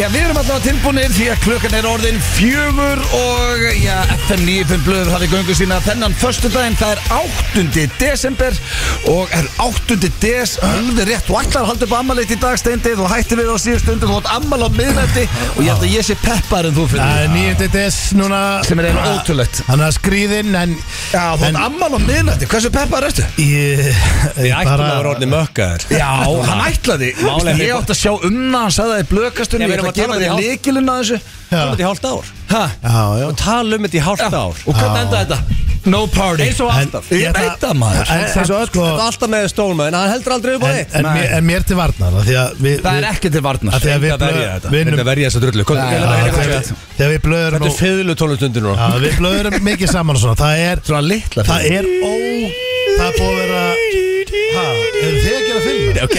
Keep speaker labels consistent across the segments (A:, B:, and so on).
A: Já, við erum alltaf tilbúinir því að klukkan er orðin fjögur og já, FM 95 blöður hafið göngu sína þennan förstu daginn, það er 8. desember og er 8. des alveg rétt og allar haldur upp ammalið í dagsteindið og hætti við á síðust undir þótt ammal á miðnætti og ég held að ég sé peppar en þú
B: Það
A: fyrir
B: er nýjandi des núna
A: Sem er eiginlega ótrúlegt.
B: Þannig að skrýðin en
A: Já,
B: en-
A: þótt ammal á miðnætti, hversu peppar ertu?
B: Ég
C: Þið ættum að
B: bara-
C: vera orðin mökkaður
A: Já, hann ætlaði
C: Málið er
A: Ég
C: við-
A: átti að sjá um það, hann sagði það í blökastunni
C: Nei,
A: Ég
C: við
A: ætla að
C: erum að tala
A: gefa
C: um
A: þér
C: í hálf-
A: líkilinn að þessu
C: Tala um þetta í hálft ár
A: Ha?
B: Já, já
C: Og tala um þetta í hálft ár
A: Og hvernig enda þetta? No party
C: Eins og
B: En-
C: alltaf
A: Ég
B: ætla-
A: veit það, maður.
B: En
C: En-
B: þessu
C: en-
B: öll
C: Þetta er
B: og-
C: alltaf með stólmaðin, hann heldur aldrei upp á
B: en-
C: þitt
B: en mér- En mér til varnar af Því að við
A: Það er
B: við-
A: ekki til varnar
B: af Því að við
C: Þetta verja
B: blöð-
C: þetta Þetta
B: vinnum-
C: verja þessa drullu Kom,
A: Já,
C: ég
B: Já,
C: ætla að
B: Þegar
C: vera
B: við- þegar við blöðurum
C: Þetta er
B: og-
C: fiðlu tónlistundur nú
B: Já, Við blöðurum mikið saman og svona Það er
A: Svona litla
B: Það er ó Það er búið að vera Ha, eru þið að gera film?
C: Ok,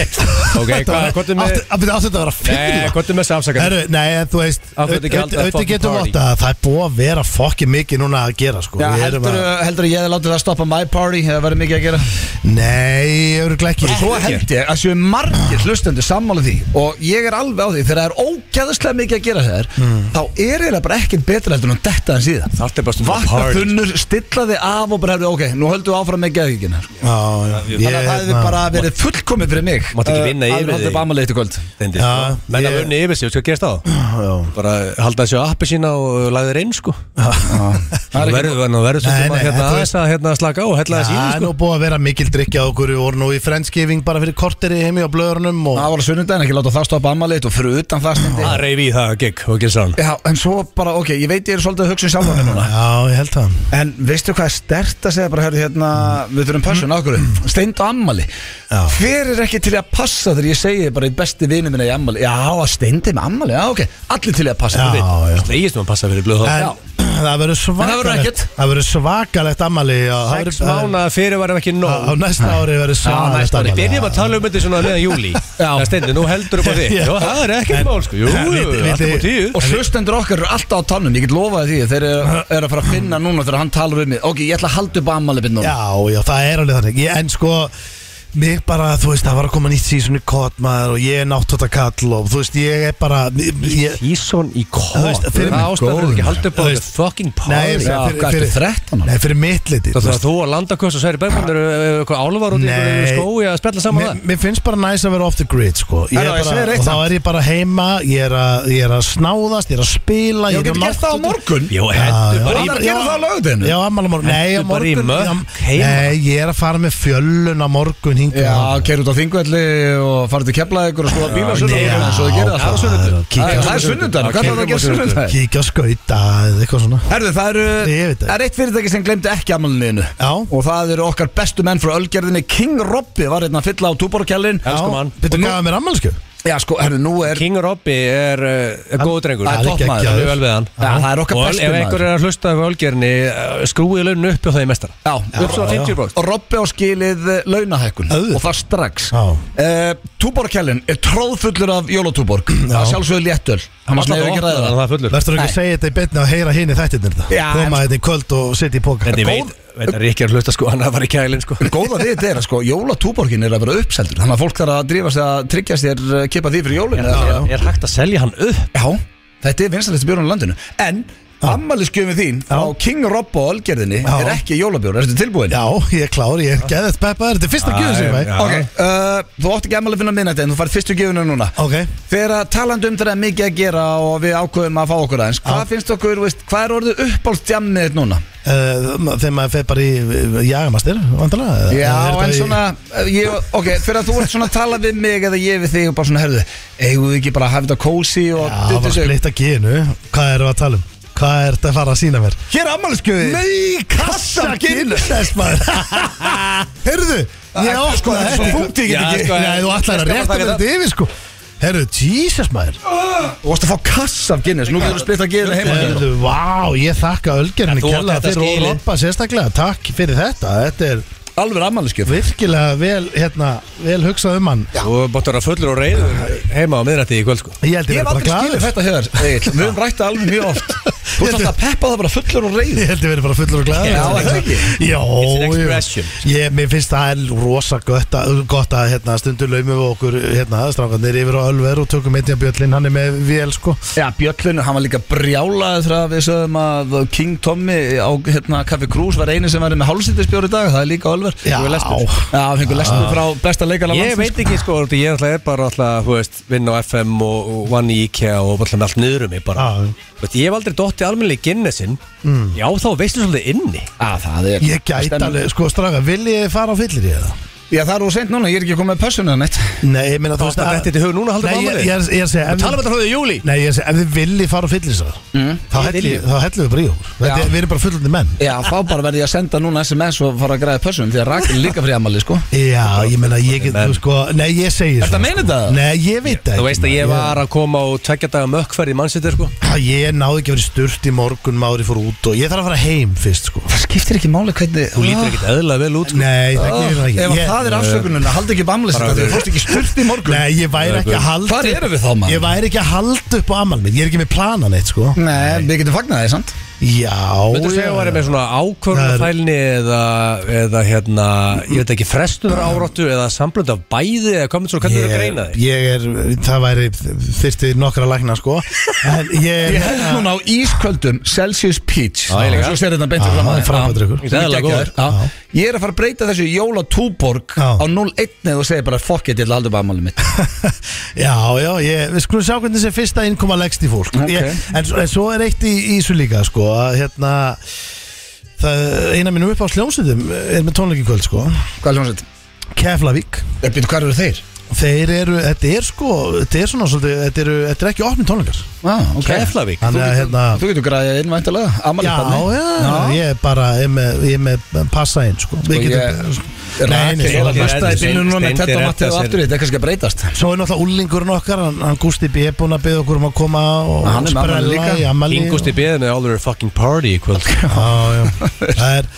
C: ok, hvað, hvað er með
B: Áttu áttu þetta að vera film?
C: Nei, hvað er með samsaka
B: Herru, nei, en þú veist
C: Af hverju ekki halda
B: Auðvitað
C: fucking
B: getum við
C: party?
B: átt að það er búið að vera fokkið mikið núna að gera sko
A: Já,
B: Við erum
A: heldur,
B: að-
A: heldur ég hefði látið það að stoppa my party Það verður mikið að gera
B: Nei, öruglega ekki
A: Svo held ég að séu margir hlustendur sammála því Og ég er alveg á því Þegar það er ógæðislega mikið að gera þér Þá er eiginlega bara ekkert betra heldur en að detta en síðan
C: Þarf þetta bara stundum að
A: Vakna
C: party.
A: þunnur, stilla þig af og bara hefur Ok, nú höldum við áfram með geðvíkina
B: Já, já, ég,
A: Þannig
B: hérna,
A: að það hefði
B: na-
A: bara verið fullkomið fyrir mig
C: Mátti ekki vinna
A: Eh,
C: yfir
A: að við höldum
C: þig.
A: bara amalegt í kvöld
C: Steindi,
B: Já,
C: sko. Menn að
B: ég-
C: vunni yfir sig, veistu hvað gerst á
B: Já.
C: Bara halda þessu appi sína og lagði reyn sko
A: Það er
C: Nú
A: ekki-
C: verður nú verður
B: Nei,
C: stundum
B: nei,
C: að hérna
B: þetta er-
C: aðeins að hérna slaka á og hella
B: Það
C: þessu í
B: er
C: sko
B: nú búið að vera mikil drikja á okkur Við vorum nú í friendsgiving bara fyrir korteri heimi á blöðurnum og
A: Það var að sunnundaginn, ekki láta það stoppa amalegt Og fyrir utan það stendi
C: Það reyfi í það gig og gerst á hann
A: Já, en svo bara, ok, ég veit ég er svolítið að hugsa um sjálfan mig núna
B: Já, ég held það
A: En veistu hvað er stert að segja bara, hörðu, hérna, við þurfum passun á okkur Steind og ammali
B: Já.
A: Hver er ekki til í að passa þegar ég segi bara í besti vini minna í ammali Já, að steindi með ammali, já, ok, allir til í að passa
B: Já,
A: þú veit.
B: já
C: Slegist nú að passa fyrir blöð þá
B: En það verður
A: En það verður
B: svakalegt
A: ekkert.
B: Það verður svakalegt ammali já, það
C: Sex
B: verður-
C: mánuða fyrir varum ekki
B: Á
C: nóg
B: á næsta ári verður svakalegt
A: næsta ári.
B: ammali
C: Byrjum að tala um þetta svona meðan júli Það stendur, nú heldur upp á þig
B: Já.
C: Jó, það er ekkert
B: En-
C: mál sko Jú,
B: En
C: jú,
B: viti-
C: allt upp á
B: viti-
C: tíu
A: Og hlustendur okkar eru alltaf á tannum, ég get lofaði því Þeir eru er að fara að finna núna þegar hann talar um mig Ok, ég ætla að halda upp ammali byrn núna
B: Já, já, það er alveg þannig ég, En sko, mig bara, þú veist, það var að koma nýtt sísoni kott maður og ég er náttúrulega kall og þú veist, ég er bara ég,
C: Tíson í
B: Þú
C: kóð
B: veist, fyrir
C: Það
B: mig
C: ástæður
B: góður.
C: fyrir ekki haldur upp á
B: Þú
C: þetta
B: veist,
C: fucking
B: Nei,
C: party
A: Já, hvað
B: fyrir-
A: ertu
B: fyrir-
A: 13 ára?
B: Nei, fyrir mitt liti
C: Það þarf að þú að landa og Særi Bergmann eru eh, eitthvað álvar út í einhverju skói að spjalla saman
B: mér, mér finnst bara næst að vera off the grid sko. Ég er
A: Herra, ég segi
B: bara,
A: reitt
B: Og þá
A: samt.
B: er ég bara heima Ég er að, ég er að snáðast, ég er að spila
A: Já,
B: Ég er
A: getur
B: að
A: gert það á morgun
C: það Jó,
B: Já, já.
C: hendur bara
A: Hann
C: í
A: er að gera það á lögðinu
B: Já, ammala morgun Nei, á
C: Hentu bara í
B: morgun
C: mökk
B: já,
C: heima.
B: Nei, ég er að fara með fjöllun á morgun hingað
A: Já, keir út á þingvelli og farið til Keflavíkur og skoða bílasölu
B: nei,
A: og svo þið gerir
B: já,
A: það
B: það er að kíkja
A: Það er-
B: á
A: það er
C: sunnudaginn.
A: sunnudan, hvað er það að gera
C: Kíkja á
A: sunnudan?
B: Kíkja á skauta eða eitthvað svona
A: Herðu, það eru,
B: Ég veit það.
A: það er eitt fyrirtæki sem glemdi ekki amalniðinu
B: Já.
A: Og það eru okkar bestu menn frá Ölgerðinni King Robby var hérna að fylla á túborkjallin
C: Elsku mann.
B: Býttu
A: Og nú-
B: að gafa mér ammalskjöf
A: Já, sko, herðu, nú er
C: King Robby er, eh, er góð drengur
B: Það er
C: Það er
B: topp maður.
C: mjög vel við hann
A: Já, það er okkar
C: Og
A: besti
C: ef
A: maður.
C: einhver er að hlusta af ölgerni eh, skrúið laun upp hjá það í mestara
A: Já,
C: Upp svo
B: já, já.
C: 50%
A: og Robby á skilið eh, launahækkun
B: Auðvitað.
A: Og það strax
B: Já.
A: uh, Túborkjallin er tróðfullur af jólatúborg Það sjálfsögur léttöl Hann var svona yfir ekki að ræða það
C: Það er fullur
B: Verður ekki
A: Nei.
B: að segja þetta í betni og heyra hinn í þættirnir þetta
A: Já, en-
B: Koma þetta í kvöld og setja í póka
C: En ég veit, veit að Ríkjar hlusta sko, hann var í kælinn sko
A: Góða við þetta er að sko, jólatúborgin er að vera uppseldur Þannig að fólk þarf að drífa sig að tryggja sér eh, kippa því fyrir jólun
C: Er er hægt að selja hann upp?
A: Já, þetta er vinstalisti bjórn á landinu En ammælisgjöfum þín frá King Rob og Ölgerðinni
B: Já.
A: er ekki jólabjór, ertu tilbúin?
B: Já, ég er klár, ég er geðið peppa Þetta er fyrsta
C: Já,
B: gjöðu sem ég
C: já.
B: fæ
A: Ok, uh, þú átt ekki ammæli að finna minnætti en þú færð fyrstu gjöfuna núna
B: Ok, eh,
A: Þegar að talandi um þetta er mikið að gera og við ákveðum að fá okkur aðeins Hvað finnst okkur, veist, hvað er orðið uppáldstjamnið þitt núna?
B: uh, þegar maður fer bara í jagamastir, vandalega eða-
A: Já,
B: eða er þetta
A: en
B: í-
A: svona, eh, ég, ok, fyrir að þú ert svona að tala við mig eða ég við þig og bara svona, herðu, eigum við ekki bara að hafa þetta kósi og
B: Já, það var
A: sig?
B: splitt að gínu Hvað erum við að tala um? Hvað er þetta að fara að sína mér?
A: Hér er ammælisgjöfi
B: Nei, kassa Guinness þess, maður Herðu, ég
A: Ah, sko, þetta
B: áskona
A: er
B: þetta
A: svo
B: í-
A: þungt, ég get
B: Já,
A: ekki-
B: sko, Nei, þú ætlar
C: Ég
B: að
C: skal
B: rétta
C: bara
B: mér
C: taka
B: þetta yfir, sko Herðu, Jesus, maður
A: Þú varst að fá kassa af Guinness, nú getur þú splitt að gera heima
B: Herðu, vá, ég þakka ölgerinu
C: En þú átt
B: kjalla
C: þetta
B: fyrir og
C: skilið.
B: Robba sérstaklega Takk fyrir þetta, þetta er
A: Alveg ammælisgjöf
B: virkilega vel, hérna, vel hugsað um hann
C: Þú bátt að vera fullur og reyður heima á miðrætti í kvöld sko
B: Ég held
A: Ég hef
B: ég verið bara
A: aldrei skilið
B: glaður
A: þetta hér Egill. Við höfum rætt það alveg mjög oft Þú ert alltaf að peppa það bara fullur og reyður
B: Ég held að vera bara fullur og glæður
A: Já, er það ekki?
D: It's an
B: Já,
D: expression.
B: já Ég, mér finnst það er rosa gott að, gott að hérna, stundu laumum við okkur hérna, strákandir yfir á Ölver og tökum einnig að Bjöllin, hann er með VL sko
A: Já, Bjöllun, hann var líka brjálaður þegar við sögðum að King Tommy á hérna, Café Cruz var eini sem var með hálsindisbjór í dag, það er líka Ölver
B: Já.
A: Fengu lestur. Já, fengur lestur frá besta leikala
C: Ég veit ekki sko, þú veist, ég alltaf er bara alltaf, þú veist, vinn á FM og og vann í IKEA og alltaf með allt niður um mig bara.
B: Já.
C: Þú veist, ég hef aldrei dottið almennilega í Guinnessin, mm. já þá veistu svolítið inni.
A: Já, það er
B: Ég gæti
A: Stemning.
B: alveg, sko stráka, viljið þið fara á fyllir í það?
A: Já, það er úr seint núna, ég er ekki komið með pössuna neitt
B: Nei, ég meina
C: Þú veist, þetta er í hug núna, haldum
B: Nei, ég,
C: ámælið.
B: ég,
C: Ég,
B: er- ég er að segja ef
C: ég,
B: þið-
C: Talum um þetta hljóðið í júli.
B: Nei, ég er að segja, ef þið viljið fara á fyllir mm. þá,
C: Við
B: helli,
C: viljum.
B: þá hellum við bara í okkur Þetta er- Við erum bara fullandi menn
A: Já, þá bara verði ég að senda núna SMS og fara að græða pössun Því að Rakel er líka frí amali, sko
B: Já, ég meina, ég get, þú sko Nei, ég segi
A: Ertu
B: svona,
A: að meina
B: sko.
A: þetta?
B: Nei, ég veit það ekki,
C: Þú veist að
B: maður.
C: ég var að koma á tveggja daga mökkferð í mannsýttir sko
B: Já, Ég náði ekki að vera í sturt í morgun Mári fór út og ég þarf að fara heim fyrst sko
A: Það skiptir ekki máli hvernig
C: Þú lítur ekkert eðlilega vel út sko
B: Nei, það gerir það
A: Ah,
B: ekki
A: Ef
B: Ég-
A: það er afsökununa, haldi ekki bamli sér
C: Bara-
A: Þú fórst ekki sturt í morgun
B: Nei, ég væri ekki að halda
A: Hvar erum við þá, maður?
B: Ég væri ekki að halda upp á amal minn Ég er ekki með planan eitt sko
A: Nei, við getum fagnað því, sant?
B: Já
C: Þú veist að ég var
B: já.
C: með svona ákvörðunafælni eða, eða hérna, ég veit ekki frestunar áráttu eða samblönd af bæði eða komið svo hvernig þú greina
B: Ég,
C: þig
B: ég er, það væri þyrfti nokkra lækna sko En ég,
A: Ég held núna á ísköldum Celsius Peach
C: Já, ég líka.
A: Svo sér þetta beint
B: Já,
A: fram
B: það er frábært drykkur.
A: Ég er
C: Eðlilega
A: geggjaður. Já. Ég er að fara að breyta þessu jóla túborg
B: Já.
A: á 0-1 eða þú segir bara fuck it, ég ætla aldrei bara ammálið mitt
B: Já, já, ég, við skulum sjá hvernig þessi fyrsta innkoma leggst í fólk
A: Ok.
B: ég, en, s- en svo er eitt í í þessu líka sko að hérna það, eina mínum upp á sljónsöðum er með tónleiki í kvöld sko
A: Hvað er hljómsveit?
B: Keflavík
A: Ég byrju, hvað Eh, eru þeir?
B: Þeir eru, þetta er sko, þetta er svona svolítið, þetta eru, þetta er ekki opni tónleikar
A: Ah, ok.
C: Keflavík
B: Þannig að hérna
A: Þú getur græðið inn væntalega
B: Já,
A: Amalið
B: já, ég er bara, ég er með, ég er með passa inn sko Við
A: Sko,
B: getum,
A: ég-
B: nei,
A: Ég er
B: nei, svo er
A: að
B: náttúrulega-
A: besta í bílunum núna með
C: Steindi
A: Tetta og
C: redda
A: Matteo
C: sér.
A: aftur Þetta er kannski að breytast
B: Svo er náttúrulega úlingurinn okkar, hann, hann Gústi B. er búinn að byggja okkur um að koma og
A: Hann er með afmæli
B: sprella
A: líka.
B: í ammali
C: Ingust í beðinu er alveg fucking party í kvöld
B: Já, já, það er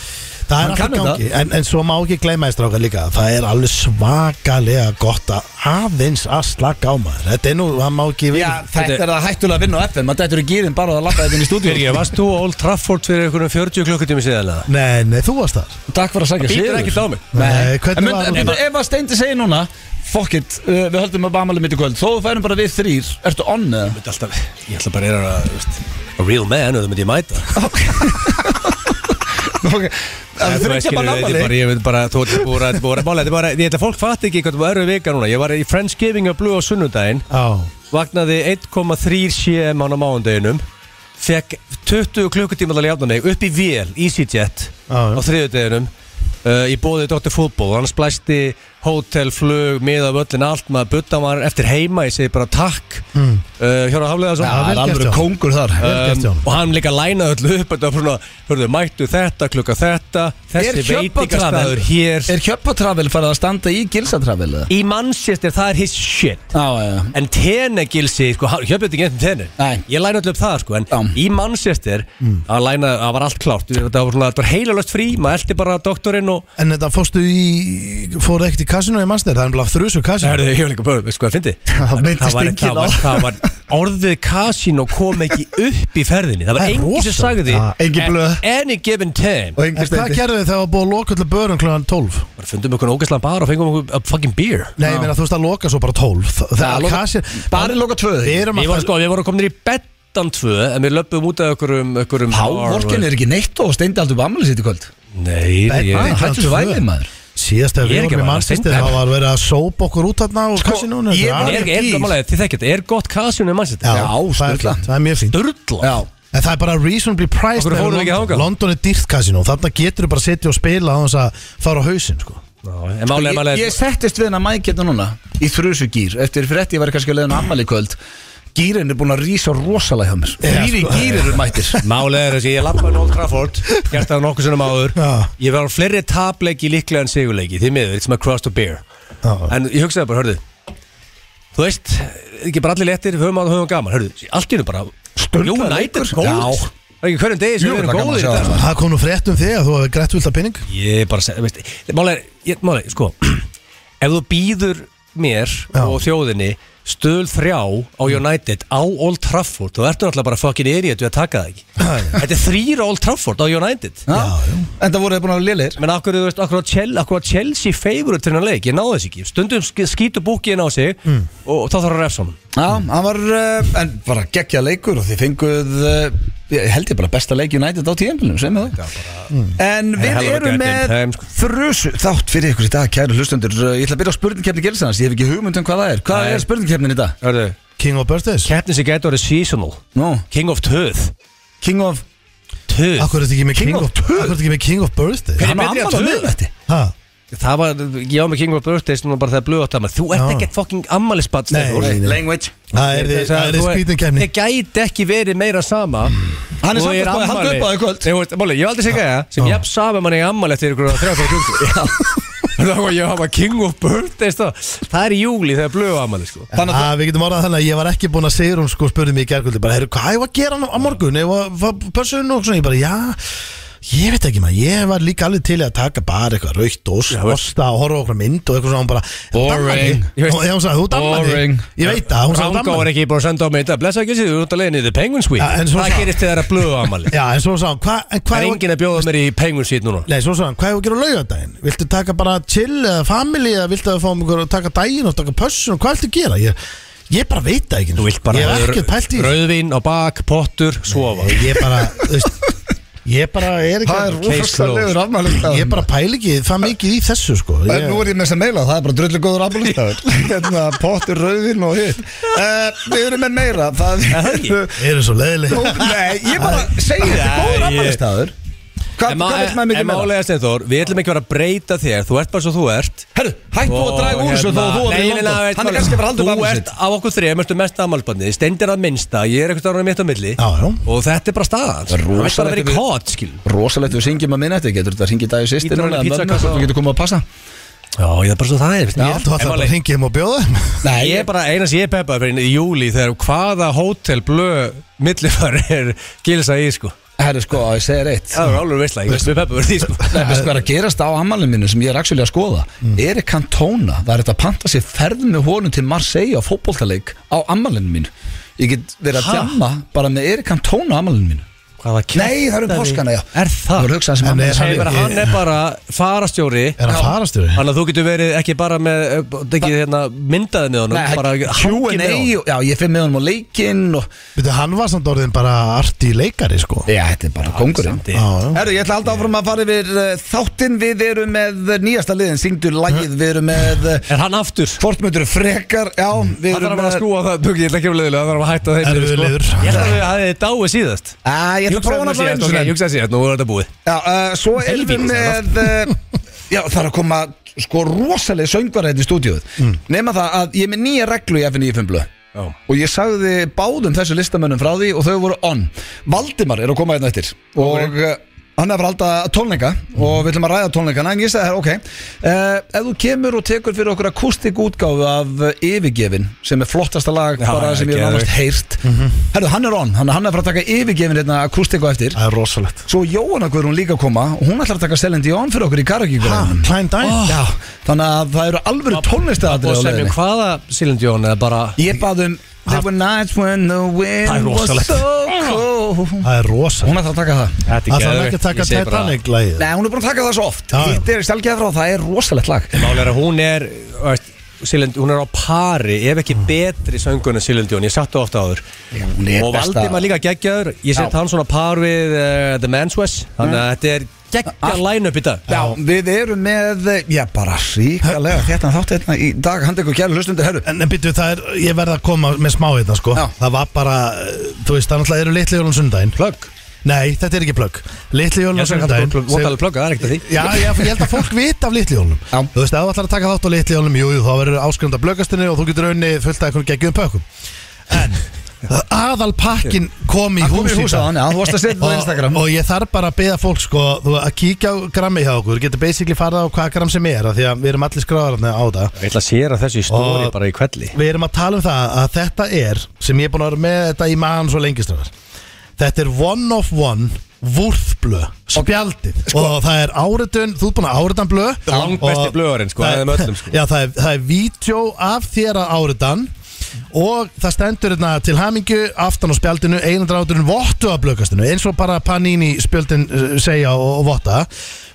B: Það er
A: Hann kann
B: alltaf gangi, en, en svo má ekki gleyma í strákar líka Það er alveg svakalega gott að aðeins að slaka á maður Þetta er nú, það má ekki við
A: Já, þetta er það hættulega að vinna á FM Maður dættur í gýrin bara að lappa þetta inn í stúdíu
C: Birgir, varst þú á Old Trafford fyrir einhverjum 40 klukkutími síðan eða?
B: Nei, nei, þú varst þar
A: Takk fyrir að sækja
C: Það býtur ekkert á mig.
A: Nei,
B: Nei, hvernig
A: En mynd-
B: var-
A: en bara Ef að Steindi segir núna Fuck it, uh, við höldum að bamali mitt í kvöld Þó við færum bara við þrýr Ertu onn eða?
C: Þetta er alltaf, ég ætla bara að vera að, þú veist, a real man, þú myndi ég mæta
A: Ok,
C: Nei,
A: að
C: þú
A: Þrýr
C: veist,
A: kemur
C: skilur, þetta er bara,
A: bamali
C: ég veit bara, þú ert búið að, búið að, mála, þetta er bara, ég ætla að fólk fatt ekki hvað þú eru vika núna, ég var í Friendsgiving og Blue á sunnudaginn,
B: Já,
C: vaknaði 1,3 cm á mánudeginum, fekk 20 klukkutíma að ljáta mig upp í VL,
B: Já,
C: EasyJet,
B: já.
C: á þriðudeginum, uh, í bóði Dr. Fútból, hann splæsti hótel, flug, miða völlin, allt, maður butta var eftir heima, ég segi bara takk, mm. uh, Hjóra Hafleðarsson.
B: Hmm. Já, vel gert, já.
A: kóngur þar
B: vel gert, Jón.
C: Um, og hann líka lænaði öllu upp þetta var svona, hörðu, mættu þetta, klukka þetta
A: Er
C: þessi
A: Hjöbbatravel
C: veitingastaður hér
A: Er Hjöppatravel farið að standa í Gilsatravel eða?
C: í Manchester, það er his shit
A: Já, já, já
C: en Tenegilsi, sko, hjöpjum þetta ekki eftir
A: Nei.
C: Teneg ég læna öllu upp það, sko, en
A: Já.
C: í Manchester
B: Mm.
C: að læna, það var allt klárt þetta var, svona, þetta var heilalöst frí, maður eldi bara doktorinn og
B: En þetta fórstu í, fór ekkert í kassinu í Master, það er bara þrjus og kassinu
C: Hörðu, ég var líka búin, sko, að fyndi
B: Það myndist
C: var,
B: enginn
C: það,
B: á.
C: var, það var orðið kasino kom ekki upp í ferðinni Það var
B: Það er
C: engi sem
B: rosalegt.
C: sagði
B: Já,
A: engin blöð.
C: "At Any given time
A: Og
B: En
A: engin
B: hvað
A: Steindi
B: gerðu þið þegar það var búið að loka öllu börum klugan 12?
C: bara fundum okkur ógæslan bar og fengum okkur a fucking beer
B: Nei, ég meina þú veist að loka svo bara 12 Það,
A: Já,
B: það
A: loka-
B: kassir
A: Barinn lokar tvö,
B: Við erum
C: Við
B: að
C: vorum sko, við vorum komin í bettan tvö en við löpum út af okkur um, okkur um
A: Hávorkin er ekki neitt og Steindi aldrei bamali sitt í kvöld
C: Nei,
B: Nei,
C: ég,
B: nei.
C: ég,
A: Hættu svo
B: klukkan tvö.
A: væðið maður
B: Síðast
C: Ég er
B: þegar við
C: ekki
B: vorum í
C: bara að
B: Manchester
C: finna-
B: Það var verið að sópa okkur út þarna á kassinunum
A: ég
B: Það-
A: var-
C: er, er, er, þið þekkið, þetta, er gott kasjun um mannsett
A: Já,
B: það er
A: sturla.
B: fínt, það er mjög fínt
C: Durla
A: Já
B: En það er bara reasonably priced
C: Okkur
B: með
C: fórum við ekki
B: London.
C: þangað?
B: London er dýrt kasino Þarna getur þú bara að setja og spila á þess að fara á hausinn sko.
C: En málega,
A: Ég,
C: málega
A: ég settist við hennar mæk hérna núna í þrjusugýr, eftir frétti ég var kannski að leiðin ammali kvöld gýrin er búin að rísa rosalega hjá mér þrýri
B: sko.
A: gýrir eru mættir
C: Málega er þessi, ég lappaði Old Trafford Gert það nokkuð sinnum áður
B: Já.
C: Ég var á fleiri tapleiki líklega en sigurleiki Því miður, it's my cross to bear
B: Já.
C: En ég hugsaði bara, hörðu Þú veist, ekki bara allir léttir, höfum að höfum gaman Hörðu, allt í hennu bara
A: Sturlaður
C: United
A: leikur.
C: góð Það er ekki hverjum degi sem
A: Jú,
C: við
A: það er
C: erum
A: gaman að
C: góðir í
A: sjá
C: dag
A: það.
B: Það kom nú frétt um þig að þú hefði grætt vilt að pinning
C: Ég er bara að segja, veist, málega, ég, málega, sko, ef þú býður mér
B: Já.
C: og þjóðinni stöðl þrjá á United á Old Trafford þú ertu náttúrulega bara fucking idiot við að taka það ekki þetta er þrýra Old Trafford á United
A: Já, en það voru þið búin að liðir
C: menn akkur, þú veist, akkur, á Chelsea, akkur á Chelsea favorite þennan leik, ég náði þess ekki stundum sk- skýtur búkiðin á sig
B: Mm.
C: og, og þá þarf að refsa honum
A: Já, hann var, uh, en bara geggja leikur og þið fenguð, uh, ég held ég bara besta leik United á tíðanbílunum, sem er það En við
C: helviti
A: erum
C: goddamn
A: með
C: time, sko.
A: þrösu þátt fyrir ykkur í dag, kæru hlustendur Uh, Ég ætla að byrja á spurningkeppni Gilsans, ég hef ekki hugmynd um hvað það er Hvað
C: Nei.
A: er spurningkeppnin í dag?
C: Hörðu,
B: King of Birthdays
C: keppnin sem gæti orðið seasonal
A: Nú,
C: King of Töð
A: King of,
C: Töð
B: Akkur er þetta ekki með King, of Birthdays Akkur er þetta ekki með King of Birthdays
C: Hver
A: hann
C: er
A: á
C: betri
A: afmæli
C: á
A: á
C: töðu?
A: miðnætti.
B: ha?
C: Það var, ég á mig King of Birthdays núna bara þegar blöð átt að maður Þú ert
B: Já.
C: ekkert fucking ammælisbatt Steindór.
B: Nei, nei.
A: Language
B: Það er þið- það er þið
C: þú-
B: skrítin kemni
C: Þið gæti ekki verið meira sama
A: Hann er
C: Og
A: samt
C: er
A: að spáði halda
C: afmæli.
A: upp á þig í kvöld.
C: Nei, þú veist, Máli, ég hef aldrei segja það Sem
B: Já.
C: jafn sama manni í ammæli eftir ykkur þrjáfæra klukku Það var ég hafa King of Birthdays þá. Það er í júli þegar blöð ammæli sko
A: Þannig að
B: Ah, við getum orðað þannig að ég var ekki búinn að segja hún sko spurði mig í gerguldi bara, heyrðu, hvað ég var að gera á- á morgun ég var, var pössun og svona, ég bara, já ég veit ekki maður, ég var líka alveg til í að taka bara eitthvað raukt og
C: Já, veist.
B: osta og horfa á okkur mynd og eitthvað svona, hún bara
A: Boring.
B: Ég veist, hún sagði, þú dammaði
A: Boring.
B: Ég veit það, hún sagði
C: Rangá er
B: dammaði
C: ekki bara að senda á mig þetta Blessa ekki sér, þú ert að leiðin í The Penguins Week
B: Ja, en svo
C: Það
B: sá-
C: gerist þegar að blöð ammæli
B: Já, en svo sagði hún, hvað en
C: Það
B: hvað
C: er
B: ég var-
C: enginn að bjóða mér í Penguins Week núna
B: Nei, svo sagði hann, hvað hefur að gera á laugardaginn? Viltu taka bara chill eða family eða viltu að fá mig að taka daginn og taka pössun og hvað viltu gera? Ég, ég bara veit það ekki
C: Þú vilt bara
B: Ég
C: hafa
B: hef ekkert pælt í þessu.
C: Rauðvín á bak, pottur, sofa
B: Ég bara, þú veist, ég bara er ekki
A: það er
B: að-
C: case
A: rosalega rafmælistafur
B: Ég bara pæl ekki það mikið í þessu sko
A: En Eh, nú
B: ég,
A: er ég með þess að meila, það er bara drullu góður afmælistafur Hérna, pottur, rauðin og hitt uh, Við erum með meira, það
C: Er það ekki?
A: eru
B: Eru svo leiðileg
A: Nei, ég bara segi þetta,
C: Æ,
A: góður
C: ég-
A: afmælistafur Hvað
C: En ma-
A: hvað vill maður mikið
C: en
A: meira?
C: málega Steinþór, við ætlum ekki að vera að breyta þér Þú ert bara svo þú ert
A: Herru, hættu að draga úr þessu
C: hérna-
A: þó að þú er í London Hann er kannski bara haldur
C: Þú
A: bafið
C: ert
A: sitt
C: af okkur þrejum, ertu mest aðmálbarnið Stendir að minnsta, ég er eitthvað árið mitt á milli
B: Já, já
C: Og þetta er bara staðan
A: Það er
C: Þú ert bara að vera í
A: rosalegt við-
C: kót, skil
A: Rosalegt við syngjum að minna þetta, getur þetta að syngja í dag í sýstir
C: Ítum
A: núna
C: honum í
A: eða mömmu,
C: pizzakassa
A: Þú
C: og-
A: getur komið að passa
C: Já, ég er bara svo það er
B: Ég held þú
C: En
B: alltaf bara
C: máli-
B: að hringi þeim og bjóða þeim
A: Nei,
C: Ég er bara eina sem ég peppaði fyrir í júli Þegar hvaða hótel blö millifar er gilsa í, sko
A: herru sko, ég segir eitt
C: Það er alveg veistla, ég við peppaði fyrir því, sko
A: Nei, veistu hvað er að gerast á ammælinu mínu sem ég er actually að skoða
C: Mm.
A: Erik Cantona, það er þetta að panta sér ferð með honum til Marseille á fótboltaleik á ammælinu mínu Ég get verið að
C: Ha?
A: djamma bara með Erik Cantona á ammælinu mínu
C: Hvaða
A: Nei, það eru
C: kjaftæði-
A: páskana, já
C: Er
A: Það um-
C: það?
A: voru hugsað sem
B: En
A: ammælis-
B: er
C: Segir bara,
B: Hann-
C: hann er bara farastjóri
B: Er hann farastur
C: Þannig að þú getur verið ekki bara með eh, ekki, hérna, myndaði með honum bara hangið
A: Q&A
C: með honum.
A: og- Já, ég fyrir með honum á leikinn og
B: Veitu, hann var samt orðin bara arti leikari sko
A: Já, þetta er bara kongurinn
C: samt í.
A: Herru, ég ætla alltaf áfram að fara yfir uh, þáttinn Við erum með nýjasta liðin, syngdu lagið Við erum með uh,
C: Er hann aftur?
A: Fortmöndur frekar, já Við
C: Hann þarf
A: erum
C: að vera að skrúa það Buggi, ég ætla ekki að vera leiðilega Það þarf að hætta þeim
B: Erfiður
C: niður, sko.
B: liður.
C: Ég ætla að við hafið dáið síðast um
A: Æ, ég ætla að prófa hann alltaf
C: Júksaði síðast,
A: einu
C: ok,
A: sinni.
C: júksaði síðast Nú er þetta búið
A: Já, uh, svo erum við
C: Helvítis,
A: með uh, Já, það er að koma sko rosalega söngvar hérna í stúdíóð Nefna það að ég er með nýja reglu í FNÍ Fumblu
C: Mm. Já.
A: Og ég sagði báðum þessu listamönnum frá því og þau voru on Valdimar er að koma hérna eftir Og uh, hann er að fara að halda tónleika Og
C: Mm.
A: við ætlum að ræða tónleikana En ég sagði, ok uh, Ef þú kemur og tekur fyrir okkur akústik útgáfu af uh, Yfirgefin Sem er flottasta lag
C: Já,
A: bara
C: já,
A: sem ég er
C: geðveikt. Mhm.
A: náttúrulega heyrt Herðu, hann er on, hann, hann er að fara að taka yfirgefin hérna akústik á eftir
B: Það er rosalegt
A: Svo Jóhanna Guðrún líka að koma og hún ætlar að taka Celine Dion fyrir okkur í
B: Ha,
A: karaoke-græðinum
B: Klein dæn
A: Já, þannig að það eru alveg
C: Og
A: tónlistaðatrið á
C: sem ég
A: leiðinni
C: hvaða Silindjón eða bara
A: Ég bað um There were nights when the
C: Það er
A: wind was
C: rosalegt.
A: so cold
B: Það er rosalegt
A: Hún ætlar að taka það
C: Þetta
B: Það þarf ekki að taka Titanic lagið
A: Nei, hún er búin að taka það svo oft
B: Já, já.
A: Hitt er stelgið frá, það er rosalegt lag
C: Málega er að hún er veist, Silind, hún er á pari, ef ekki betri söngun en Silindjón, ég satt það ofta áður
A: Já, hún er
C: og
A: besta-
C: Valdimar líka geggjaður ég sett
A: Já.
C: hann svona par við uh, The Man's West, þannig að þetta er geggja line-up í dag
A: Já, við erum með, já bara ríkalega Þetta þátt hérna í dag, handi ykkur kjælu hlustundir herru
B: En, en byrju, það er, ég verð að koma með smá hérna sko
A: Já.
B: Það var bara, þú veist, það náttúrulega eru litli jólun sundaginn
C: Plögg
B: Nei, þetta er ekki plögg Litli jólun
C: Ég sem kallar
B: sundaginn
C: plögg, votalega plögg, það er ekkert að því
B: Já, ég, ég held að fólk vita af litli jólunum
A: Já.
B: Þú veist, ef þú ætlar að taka þátt á litli jólunum Jú, jú, þá verður áskrifnd af blöggastinni og þú getur raunni fullt af einhvern geggjum pökkum En, aðal pakkin kom í
A: Hann kom í
B: hús í
A: hús
B: dag
A: áðan, já, þú varst að setja það á Instagram.
B: og, og ég þarf bara að beða fólk sko þú- að kíkja á grammi hjá okkur Getur basically farið á hvað gramm sem er af Því að við erum allir skráðar þarna á það
C: Ég ætla að séra þessu í stóri
B: Og-
C: bara í kvelli
B: Við erum að tala um það að þetta er sem ég er búin að vera með þetta í maðan svo lengist Þetta er one of one Vúrðblö, spjaldið Og það er áritun, þú ert búin að áritan blö
C: sko- Langbesti
B: og-
C: blöðurinn, sko,
B: það
C: eða með öllum, sko.
B: Já, það er, það er vídeo af þér að áritan Og það stendur hérna til hamingju Aftan á spjaldinu, einandráturinn Vottu af blökastinu, eins og bara Panini spjöldin uh, segja og, og votta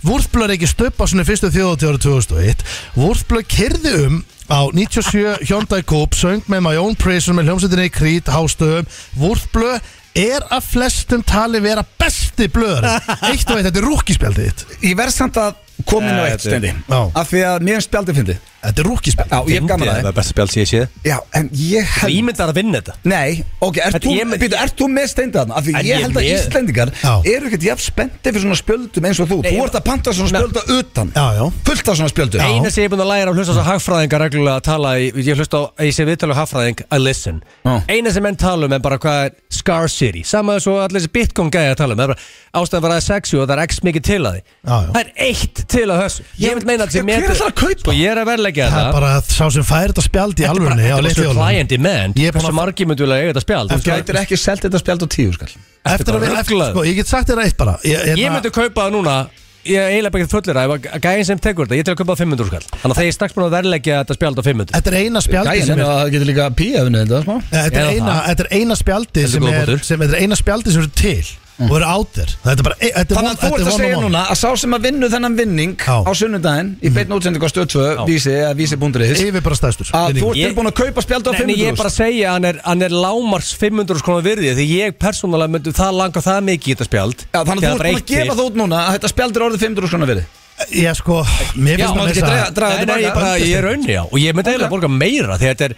B: Vúrðblö er ekki stöpa Svona fyrstu þjóðatíu ára 2001 Vúrðblö kyrði um á 97 Hyundai Coupe, söng með My Own Prison með hljómsveitinni Creed, Hástöðum Vúrðblö er að flestum tali vera besti blöður Eitt og eitt, þetta er rúkispjaldið þitt
A: Ég verð samt að koma inn á
C: Eh,
A: eitt
C: þetta er-
A: stendi
B: Já.
A: Af því að mér er spjaldið fyndi
B: Þetta er
A: Já,
B: rúkispjaldið
A: ég er gaman að
C: Það
A: það
C: er besta spjald sem ég séð
A: Já, en ég
C: Það
A: held
C: ímyndar að vinna þetta
A: Nei, ok, ert
C: Þetta
A: þú,
C: ég með-
A: býtu, ert þú með steindið þarna? Af því
C: En
A: ég
C: ég
A: held að
C: með-
A: Íslendingar
B: Já.
A: eru ekkert jafn spendið fyrir svona spjöldum eins og þú
C: Nei,
A: Þú
C: ég-
A: ert að panta svona
C: Nei.
A: spjölda utan
B: Já, já.
A: Fullt af svona spjöldum
B: Já.
C: Eina sem ég er búin að læra að hlusta á hagfræðingar reglulega að tala í, ég hlusta á, ég sé viðtalið á hagfræðing að listen.
A: Já.
C: Eina sem menn tala um er bara hvað er scarcity, sama eins og allir þessi bitcoin gæði að tala um, það er bara ástæðan var að sexu og það er x mikið til að því.
B: Já, já.
C: Það er eitt til að hössu.
A: Já,
C: Ég vil meina að
A: hver ætlar að kaupa?
C: Sko ég er að verleggja
B: Það er
C: þetta.
B: bara að sá sem fær þetta spjald í alvörunni á
C: Þetta er
B: litlu
C: svo
B: jólunum.
C: client demand,
B: Ég er búin
C: hversu
B: að-
C: margir myndu vilja eiga þetta spjald.
A: Þú
C: Þú veist,
A: gætir ekki selt þetta spjald á tíu sko. skall
B: Eftir að
C: bara
B: við, eftir,
C: ruglaður.
B: sko, ég get sagt þér eitt bara Ég, hérna-
C: Ég myndi kaupa það núna Ég er eiginlega bara ekki fullir að ef að gæðin sem tekur þetta, ég er til að kaupa það 500 skall Þannig að það er ég strax búin að verleggja þetta spjald á 500
B: Þetta er eina spjaldi
A: Gæin
B: sem
A: er
B: er
A: að það getur líka píaðunni þetta sko. smá
B: Þetta er
C: Eða
B: eina,
C: það.
B: þetta er eina spjaldi
C: Heldur
B: sem
C: góður
B: er,
C: punktur.
B: sem, þetta er eina spjaldi sem eru til og eru á þér Þetta er bara e- þetta er
A: Þannig að
B: one-
A: þú ert að
B: þetta er one
A: segja
B: on one.
A: núna að sá sem að vinnu þennan vinning
B: Já. Mhm.
A: á sunnudaginn í beinn útsendingu á stöð 2 vísi eða vísi.is
B: Yfir bara stæðstur
A: að þú ert
C: Ég-
A: tilbúin að kaupa spjald á
C: Nei, nei,
A: 500
C: ég er bara að segja að hann er, hann er lámars 500 konar virði Því ég persónulega myndi það langa það mikið í þetta spjald
A: Já, þannig
C: Því
A: að þú ert
C: bara
A: búin að
C: eitt
A: gefa
C: til.
A: það út núna að þetta spjald er orðið 500 skona verið
B: Ég sko, mér
A: Já,
B: finnst
A: maður
B: það
A: getur dregið- dregið-
B: þess að
A: draga
C: Nei,
A: þetta tilbaka.
C: nei, ég, bara, ég er raunni á Og ég myndi eiginlega borga meira Því þetta er,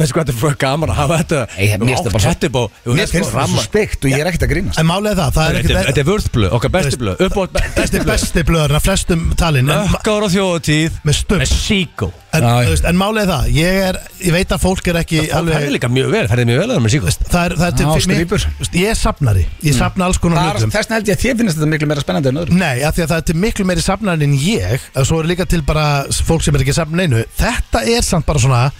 C: þessi hvað þetta er gaman að hafa þetta
A: Nei, mér finnst það bara svo-
C: þetta bó
A: Mér finnst þetta svo steikt og ég er ekkert að grínast
B: En málega það, það er
C: Þetta er- þetta
B: ekkert
C: er vörðblöð, okkar besti
B: Veist-
C: blöð Uppbótt
B: Þetta
C: besti
B: er
C: blöð
B: besti blöður að flestum talin En,
C: Ökkar á þjóðutíð
B: Með stubb.
C: Ah. Með síkó
B: en,
A: Já, já.
B: þú veist, en málega það, ég er Ég veit að fólk er ekki
C: Það
B: alveg
C: ferði líka mjög vel, ferði mjög vel að það með síkó
B: Það er, það er til
A: Já,
B: fyrir mig-
A: strípur.
B: þú veist, Ég er safnari,
C: Mm.
B: ég safna alls konar
A: Þar-
B: hlutum
A: Þess vegna held ég að þér finnst þetta miklu meira spennandi en öðrum
B: Nei, af því að það er til miklu meiri safnar en ég að svo er líka til bara fólk sem er ekki safn neinu Þetta er samt bara svona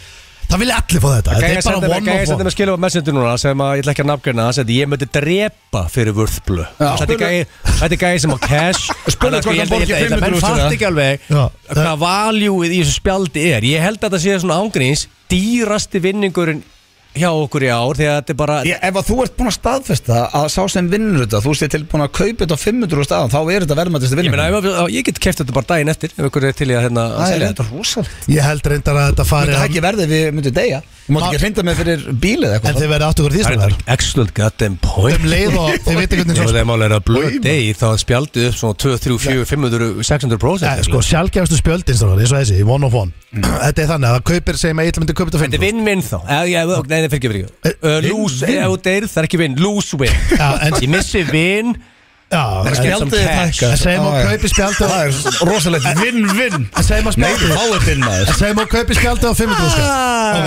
B: Það vilja allir fá þetta Þetta
C: Gæja
B: er bara
C: sendi mig-
B: one
C: gæja sko.
B: of
C: sendi
B: one
C: mig skilum á messenger núna sem að ég ætla ekki að nafngreina það sendi ég myndi drepa fyrir vörðblö
A: Já.
C: Þetta er gæi- þetta er gæði sem á cash
A: Spurðu
C: Þannig að sko,
A: hvort hann
C: ég held- ég
A: borgi
C: held- ég held-
A: 500
C: Menn
A: þúsund
C: fatt
A: eða?
C: ekki alveg
B: Já, það-
C: hvað valjúið í þessu spjaldi er Ég held að það sé svona ángríns dýrasti vinningurinn hjá okkur í ár því að þetta er bara
A: Ég, ef að þú ert búin að staðfesta að sá sem vinnur þetta þú sé tilbúin að kaupa þetta á 500 staðan þá er þetta verðmættist að
C: Ég, meina,
A: vinna
C: ef, ef- ég get keft þetta bara daginn eftir ef ykkur er til í að hérna að
A: Það er
C: selja
A: þetta
C: þetta
A: rosalegt
B: Ég held reyndar að þetta
A: Það
B: fari
A: er ekki verðið við myndum deyja Þú mátt
B: Ma-
A: ekki hrinda mig fyrir bílið
B: En
A: eitthvað
B: þið verði áttu okkur því
C: Það
B: sem
C: er
B: það
C: þetta excellent goddamn point
B: Um leið og þið veitir
C: Ég
B: hvernig
C: veit
B: svo
C: að mál er að blöð degi þá spjaldið upp svona 2, 3, 4, 500, 600%
B: Nei, sko, sjálfgefastu spjöldin sem það eins og þessi, one of one Þetta er þannig að það kaupir, segjum að ég ætla myndi kaupið á
C: Mm. Þetta
B: 500
C: er vinn-vinn þá Eh, ég- ok, Nei, nei, fyrir ekki, fyrir ekki Uh, Lose,
A: Vinn-vinn?
C: ef þú deyr, það er ekki vinn, lose win
B: Já, en-
C: Ég missi vinn
B: Já, en-
C: spjaldið er
B: en-
C: hækkað.
B: en Segjum að
A: Já, já.
B: kaupir spjaldið
A: Það
B: á-
A: er rosalegt vinn-vinn
B: en Segjum að
A: Nei, þú
B: spjaldið
A: fáið þinn maður
B: En segjum að kaupir spjaldið á 500 skall.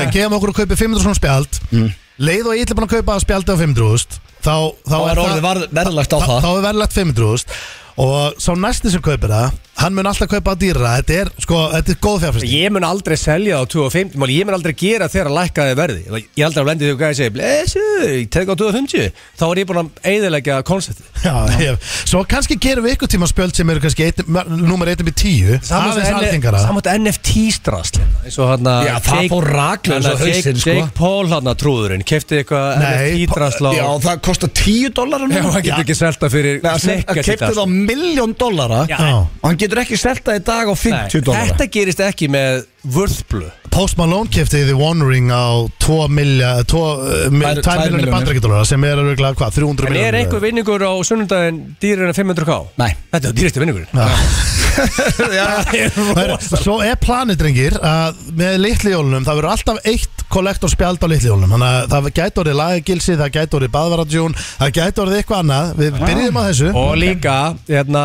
B: Ok, gefum okkur að kaupi 500 svona spjald
A: Mm.
B: Leið og ég ætla bara að kaupa spjaldið á 500 þúsund, Þá, þá
A: Þá er orðið varð- verðlagt á
B: þá-
A: það
B: Þá er verðlagt 500 þúsund. Og sá næsti sem kaupir það Hann mun alltaf kaupa á dýra Þetta er, sko, þetta er góð fjárfæsting
C: Ég mun aldrei selja á 250 máli, Ég mun aldrei gera þegar að lækka þið verði Ég held að lendi því að gæði segja Blesu, ég tek á 250 Þá er ég búin að eyðilegja konceptið
B: Já, ég, Svo kannski gerum við ykkur tíma spjöld sem eru kannski eitt, Númer 1 með 10 Aðeins algengara
C: Samátt NFT-strast hérna, eins og hann
A: Já, það fór raklega eins og hausinn, sko.
C: Jake Paul hann að trúðurinn Kefti eitthvað
B: Nei,
C: NFT-strast
A: Já, það kostar 10 dólarar
C: Já, hann getur ekki selta fyrir
A: Að
C: snekkja
A: keipta
C: sitt,
A: það á
C: sko.
A: miljón dólara
C: Já,
B: Já.
A: Og hann getur ekki selta í dag á
C: Nei,
A: 50 dólara
C: Þetta gerist ekki með vörðblöð
B: Post Malone kefti The One Ring á 2 milja 2
A: Tvær- tvær
B: miljonir
A: milljónir.
B: bandarækjadólar sem er örgulega hvað, 300
C: En
B: miljonir
C: er einhver vinningur á sunnundaginn dýrin að 500k?
A: Nei.
C: Þetta er dýrasti vinningurinn
B: Herru, Svo er planið drengir að með litlihjólunum það verður alltaf eitt kollektorspjald á litlihjólunum þannig að það gæti orðið lagagilsi, það gæti orðið baðvaradjón, það gæti orðið eitthvað annað við byrjum á þessu
C: Og líka, hérna,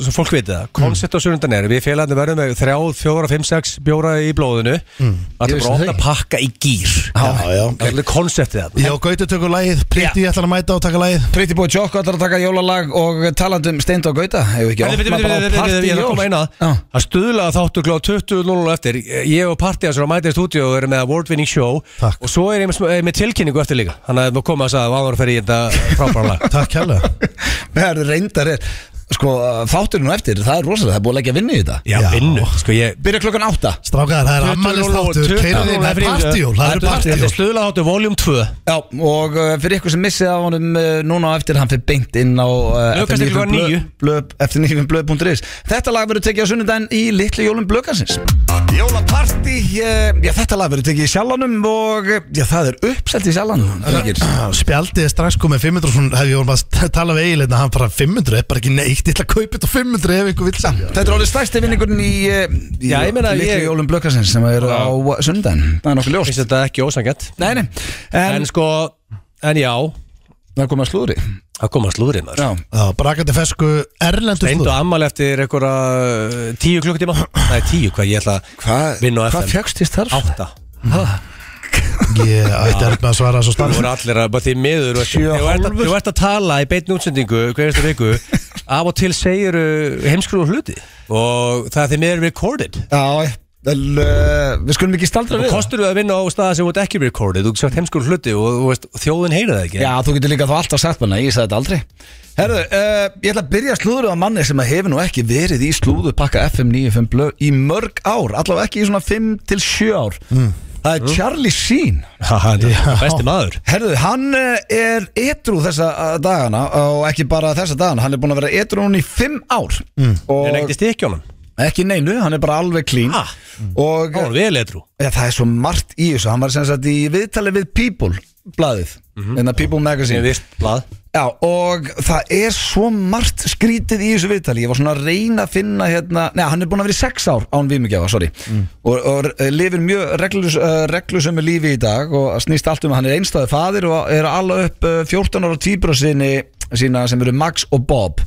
C: svo fólk viti það Koncept á sunnundan er, við félagandi verðum með 3, 4, 5, 6 bjóra bara í blóðinu Það
A: Mm. Ég
C: er
A: vissi
C: bara
A: það Ah,
C: ofta að pakka í gýr
B: Já, já.
C: Það er allir konseptið þarna
B: Já, Gauti tökur lagið, Pritti ætlar að mæta og taka lagið
A: Pretty Boy Choco ætlar að taka jólalag og talandi um Steind og Gauta hefur ekki
C: Ég
A: opnað bara á partí
C: er að koma hérna. inn
A: jól Ah.
C: að
A: Já.
C: að stuðla að þáttu klá 20.00 eftir Ég og partíðan sem er að mæta í stúdíu og erum með award winning show
B: Takk.
C: Og svo er ég með, sm- eh, með tilkynningu eftir líka Þannig að við komum að sagði að áður fyrir í þetta frábæðanlega
B: Takk kærlega
A: Nei, það eru reyndar er Sko, þáttur nú eftir, það er rosalega, það er búið að leggja vinnu í þetta
C: Já,
B: Já.
C: vinnu Sko ég
A: Byrja klokkan átta
B: Strákar, það er ammælistáttur, keirði þig með partíjól Það eru
C: Þetta
B: partíjól
C: er stuðla þáttu voljum 2
A: Já, og uh, fyrir ykkur sem missið af honum uh, núna á eftir, hann fyrir beint inn á uh,
C: Lögkastið klukkan níu.
A: fnifnblöð.is Þetta lag verður tekið á sunnudaginn í litlu jólum blöðkansins Jólaparti, uh, já þetta lag verður tekið í sjalanum og uh, já það er uppsett í sjalanum drengir.
B: Spjaldið er strax komið 500 svona, hef ég voru bara að tala við eiginlega hann bara 500, er bara ekki neitt, ég ætla að kaupa þetta á 500 ef einhver vill samt
A: Þetta er alveg stærsti vinningurinn í, uh, í
C: Já, ég meina,
A: litlu
C: ég-
A: jólum blöðkansins sem er á sunnudaginn Það er nokkuð ljóst
C: Finnst þetta ekki ósangett
A: Nei, nei, en,
C: En sko, en já
A: það kom að slúðri
C: Það kom að slúðrið maður
A: Já,
B: Já, brakandi fesku erlendur
C: Reyndu
B: slúður
C: ammali eftir einhverja uh, tíu klukkutíma Nei, tíu, hvað ég ætla að
A: hvað
C: vinna á
A: hva
C: FM
A: fjöxt í starf?
C: Átta
B: Ég ætti erfitt með að svara þessu
C: Það
B: starf
C: voru allir að, bara því miður veist,
A: Sjö og
C: Þú ert að-
A: hálfur.
C: þú ert að tala í beinni útsendingu hverjastu viku Af og til segir heimskrúðu hluti Og það er því miður recorded
A: Já, vel, uh, við skulum ekki staldra
C: Og
A: við það.
C: kostur þú að vinna á staða sem þú ert ekki recorded Þú getur sagt heimskrúðu hluti og, og veist, þjóðin heyra það ekki
A: Já, þú getur líka þá alltaf sagt manna, ég sagði þetta aldrei Herðu, uh, ég ætla að byrja slúður á manni sem að hefur nú ekki verið í slúðupakka FM 95 blöð í mörg ár Allavega ekki í svona 5 til 7 ár
C: Mm.
A: Það er Charlie Sheen
C: Hann er besti maður
A: Herðu, hann eh, er edru þessa eh, dagana og ekki bara þessa dagana Hann er búin að vera edru hún í 5 ár
C: En
A: og
C: ekkert stikki á hann
A: ekki neinu, hann er bara alveg clean
C: Ah.
A: og
C: Hann var vel eitthrú
A: Já, það er svo margt í þessu, hann var sem sagt í viðtali við People blaðið, en að People
C: Sem
A: Magazine
C: vist blað
A: Já, og það er svo margt skrítið í þessu viðtali, ég var svona að reyna að finna hérna, neða, hann er búin að vera í sex ár án vímugjafa, sorry, og, og eh, lifir mjög reglus, uh, reglusömu lífi í dag og snýst allt um að hann er einstæði faðir og er alla upp uh, 14 ára týpur sinni sína sem eru Max og Bob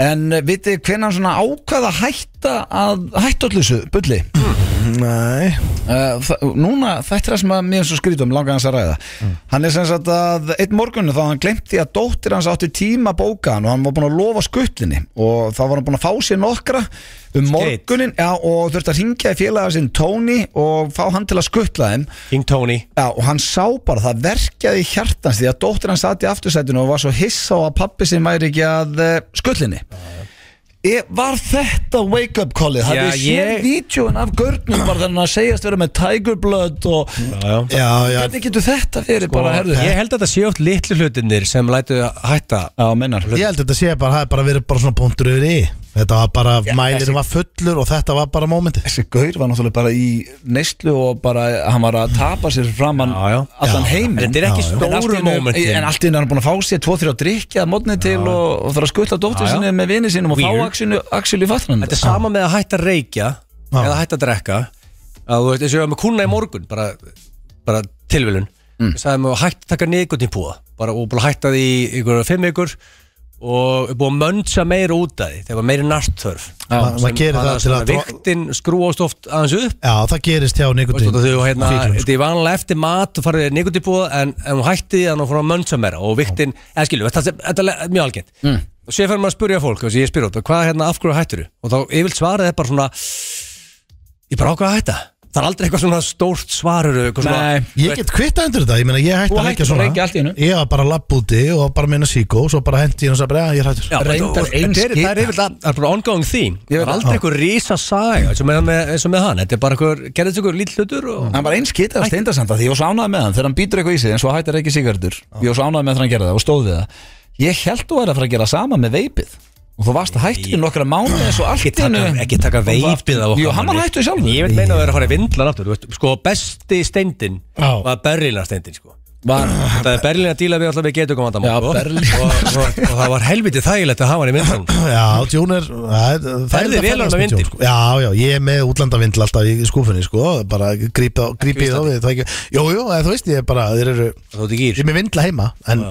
A: en uh, vitið hvernig hann svona ákvað að hætta að hætta allir þessu bulli
B: Nei
A: Uh, þa- núna þetta er það sem að mér er svo skrítum langar hans að ræða hann er sem sagt að einn morgun þá hann glemti að dóttir hans átti tíma að bóka hann og hann var búin að lofa skuttlinni og þá var hann búin að fá sér nokkra um morgunin já, og þurfti að ringja í félaga sinn Tony og fá hann til að skuttla þeim
C: King Tony
A: já, og hann sá bara það verkjaði í hjartans því að dóttir hans satt í aftursætinu og var svo hissa á að pappi sem væri ekki að uh, skuttlinni Ég, var þetta wake up callið?
C: Já,
A: Hafið þið séð
C: ég-
A: vídjóin af görnum bara þannig að segjast vera með Tiger Blood og
C: Já, Sko,
B: Já, já,
A: hvernig getur þetta fyrir
C: Og
A: bara, herðu
C: Ég held að þetta sé oft litlu hlutinir sem lætu að hætta
A: Já, mennar
B: ég held að þetta sé bara, það er bara verið bara svona punktur yfir í Þetta var bara, mælirinn var fullur og þetta var bara mómenti
A: Þessi gaur var náttúrulega bara í neyslu og bara, hann var að tapa sér framann
C: Já, já.
A: allan
B: Já.
A: heiminn
C: En þetta er ekki
A: En allt í
C: stóru
A: einu-
C: momentin
A: En allt í einu er hann búin að fá sér tvo, þrjá drikki að mótni til og, og þarf að skutla dóttur
C: Já, já.
A: sinni með vini sinum og fá
C: Weird.
A: axinu, axil í fatran
C: Þetta er sama með að hætta að reykja eða hætta að drekka að þú veist, eins og ég var með kuna í morgun bara, bara tilvilun mm. sagði mig að hætta að taka nikotínpúða bara, og bara hætta því í ykkur fimm ykkur og er búið að möndsa meira út af því þegar var meiri nartþörf
B: Ma- maður gerir það til að dro-
C: viktin skrúast oft aðeins upp
B: Já, það gerist hjá
C: Þú
B: Nikotín
C: veist, þú hérna,
B: fíklum, sko.
C: þetta er vanlega eftir mat og farið nikotipúða en, en hún hætti því að hún fór að mönnsa meira og viktin, eða skilju, þetta er- þetta er le- mjög algengt mm. og sér fyrir maður að spurja fólk, þú veist, ég spyr út hvað hérna, af hverju hættur og þá yfirlt svarið er bara svona ég bara ákvað að hætta það er aldrei eitthvað svona stórt svarur eitthvað svona,
A: Nei,
B: Ég get kvittað undir þetta, ég meina ég hætti
A: Þú
B: að leggja
A: hættir
B: svona
A: að reykja allt í einu.
B: Ég var bara lapp úti og bara minna síkó Svo bara hendi ég og sagði bara, já, ég er hættur
C: Já,
A: Reyndar
C: þetta- og-
A: ein
C: þetta er-
A: skita.
C: Það er yfirleitt að- það er bara ongoing theme
A: Ég
C: Það
A: veit
C: er
A: það.
C: aldrei eitthvað rísa saga eins og með, með, eins og með hann Þetta er bara eitthvað, gerðist eitthvað lítið hlutur og...
A: Hann var eins kitað að steinda samt að því ég var svo ánægð með hann þegar hann býtur eitthvað í sig en svo hættir ekki sigardur ég var svo ánægð með þegar hann gerði það og stóð við það ég held þú er að fara að gera sama með veipið og þú varst að hættu í nokkra mánuði svo allt
C: Ekki taka,
A: innu-
C: ekki taka veipið af okkar
A: Jú, hann var
C: manni.
A: hættu sjálfur
C: Ég veit meina að vera að fara í vindlan aftur þú veist, Sko, besti steindin
B: Já.
C: var berlinar steindin sko.
A: Var
C: Það er Berlín að díla við alltaf við getum komandamál
A: Já, Berlín.
C: og, og, og, og það var helviti þægilegt að hafa hann í myndum
B: Já, Jón er það er- það er
C: Ferðu
B: þetta
C: vel
B: ferðast
C: á
B: með Jón,
C: vindil?
B: sko. Já, já, ég er með útlandavindil alltaf í skúfunni sko, bara grípið á grípið á við það ekki- Jú, jú, eða þú veist, ég er bara þeir eru,
C: Þú ert í gýr
B: ég er með vindla heima en,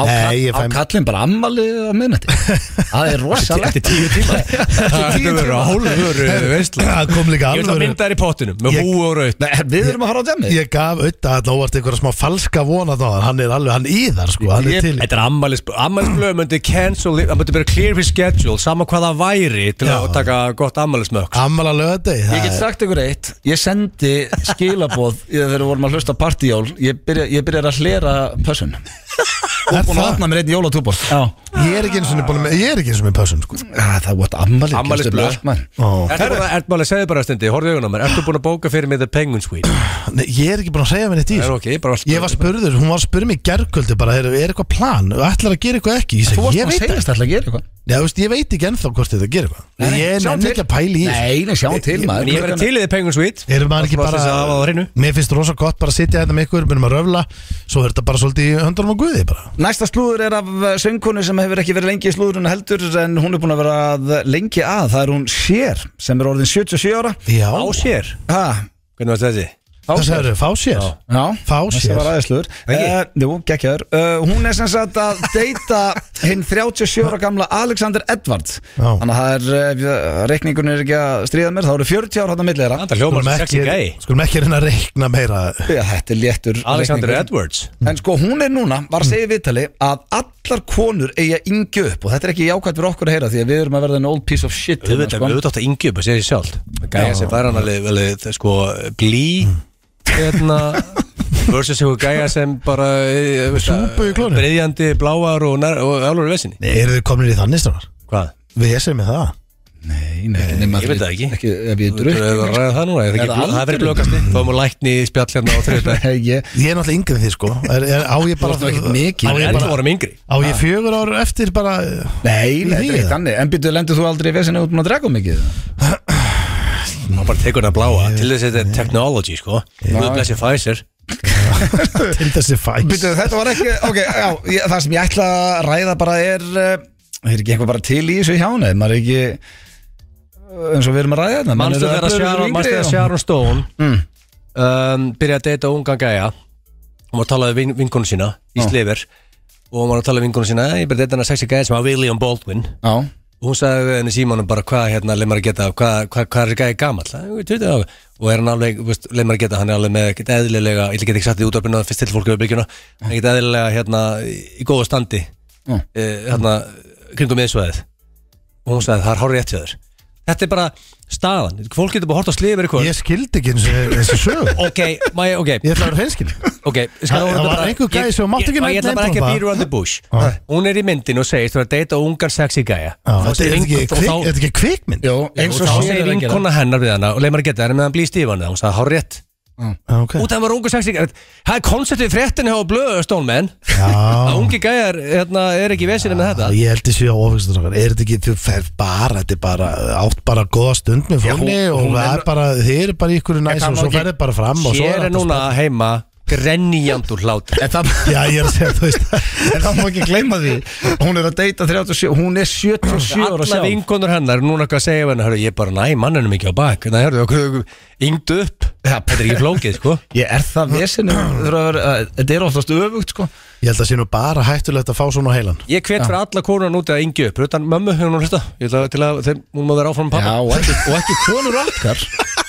A: Á,
B: nei,
A: Nei,
B: ég
A: á
B: fæm
A: kallin bara ammalið á miðnætti Það er rosalegt
C: Þetta er tíu tíma
A: tíu
C: Þetta verður
A: tíma.
C: hálfur veistla
B: Það kom líka
C: Ég vil að
B: alveg
C: mynda þær í pottinum með
B: Ég-
C: hú og raut
A: Nei, við erum að fara á djamið
B: Ég gaf auðvitað að óvart einhverja smá falska vona þá Hann er alveg, hann íðar sko, hann
A: Ég-
B: er til
C: Þetta er ammælisblöð myndi cancel það myndi bara clear his schedule sama hvað það væri til að
B: Já.
C: taka gott ammælismökk
B: Ammala lögadeg
A: Ég get sagt ykkur eitt, ég sendi skilaboð í- þegar við vorum að hlusta á partijól ég, byrja, ég byrjar að hlera pössun og búin að
B: það?
A: opna mér einn jólatúbor Já,
B: Ég er ekki eins og með, ég er ekki eins og með pössun sko
A: Ah, það var ammalið
C: Afmælisblöð.
B: Ó.
C: Ertu bara, ertu bara að segja bara að stundi, horfðu í augun á mér Ertu búin að bóka fyrir mig The Penguin Suite?
B: Nei, ég er ekki búin að segja mér neitt í
C: Það er
B: þessu.
C: ok, ég bara að
B: Ég var spurður, hún var að spurða mig í gerkvöldu bara, er, er eitthvað plan, ætlar að gera eitthvað ekki Ég,
A: Þú varst
B: segi, ég
A: að
B: veit
A: segja þetta alltaf að gera eitthvað
B: Já, þú veist, ég veit ekki ennþá hvort þetta gerir eitthvað Ég er nefnilega ekki að pæla í þessu
A: Nei, nei, sjáum til maður
C: En ég verði til í The Penguin Suite
B: Erum maður ekki
C: Það er
B: bara
C: þess að hafa það á hreinu.
B: Mér finnst rosa gott bara að sitja þetta með ykkur Byrjum að röfla Svo er þetta bara svolítið í höndunum á guði bara
A: Næsta slúður er af eh, söngkonu sem hefur ekki verið lengi í slúðurinn heldur en hún er búin að vera að lengi að það er hún Sér sem er orðin 77 ára
B: Já,
C: Á sér
A: ha,
C: Hvernig varst þessi?
B: það sagður fá sér
A: Já,
B: Fá
A: þessi
B: sér.
A: var aðeinslur
C: Ekki?
A: uh, Jú, gekkjaður uh, Hún er sem sagt að deyta hinn 37 ára gamla Alexander Edwards
B: Já.
A: Þannig að það er, uh, reikningun er ekki að stríða mér, þá eru 40 ára hann að milli þeirra
C: Það hljómar
B: Skulum
C: sem sexy gæi
B: ekki- Skulum ekki reyna að reikna meira
A: Já, þetta er léttur
C: Alexander
A: reikningur.
C: Edwards
A: En sko hún er núna, var að segja í viðtali að allar konur eigi að yngja upp og þetta er ekki jákvæmt fyrir okkur að heyra því að við erum að verða en old piece of shit
C: Þú
A: hérna,
B: sko-
C: veit að við átt að yngja upp að segja sér sjálf Gæja sem fær hann alveg, alveg það sko, blí
B: Mm.
C: Hérna Versus eitthvað gæja sem bara eh, veist það,
B: Súpu í klónum.
C: Breiðjandi, bláar og, nær- og álur í vesinni
B: Er þið komin í þannig strafar?
C: Hvað?
B: Við erum með það
A: Nei, nei, nei,
C: Ég veit það ekki.
A: ekki Ef ég
C: Þú
A: drukk
C: hefur að ræða það núna er
A: Er
C: það ekki
A: það
C: bló- Það er verið
A: aldurinn?
C: blökasti Þá erum við lækni í spjall hérna á þriðdag
A: Nei, ég-
B: Ég er náttúrulega yngri en þið sko er, er, Á ég bara
A: Þú ert nú ekkert mikið,
B: Á
C: En
B: ég
C: þú
B: bara
C: vorum yngri
B: Á ég fjögur ár eftir bara
A: Nei, nei, þetta
B: Í
A: er
B: því,
A: ekki þannig En byrjuðu, lendur þú aldrei í vesinu út með að drega mikið?
C: Hann bara tekur hann að bláa Til þess að þetta er technology sko Guð blessi Pfizer
B: Til þessi fæs
A: Byrjuðu, þetta var ekki, ok, já, ég, það sem ég ætla að ræða bara er eh, Er ekki eitthvað bara til í þessu hjá hana? Maður er ekki, eh, eins og við erum að ræða þetta menn
C: Manstu
A: eru
C: þegar
A: öflugir
C: Sharon,
A: yngri,
C: manstu þegar
A: já.
C: Sharon Stone
A: Mm.
C: um, byrjaði að deyta ungan gæja og maður talaði við vin- vinkonu sína í
A: Já.
C: slefir og maður talaði við vinkonu sína ég byrjaði að deyta hennar sexy gæja sem var William Baldwin
A: Já,
C: og hún sagði við henni símanum bara hvað hérna leið maður að geta hvað, hvað, hvað er þessi gæja gamall Það er 20 ára. og er hann alveg, veist, leið maður að geta hann er alveg með ekkert eðlilega, ég get ekki sagt því útvarpinu fyrst til fólki við byggjuna, ekkert eðlilega hérna í í góða standi
A: Já.
C: uh, hérna kringum miðsvæðið og hún sagði það er hárið rétt hjá þér þetta er bara staðan, fólk getur bara hort á slifir ykkur
B: Ég skildi ekki eins og þessi sög
C: ok, mæ, ok,
B: Ég ætla að vera hreinskil
C: ok skal
B: Það-
C: orða
B: það var
C: bara-
B: einhver gæi
C: ég-
B: sem mátti ekki
C: ég- ég
B: nefna
C: ætla bara ekki að
B: það.
C: býra on the bush
B: Ah.
C: hún er í myndin og segist þú er að deyta ungan sexy gæja Þá
B: Þetta
C: segir
B: er ekki
C: vinkon- og
B: kvik-
C: þá-
B: þetta er ekki kvikmynd
A: Jú, eins
C: og
A: og
C: þá
A: Sharon
C: segir
A: er að gera.
C: vinkona hennar við hana og leið maður að geta henni meðan blíð stífan hún sagði hár rétt
B: Já, Ah, ok.
C: út af hann var ungu sexy gæja það er konceptið fréttinni á blöðu stónmenn að
B: Já
C: ungi gæjar hérna, er ekki í vesinu með þetta
B: Ég held þessi á ofistur okkar Er þetta ekki, þú fer bara Þetta er bara, átt bara góða stund með fólni
C: hún-
B: Og
C: hún
B: það
C: er-
B: er bara, þið eru bara í ykkur næs
A: það
B: Og
A: má
B: svo
A: ekki-
B: ferðið bara fram og svo
C: hér er
B: þetta
C: núna heima grenjand úr hlátur
A: En það,
B: Já, ég er að segja, þú veist
A: en það má ekki gleyma því Hún er að deyta 37, hún er 77 ára
C: Alla
A: sjálf
C: vinkonur hennar, núna hvað segja við hennar hörðu, Ég bara næ manninu mikið á bak Næ, hörðu, okkur, yngdu upp Þetta er ekki flókið, sko
A: Ég er það vesinu Þetta er oftast öfugt sko
B: Ég held að sé nú bara hættulegt að fá svona á heilan
C: Ég hvet fyrir alla konan úti að yngju upp Utan mömmu, hún hún hlusta Ég ætla til að þeim, hún má vera áfram pappa
A: og ekki, og ekki konur okkar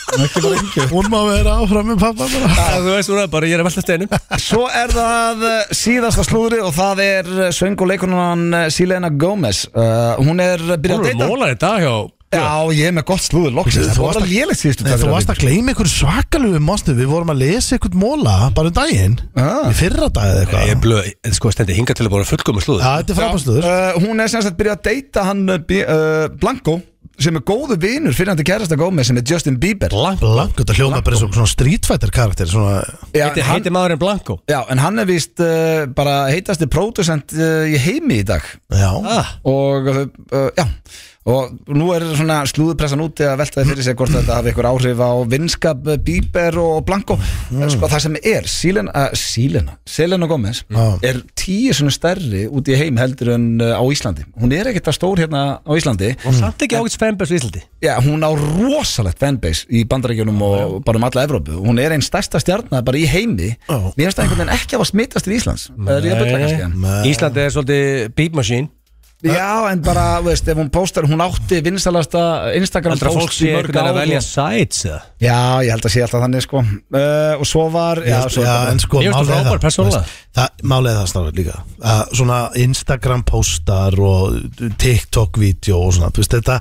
A: Og ekki bara ekki
B: Hún má vera áfram með pappa bara
C: Það, Þú veist, hún er bara, ég er að velta steinum
A: Svo er það eh, síðasta slúðri og það er eh, söng og leikunan Silena Gomez uh, Hún er byrjað
C: Hún
A: að
C: er
A: deyta
C: mólar í dag hjá
A: Já, ég er með gott slúður loksins Það
B: Þú
A: var
B: varst
A: það
B: að-
A: lélegt síðustu
B: Nei,
A: tvær
B: þú
A: vikur.
B: varst að gleyma ykkur svakalegu mástu Við vorum að lesa ykkur móla bara um daginn
A: Ah.
B: Í fyrra dagið
C: Ég er
B: eitthvað
C: blöð, sko, stendi hinga til að bara fullkomu slúður
B: Já, þetta er frábærsluður
A: uh, Hún er sem sagt byrjað að deyta hann uh, B- uh, Blanco sem er góðu vinur fyrir hann til kærasta Gómez sem er Justin Bieber
C: Blanco,
B: Blank, þetta hljóma bara eins og svona Street Fighter karakter svona,
A: Já,
C: heiti,
A: hann-
C: heiti maðurinn Blanco
A: Já, en hann er vist uh, eh, bara heitasti pródusent uh, í heimi í dag
B: Já,
C: ah,
A: og uh, já, og og nú er svona slúðupressan úti að velta þið fyrir sig hvort þetta hafi ykkur áhrif á vinskap, bíber og blanko sko, það sem er, Sílena uh, Sílena, Selena Gomez
B: Já.
A: er tíu svona stærri úti í heim heldur en uh, á Íslandi, hún er ekkert að stór hérna á Íslandi
C: Samt
B: Mm.
C: ekki ágætt fanbase í Íslandi
A: Já, hún á rosalegt fanbase í bandarækjunum og bara um alla Evrópu Hún er einn stærsta stjarnar bara í heimi
B: Já.
A: Mér finnst það einhvern veginn ekki að smittast til Íslands Það er ég að byggla kannski en-
B: Nei.
C: Íslandi er svolítið beat machine
A: Já, en bara, þú veist, ef hún postar, hún átti vinsalasta Instagram
C: Aldrei að fólk
A: post í
C: sé
A: mörg
C: einhvern veginn
A: ár
C: að velja
A: og...
C: sites eða?
A: Já, ég held að sé alltaf þannig, sko uh, Og svo var, já,
B: Já,
A: svo
B: já,
A: bara-
B: en sko,
C: Ég veist
B: málið
C: þú
B: er
C: frábær persónulega.
B: veist, það- Málið er það stráður líka að Svona Instagram postar og TikTok-vídeó og svona þú veist, Þetta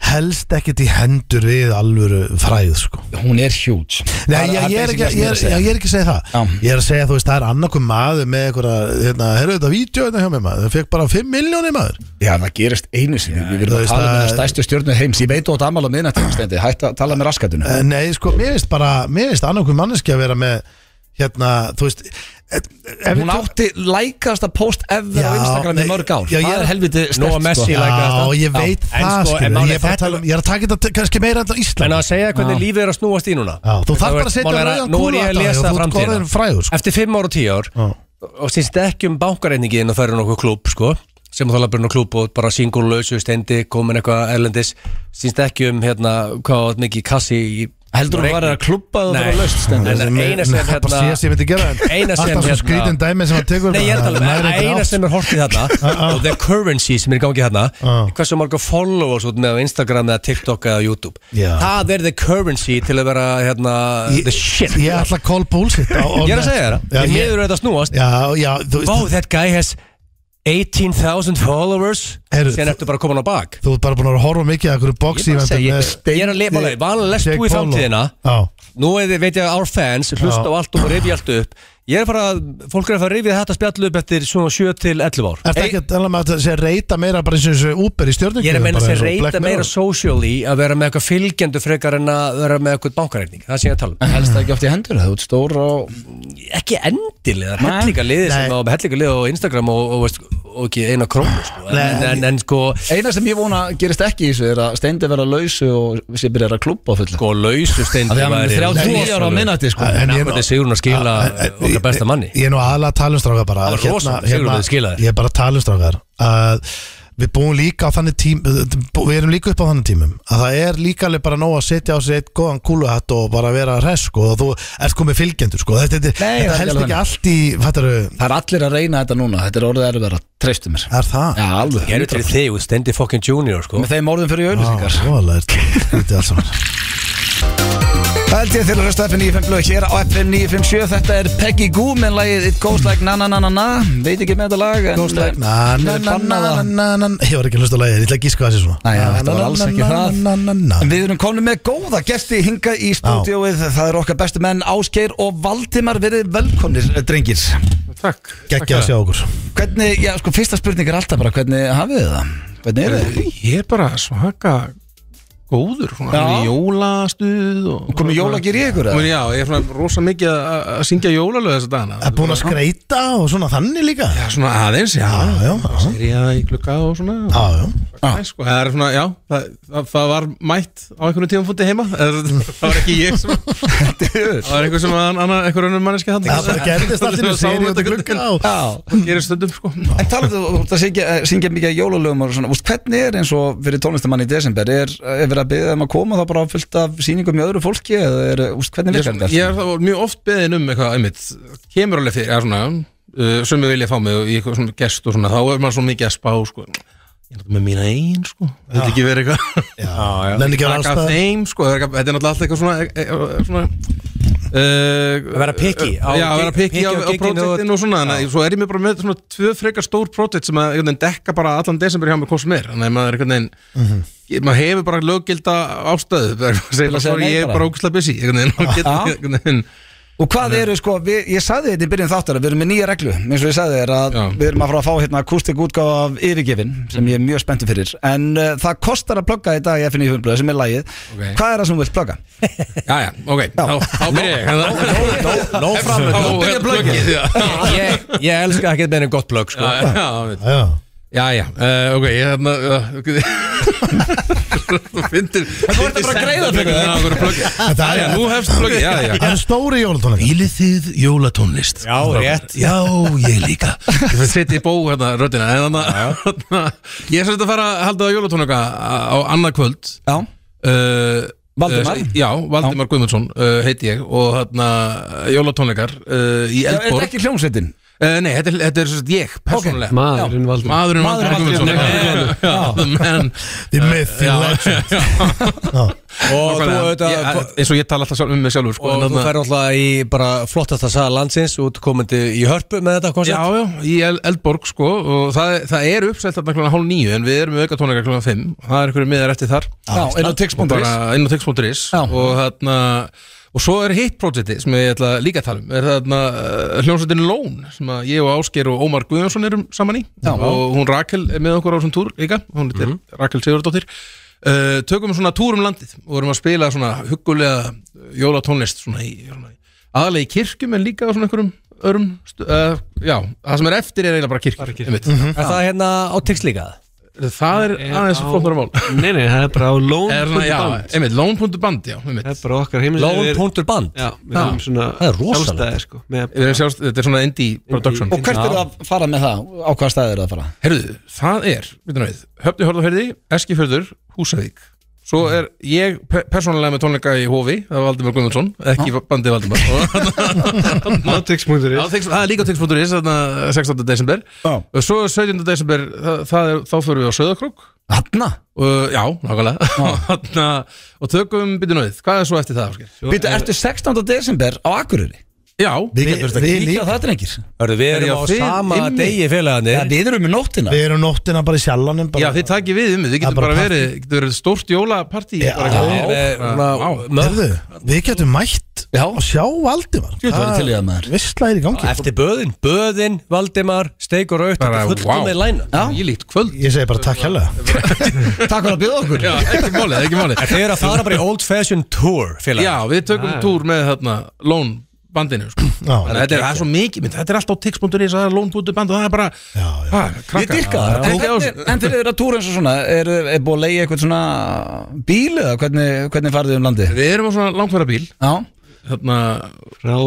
B: helst ekkert í hendur við alvöru fræð sko.
A: Hún er huge
B: Nei, ég, ég, er ekki, ég, er, ég er ekki að segja það
A: Já.
B: Ég er að segja, þú veist, það er annarkum maður með einhverja, hérna, heyrðu þetta vídeo hérna hjá mér maður, það fekk bara 5 miljónir maður
A: Já, það gerist einu sinni, við
B: þú
A: erum að
B: veist,
A: tala með
B: það-
A: það stærstu stjörnu heims Ég veit þú átt amal á miðnættum, stendi, um hætt að tala með raskatunum
B: Eh, Nei, sko, mér finnst bara, mér finnst annarkum manneski að vera með, hérna, þú veist ef, ef
A: Hún átti lækast að post ever á
B: Já,
A: Instagram í
B: nei,
A: mjög ár
B: já,
A: Það
B: ég-
A: er helviti
C: Nóa
A: stert
C: Messi
A: sko.
C: læ- læka
B: Já,
C: þetta.
B: ég veit
C: Já, en
B: það,
C: sko,
B: sko,
C: en
B: ég,
C: málið
B: er bara
C: þetta-
B: að tala um, ég er að taka þetta t- kannski meira enn á
C: En
B: Ísland
C: að segja hvernig
A: Já.
C: lífið er að snúast í núna
B: Já, þú þarf
C: Það
B: bara að setja
C: mál er
B: rauðan
C: Nú er
B: kúlu aftan
C: ég að
B: á þig
C: lesa
B: og þú ert
C: framtíðina.
B: orðinn frægur, sko.
C: Eftir fimm ára og tíu ár
B: Já.
C: Og sínst ekki um bankareiningin og það eru nokkuð klúb sko sem þá labur nú klúb og bara singulösu stendi komin eitthvað erlendis sínst ekki um hérna hvað var mikið kassi í
A: Heldur hún var að klubba það
C: Nei,
A: var löst stendur
C: en eina sem
B: Það er bara síðast ég
C: hérna
B: myndi gera en
C: Eina sem
B: Alltaf svo
C: hérna-
B: skrítin dæmi sem hann tekur
C: Nei, ég er að tala
B: maður
C: um
B: ekki
C: eina
B: átt.
C: sem er hortið þarna og the currency sem er í gangi þarna
B: Já.
C: hversu marga followers út með á Instagram eða TikTok eða YouTube
B: Já.
C: það er the currency til að vera hérna
B: Ég-
C: the shit
B: Ég ætla að call bullshit á- á
C: Ég er
B: net.
C: að segja þér
B: Já,
C: það Ég meður þetta að snúast
B: Já, já, þú
C: Wow,
B: veist
C: that guy has 18,000 followers
B: Heyrðu,
C: Sen
B: þú-
C: ertu bara komin á bak
B: Þú ert bara búin að horfa mikið að einhverju boxi
C: Ég er bara að segja, ég er að lifa alveg Vanlega lest þú í framtíðina
B: Já,
C: Nú er þið, veit ég að our fans Hlusta
B: Já.
C: á allt og rifja allt upp Ég er bara, fólk er að fara að rifja þetta spjallu upp Eftir svona 7 til 11 ár
B: Er það ekki að tala um að það sé að reyta meira bara eins og þessu Uber í stjórnum
C: Ég er að meina sér reyta meira socially Að vera með eitthvað fylgjendu frekar en að vera með eitthvað bankareikning Það sé ég að tala um
A: En helst það ekki oft í hendur, það er stór og
C: Ekki endilega, það er hellinga liði
B: Nei.
C: sem á hellinga liði á Instagram og, og, veist, og ekki eina krónu sko. en, en, en, en sko,
A: Eina sem ég vona gerist ekki í þessu er að steindi vera lausu og sé byrjar að klubba á fullu
C: sko lausu steindi
A: Það er hann
C: væri-
A: 39 ára á minnati sko
B: En ég-
C: Akkur þetta Sigrún að skila okkar besta manni
B: Ég er nú aðalega að tala um strákar bara hérna,
C: Það var rosalegt, Sigurður, þið skilaðir.
B: Ég er bara að tala um strákar að Við búum líka á þannig tím Við erum líka upp á þannig tímum að það er líka alveg bara nóg að setja á sig eitt góðan kúluhatt og bara vera hress sko og þú ert komið fylgjendur sko þetta, þetta,
A: Nei, það
B: þetta
A: er
B: helst
A: ekki
B: ekki allt í fattaru,
A: Það er allir að reyna þetta núna, þetta er orðið erfið að treystu mér
B: er það?
A: Já, alveg
C: Ég er til þig, þú stendi fucking junior sko
A: Með þeim orðum fyrir ég auðlýsingar
B: Róðalegt
A: Það held ég til að hlusta FM 957 hér á FM 957 Þetta er Peggy Goo með lagið It Goes Like Na Na Na Na Na Veit ekki með þetta lag en-
B: Goes like na na na na na na na na Ég var ekki að hlusta á lagið, ég ætla að gíska þessi svona
A: Nei, já, þetta var alls ekki
B: Na, na,
A: það.
B: na, na, na,
A: En
B: na.
A: Við erum komin með góða gesti hinga í stúdíóið Það eru okkar bestu menn Ásgeir og Valdimar verið velkomnir, eh, drengir
D: Takk
B: Gekkja að sjá okkur
A: Hvernig, já sko, fyrsta spurning er alltaf bara Hvernig hafið þið það? Hvernig eru þið?
D: Ég er bara svaka góður svona,
A: Já.
D: alveg í Jólastuð og
A: Komið jólagir í ykkur eða?
D: Komin- Já, ég er svona rosa mikið að- að að syngja jólalöð þess að dana
B: Er búin að skreita og svona þannig líka Já,
D: Já, svona aðeins, já
B: já, já.
D: Er ég að í klukka og svona
B: já, já.
A: Já.
D: Nei, sko, það er svona, já, það, það, það var mætt á einhvern tíum fóti heima Það það var ekki ég sem Það var einhver sem að annað, einhver önnum manneski hann
B: Það bara gerðist allt í einu séri út í glugga og-
A: Já
D: Gerist stundum, sko
A: En talaðu, þú ert að syngja, eh, syngja mikið jólalögum og svona, úst, hvernig er eins og fyrir tónlistamann í desember, er, er verið að byggja þeim að koma þá bara fullt af sýningum í öðru fólki eða er, úst, hvernig
D: Ég,
A: virkar
D: svona,
A: þetta?
D: ég er það var mjög oft beðin um eitthvað einmitt, kemur alveg fyrir, eða svona uh, sem ég vilja fá mig í eitthvað svona gest og svona, þá er maður svo mikið að spá sko. ég er þetta með mína einn sko þetta er ekki verið eitthvað
B: já. Nenni ekki að vera
D: Taka af
B: allstað
D: þeim sko, þetta er ekki- þetta er náttúrulega alltaf eitthvað svona, e- e- svona uh,
C: Að vera picky á-
D: já, að vera
C: picky
D: piki á,
C: á
D: á
C: gigginu
D: projektin
C: og-
D: og svona, þannig, að svo er ég mér bara með svona tvö frekar stór projekt sem að einhvern veginn dekka bara allan desember hjá mér hvað sem er, þannig að maður er einhvern veginn ég- maður hefur bara löggilda ástöðu bara, segir,
A: að segja
D: bara,
A: nei
D: ég er
A: bara?
D: bara ógustlega busy einhvern veginn, og
A: Já.
D: get- einhvern veginn
A: Og hvað eru sko, við, ég saði þetta í byrjun þáttar að við erum með nýja reglu, eins og ég saði þér að
D: Já.
A: við erum að fara að fá hérna akústik útgáfa af yfirgefin sem ég er mjög spenntur fyrir en uh, það kostar að plugga í dag í FNI Humblöð sem er lagið,
D: Ok.
A: hvað er það sem þú vilt plugga?
D: Já, já, ok, þá, þá byrja ég
B: Nó
D: Þá
B: framöndan
D: byrja blöggið Já,
C: Ég, ég elska ekki með einu gott plögg sko
D: já, já,
B: Já,
D: Já, já, uh, ok, ég hef maður Þú findir Þú
C: ert að bara greiða fyrir það.
D: það Það er, nú hefst plöggið, já, já
B: Það eru stóri jólatónleika
D: Ílið þið jólatónlist
C: Já, rétt.
D: Já, ég líka Ég finn sitt í bó hérna, röddina en, hana, Ég er svolítið að fara að halda jólatónleika uh, á annað kvöld
A: Já,
D: uh,
C: Valdimar?
D: uh, Já, Valdimar Guðmundsson uh, heiti ég og hérna jólatónleikar uh, í
A: er þetta
D: Eldborg
A: ekki hljómsveitin?
D: Uh, nei, þetta er, þetta er svo sagt ég, persónulega
E: Maðurinn
D: Já,
E: Valdimar.
D: Maðurinn Valdimar
C: Maðurinn
D: Guðmundsson
C: Valdimar.
D: Já, The man
B: The myth, the
D: Já,
B: legend
D: já.
C: Og þú
D: Nákvæmlega.
C: auðvitað
D: Ég- eh, eins og ég tala alltaf sjálf um mig sjálfur sko,
C: Og
D: en
C: þú
D: þarna-
C: fær alltaf í bara flottasta sal landsins út komandi í hörpu með þetta
D: Já,
C: koncept
D: já, í El- Eldborg sko og það, það er uppsett þarna klokkan hálf níu en við erum með auka tónleika klokkan fimm það er einhverju miðar eftir þar
A: Já, inn á
D: og bara
A: tix.is
D: inn á tix.is
A: Já.
D: og þarna og svo er hitt projekti sem ég ætla líka að tala um er þarna uh, hljómsveitin Lón sem að ég og Ásgeir og Ómar Guðjónsson erum saman í
A: Já.
D: og hún Rakel er með okkur á þessum túr líka hún er Rakel Sigurdóttir uh, tökum svona túr um landið og erum að spila svona huggulega jólatónlist svona í, svona í aðalega í kirkjum en líka á svona einhverjum örum stu, uh, já, það sem er eftir er eiginlega bara kirkjum, kirkjum.
A: Mhm.
C: Er það hérna á tix líka?
D: það er aðeins
E: á-
D: flóknara mál
E: Nei, nei, það er bara á lón
D: er svona, já, einmitt, lón.band, já, einmitt
E: Það er bara okkar heimil
C: Lón.band
E: Já, við erum svona
C: Það er rosalegt.
E: sjálfstæðir, sko, með-
D: Við erum sjálfst, þetta er svona indie production
A: Og hvert er það að fara með það? Á hvaða staði er það að fara?
D: Herðu, það er, veitum við, Höfni Hörðahörði, Eskifjörður, Húsavík Svo er ég pe persónulega með tónleika í Hófi, það var Valdimar Guðmundsson, ekki bandið Valdimar Og
E: Matix.is.
D: á tix- Ah. Það er líka tix.is, þarna 16. desember
A: Já.
D: Og Svo 17. desember, það, það er, þá förum við á Söðakrók
A: Hanna?
D: og, Já, nákvæmlega Og þarna, Og tökum, byrjum við, hvað er svo eftir það? Ásker?
A: Býtu, ertu 16. desember á Akureyri?
D: Já,
B: Við
A: eh, Við,
B: getum
A: við
B: þetta
A: líka það drengir
C: Hörru, við
D: Er ég
C: erum á
D: á þið
C: sama
D: inni?
C: degi
A: ja,
C: félagarnir
A: Við erum með nóttina
B: Við erum nóttina bara í sjallanum bara-
D: já, þið takið við um, þið
B: Það er
D: getur
B: bara
D: bara verið, getur verið stórt jólapartí
B: Já.
D: bara-
C: Við erum með svona- Mö-
B: Heyrðu, Við getum mætt
A: Já.
B: og sjá Valdimar
A: Jú, það væri til í það, maður.
B: Vistla er í gangi
C: Eftir böðin, böðin, Valdimar, Steik og Raut
D: Bara,
C: Þetta er fullt
D: wow.
C: með læna
A: Já.
D: Ég líkt kvöld
B: Ég segi bara takk hérlega
A: Takk fyrir að bjóða okkur
D: Já, ekki málið, ekki málið
C: Þeir eru að fara bara í old fashion tour
D: Já,
C: félagarnir
D: við tökum túr með þarna Lón bandinu sko.
B: Já.
D: Þannig að Þetta er, það er svo mikið mynd, þetta er alltaf á tix.is Það er lón.band og það er bara
B: Já, já.
D: ha, krakkar.
A: Ég dyrka það En, hvernig- en þegar þið eru að túra eins og svona Er, er búið að leiða eitthvað svona bíl eða hvernig, hvernig farið þið um landi?
D: Við erum á svona langfæra bíl hérna,
A: Já,
D: þarna,
E: Frá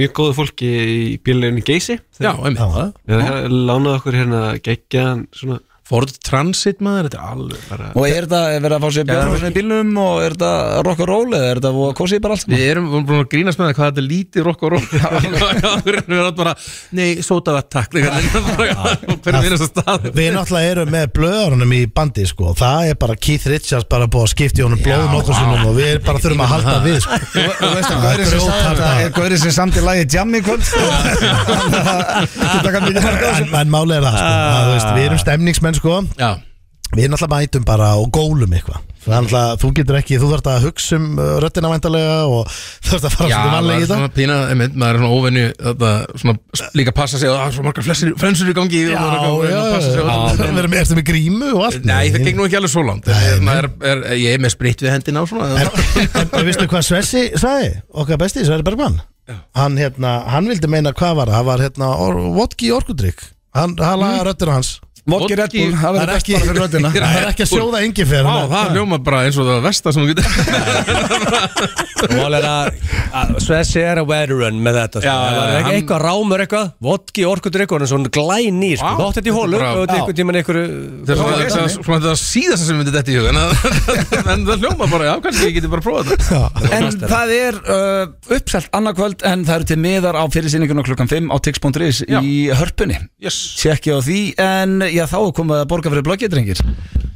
E: mjög góðu fólki í bílunni Geysi.
D: Já, einmitt
B: Já.
E: Við hefum lánað okkur hérna geggjaðan svona
D: Ford Transit maður, þetta er alveg bara
A: og er þetta verið að fá sér bjóður svona í bílnum og er þetta rock and roll eða er þetta voða kósið bara allt saman?
D: Við erum við erum búin að grínast með það hvað þetta er lítið rokk og rokk Við erum alltaf bara, nei, sótavett takk Hvernig við erum þess að stað
B: Við náttúrulega erum með blöðarunum í bandi sko. Það er bara Keith Richards bara búið að skipta í honum blóð nokkur sinnum og við bara þurfum að halda við sko.
A: Og, og veistu,
B: Já,
A: gaurið sem sagði
B: grjóthart
A: þetta
B: að-
A: er gaurið sem samt í lagi Jam í kvöld Þannig að ekki taka mikið mark á
B: En,
A: þessu.
B: en máli er það, sko.
D: Ah.
B: það þú veist, Við erum stemningsmenn sko.
D: Já,
B: Við náttúrulega mætum bara og gólum eitthvað Þannig að þú getur ekki, þú þarft að hugsa um uh, röddina væntalega og þú þarft að fara
D: já
B: svolítið
D: maður
B: vanlega í
D: er
B: þetta
D: svona pína, einmitt, maður er svona óvenju þetta, svona, líka passa sig og það er svo margar flessir, frensur í gangi og maður er að-
B: Já, já,
D: að passa sig og-
B: já Við erum eftir með grímu og allt
D: Nei, það geng nú ekki alveg svo langt Nei, er, er, Ég er með spritt við hendina og svona
B: En, en, en veistu hvað Svessi sagði, okkar besti, Sverri Bergmann hann, hérna, hann vildi meina hvað var það, það var hérna or, vodki orkudrykk hann, hann laga röddina hans
A: Vodki Red Bull, Mm. það
B: það
A: verður
B: er
A: best
B: ekki,
A: bara fyrir röddina
B: það er ekki að sjóða engi fyrir
D: Á, það hljóma bara eins og það vestar sem þú getur
C: Og alveg að- að Svessi er að veteran með þetta sko.
D: Já,
C: Það
D: já,
C: var ekki
D: hann-
C: eitthvað rámur eitthvað Vodki, orkudrykk og hann er svona glæný sko.
D: Vá,
C: Þú átt þetta í
D: þetta er
C: hólu
D: bara-
C: og þetta
A: Já.
C: einhvern tímann einhverju
D: Það er svona- það er svona þetta síðast sem myndi þetta í hug En það- en það hljóma bara, já, kannski ég geti bara prófað þetta
A: En það er uh, uppselt annarkvöld en það eru til miðar á fyrirsýninguna klukkan 5 á tix.is
D: Já.
A: í hörpunni
D: Yes
A: Tjekki á því en já þá er komið að borga fyrir bloggið drengir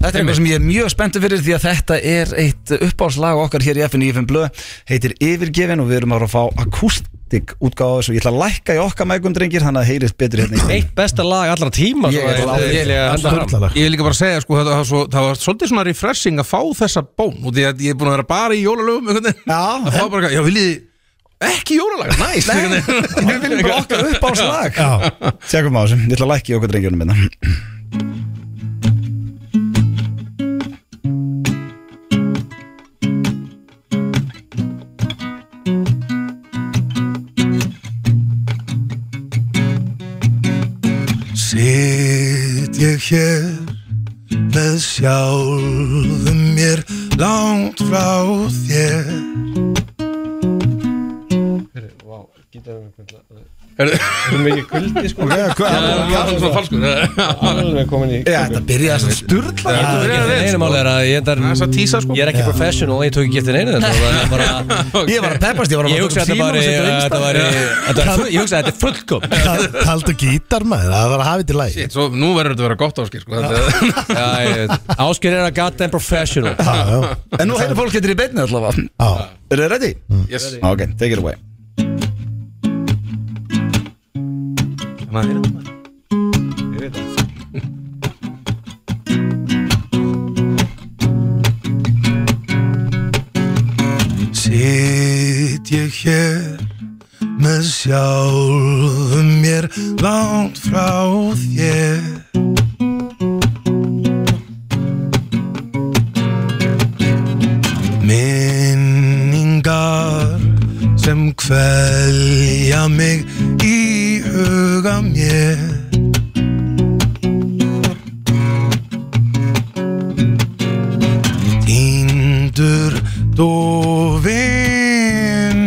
A: Þetta er eitthvað sem ég er mjög spenntur fyrir því að þetta er eitt uppáðslag okkar hér í FNIFM Blöð heitir Yfirgefin og við erum að fara að fá akústik útgáða þessu ég ætla að lækka í okkar mækum drengir þannig að heyrist betur hérna í-
C: Eitt besta lag allra tíma
A: Ég er
C: svona,
A: alveg-
C: ég- ég- ég-
B: Sturlalag.
D: Ég vil líka bara segja, sko, það, það, svo, það var svolítið svona refreshing að fá þessa bón og því að ég er búin að vera bara í jólalögum einhvern veginn.
A: Já,
D: að fá bara, eitthvað, já, viljið þið ekki jólalag, næs einhvern veginn.
A: Við viljum bara okkar uppáðslag
B: Já.
A: Tjekkum á þessu, ég ætla að lækka í okkar drengjunum minna
D: Sitt ég hér með sjálfum mér langt frá þér
E: Það er mikið kuldi sko
F: Það er svona falskur
E: Alveg komin í
A: Já, þetta byrjaði svona sturla
C: Ég get þér einu mál er að ég endar
F: Það er að tísa sko
C: Ég er ekki professional, ég tók ekki getið neina þetta Það er bara
A: Ég var að peppast, ég var að láta
C: Ég hugsa að
A: upp
C: þetta
A: símann
C: væri
A: og setja á
C: þetta
A: Insta.
C: væri- þetta væri full- Ég hugsa að þetta er fullkom
B: Kaldu gítar maður, það var að hafa þetta í lagi
F: Shit, Svo nú verður þetta að vera gott áskir sko Þetta-
C: Ásker er að gata en professional
B: Já, já,
A: En nú heyrðu fólk getur í beinni allavega
B: já
A: Er þið ready?
F: Yes
A: Ok, take it away
D: Sitt ég hér með sjálfum mér langt frá þér Minningar sem kvelja mig í huga mér Týndur dofin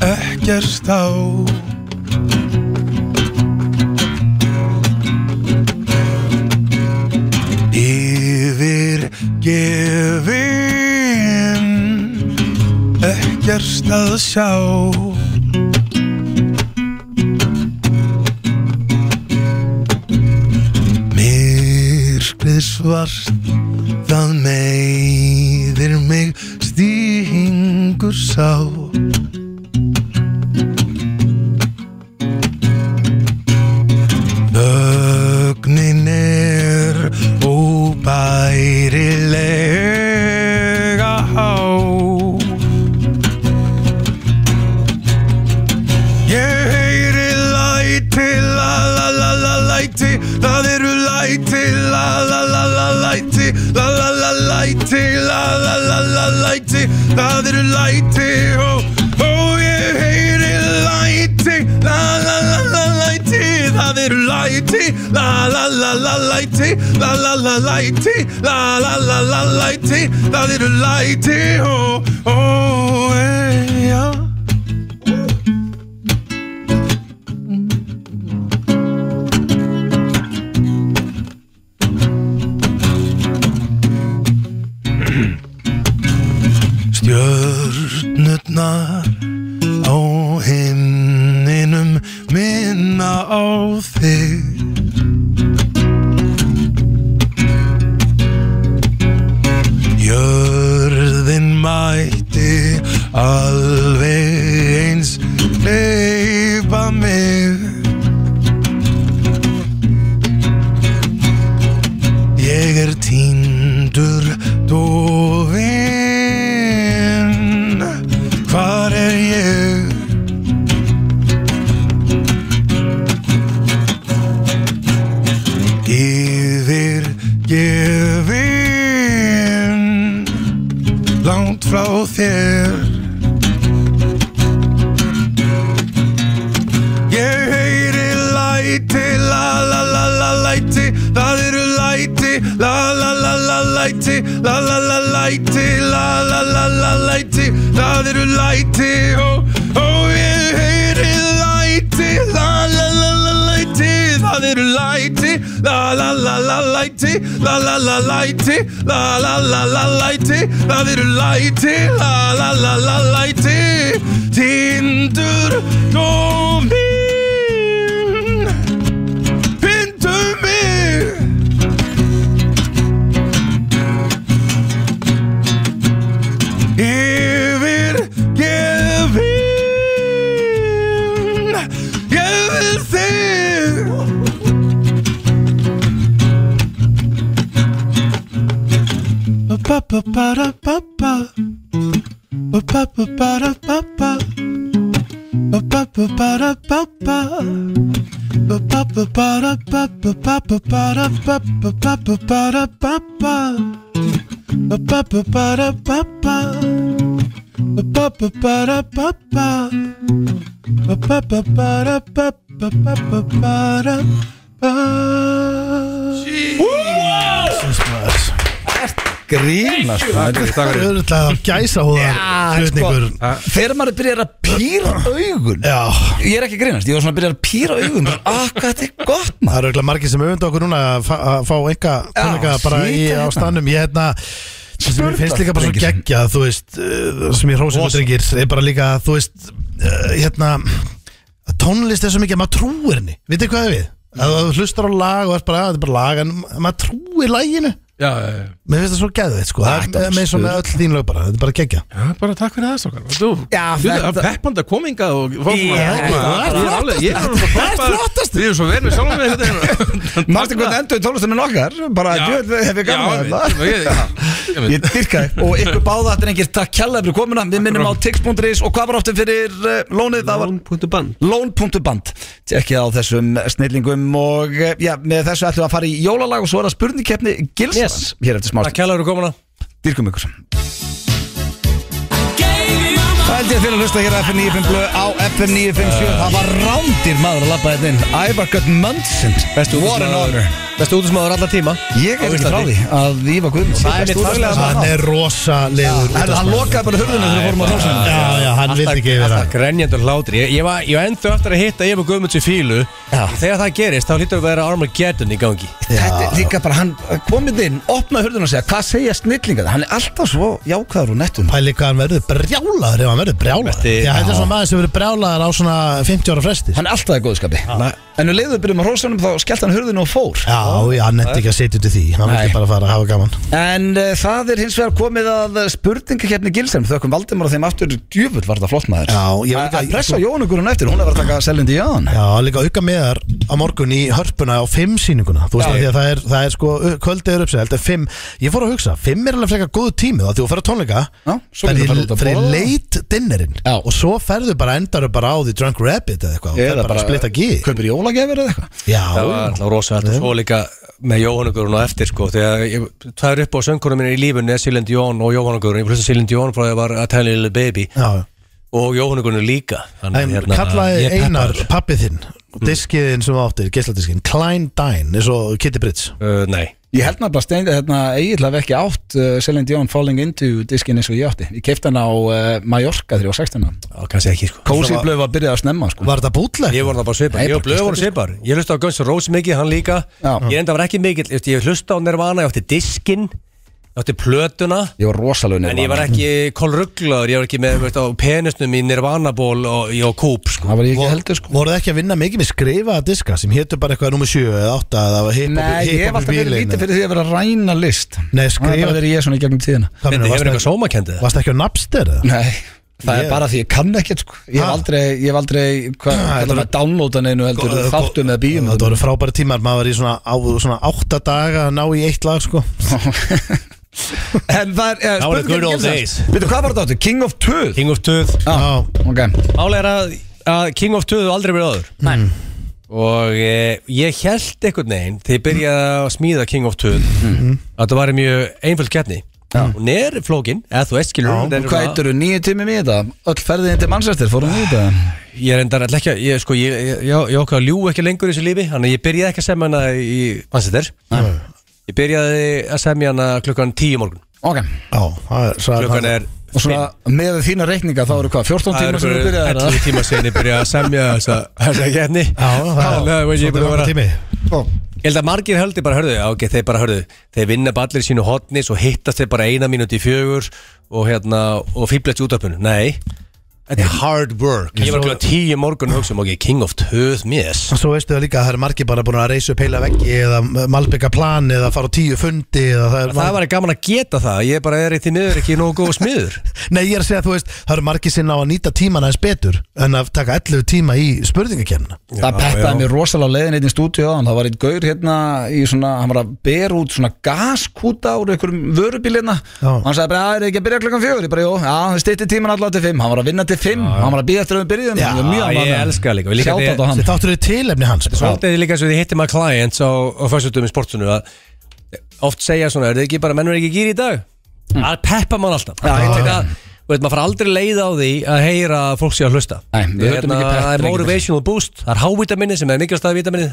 D: Ekkert á Yfir gefin Ekkert að sjá Myrkrið svart Það meiðir mig stíhingur sá Þögnin er óbærilega há Ég heyri læti, la la la la læti Það eru læti, la la la la læti La la la læti, la la la la læti Það eru læti, ó, ó Ég heyri læti, la la la la læti Það eru læti, la la la la læti La la la læti, la la la la læti Það eru læti, ó, ó, ei, já Stjörnurnar á himninum minna á þig Jörðin mætti alveg eins leipa mig Ég er týndur dofin Hvar er ég? Yfir gefin Langt frá þér Ég heyri læti, la la la la læti Það eru læti, la la la la læti La la la læti, la la la la læti Það eru læti, ó, ó Ég heyri læti, la la la la læti Það eru læti, la la la la læti La la la læti, la la la la læti Það eru læti, la la la la læti Tindur, dómin Pindu mig Yfir gefin Ég vil þig Ba-ba-ba-da-ba-ba Ba-ba-ba-da-ba-ba Ba-ba-ba-ba-da-ba-ba Ba-ba-ba-da-ba-ba-ba-ba-ba-ba-ba-ba-da-ba-ba Ba-ba-ba-da-ba-ba Ba-ba-ba-da-ba-ba Ba-ba-ba-da-ba-ba Ba-ba-ba-da-ba-ba
A: Grínast maður.
B: Það er auðvitað gæsa hóðar hlutningur
A: sko, Þegar maður byrjar að pýra augun
B: Já,
A: Ég er ekki að grínast, ég var svona að byrja að pýra augun bara, Ah, hvað þetta er gott
B: það
A: maður
B: eru auðvitað margir sem öfunda okkur núna að fa- að fá enga tónleika bara í
A: sýta hérna.
B: ástandum Ég hérna Það sem ég finnst líka bara svo
A: Drengir.
B: geggja þú veist, uh, það sem ég hrósið og drengir er bara líka, þú veist uh, hérna, að tónlist er svo mikið að maður trúir henni, veitir hvað er við? að þú hlustar á lag og er bara, "Ah, þetta er bara lag en maður trúir læginu
D: Já, já, já.
B: mér finnst það svo geðveitt, sko, það er með svona öll þín lög bara, þetta er bara geggja
D: Já, bara takk fyrir það stokkar Þú,
A: Já,
D: þú
A: þetta-
D: þetta... peppanda kominga og fá svona
A: Já,
D: hérna,
A: það er
D: ég alveg- Ég er alveg peppar Við erum svo verið með sjálfum við þetta
A: Mástu hvernig endur í tónlistum en okkar Bara,
D: Já.
A: djöfull, hef ég
D: Já,
A: gaman að
D: ég- ég- ég- ég-
A: Ég dyrka þig og ykkur báða þetta er engir takk kjallaði fyrir komuna Við minnum á tix.is og hvað var áttum fyrir uh, lónið Það var
E: Lón.ban
A: Lón.band Tjekkið á þessum snillingum og eh, já, með þessu ætlum við að fara í jólalag og svo er það spurningkeppni Gilsans
C: Yes.
A: hér eftir
C: Takk
A: smást
C: kæla fyrir komuna
A: Dyrkum ykkur Það held ég að fyrir að hlusta hér á FM 95 blöð á FM 957 Það var rándir maður að labba þetta inn Ævar Gött Munson
C: Bestu
A: What an honor
C: Bestu útismadur alla tíma
A: Ég
C: Á
A: er ekki frá
C: Íslandi.
A: því að Ívar Guðmunds
C: Það er mitt faglega
B: hann er rosa leður
A: Hann hann lokaði bara hurðinu þegar við fórum á hrósinu
B: já, já, hann vildi ekki vera
C: Alltaf grenjandur hlátri Ég, ég var ég var ennþá eftir að hitta Ég var Guðmunds í fílu
A: Já.
C: Þegar það gerist Þá hlýttum við að vera Armageddon í gangi
A: Þetta er líka bara, hann komið inn, opnaði hurðinu og segja Hvað segja snillingar? Hann er alltaf svo jákvæður og nettum
B: pæli hvað hann verður brjálaður ef hann verður brjálaður
C: Þetta-
B: því að þetta er svona maður sem verður brjálaður á svona 50 ára fresti
A: Hann er alltaf í góðskapi En nú leiðuðu byrjum á hrósunum þá skellt hann hurðinu og fór
B: já, já, hann nefndi ekki að setja út í því hann
A: Nei.
B: vildi bara fara að hafa gaman
A: En uh, það er hins vegar komið að spurningakefni Gilsheim Þökkum Valdimar og þeim aftur djöfull var það flott maður
B: já,
A: Að
B: ég var
A: að
B: líka
A: pressa Jónugurinn eftir, hún er verið að taka Selindi Ján
B: já, líka auka með þar á morgun í hörpuna á 5 síninguna þú
A: Já,
B: veist að,
A: já.
B: því að það er, það er sko kvöldið er uppsett en 5, ég fór að hugsa 5 er alveg frekar góð tími þá því að þú ferð að tónleika
A: Já, svo
B: það
A: getur
B: er
A: farið út
B: í-
A: að
B: það er í
A: borða.
B: late dinnerinn
A: Já.
B: og svo ferðu bara endaru bara á því Drunk Rabbit eða eitthvað og ferð bara að splitta gíð
A: Kaupir jólagefir eða eitthvað
C: Það var
B: já,
C: alltaf rosalegt og svo líka með Jóhannugurinn og eftir sko þegar ég, það er upp á söngunum minni í lífunni Silend Jón og Jóhannugurinn, ég plussa Silend Jón frá að ég var að tæla lille baby
B: já
C: og Jóhannugurinn líka hérna-
B: En kallaði Einar pappið þinn
C: Mm.
B: Diskiðin sem þú áttir, geisladiskinn Klein Dine, eins og Kitty Brits
C: uh, Nei,
A: Ég held maður bara stein, hérna, eiginlega hef ekki átt uh, Selindi Ján Falling Into diskin eins og ég átti Ég kefti hann á uh, Mallorca 316
C: á, kannski ekki sko
A: Cozy Blöð var byrjað að snemma sko.
B: Var þetta bútleg?
C: Ég voru það bara svipar,
A: Nei,
C: ég og
A: bara
C: Blöð voru
A: gíslandi,
C: svipar Ég hlusta á Guns N' Roses mikið, hann líka
A: Já.
C: Ég enda var ekki mikill, ég veist, ég hlusta á Nirvana, ég átti diskin Ég átti plötuna
A: Ég var rosalögnir
C: En ég var ekki kolrugglaður, ég var ekki með veist, á penusnum í Nirvana ból og, og kúp sko
A: Það var ég ekki
B: Vor-
A: heldur sko
B: Voru það ekki að vinna mikið með skrifaða diska sem hétu bara eitthvað nummer 7 eða 8 eða hip-hop
A: Nei, ég hef alltaf verið lítið fyrir því að vera að ræna list
B: Nei,
A: Það er bara
B: skrifa
A: verið ég svona í gegnum tíðina
B: Hvað
C: Þetta
B: meina,
C: hefur
B: varstu-
C: eitthvað sómakendið
B: Varst ekki á Napster eða?
A: Nei, það
B: Ég-
A: er bara því ég kann ekkert sko Ég hef
B: Ha?
A: aldrei, ég hef aldrei, hvað,
B: Ha,
A: kallar
B: þetta Sko, eh,
A: maður downloada neinu heldur
B: Gó-
A: Þáttum eða bíum
B: Þetta voru frábæri tímar, maður var í svona, á, svona 8 daga að ná í eitt lag sko
A: En það er, eh,
C: Now are the good old days.
A: Veitu, hvað var þetta áttu? King of Tooth
C: King of Tooth
A: Já, ok
C: Málega er að, að King of Tooth hefur aldrei verið áður Nei
A: Hmm.
C: Og e, ég held einhvern veginn Þegar ég byrjaði að smíða King of Tooth
A: Hmm.
C: Að það var mjög einföld keppni Og neður flókin, eða þú eskilur
A: Og Hvað eitthvað eru nýju tími í þetta? Öll ferðin til Manchester, fórum við þetta?
C: Ég er endar alltaf ekki að, ég, sko, ég, ég, ég, ég okkar að ljú ekki lengur í þessu lífi Þannig að ég byrjaði ekki að semja hana í Manchester Ég byrjaði að semja hana klukkan 10 í morgun
A: Ok
B: Já, það er svo
C: Klukkan er
A: Og svona, með þína reikninga, þá eru hvað, 14
C: Það er
A: tíma sem við byrjaði
C: fyrir 11 tíma sinni byrjaði að semja þessa þessa keppni
B: Já, það
C: Þannig að
B: er
C: ég er búin
B: svolítið
C: að
B: langur
C: vera-
B: tími
C: Ég held að margir höldi bara hörðu, já, ok, þeir bara hörðu Þeir vinna bara allir í sínu hotni, svo hittast þeir bara eina mínúti í fjögur og hérna, og fýblast í útöpunum Nei, þetta er hard work Ég var klukkan tíu í morgun og hugsa um, ok, king of töð mjöðs
B: Svo veistu það líka að það er margir bara búin að reysa upp heila veggi eða malbygga plan eða fara á tíu fundi eða það er
C: Það var gaman að geta það, ég bara er í því miður ekki nógu góð smiður
B: Nei, ég er að segja að þú veist, það eru margir sinna á að nýta tíman aðeins betur en að taka 11 tíma í spurningakernina
A: Það
C: Já,
A: pettaði
C: já.
A: mér rosalega á leiðin eitt í stúdíu áðan Það var einn gaur hérna í svona Hann var að bera út svona gaskúta úr einhverjum vörubíl hérna
B: Já.
A: Og Hann sagði bara, "Já, er ekki að byrja klokkan fjögur Ég bara, jú, já, það stýtti tíman allavega til fimm Hann var að vinna til fimm, hann var að býja eftir að við byrjuðum
B: Já,
A: Ég var mjög
C: ég
A: ánægður með hann.
C: elska það líka. Og líka
A: Shoutout
C: því-
A: á hann
B: Þetta áttur þau tilefni hans bara.
C: Svolítið líka svo því hittir maður clients á, á fyrstutum í sportinu að oft segja svona, er þið ekki bara mennur ekki gýr í dag? Það peppa mann alltaf
A: Já, ég tek
C: að, veit, maður fara aldrei leið á því að heyra að fólk sé að hlusta
A: Nei, við höldum
C: Hérna,
A: ekki pep,
C: Það er
A: drengjum.
C: motivational boost, það er hávitaminni sem er mikilvægst að vitaminni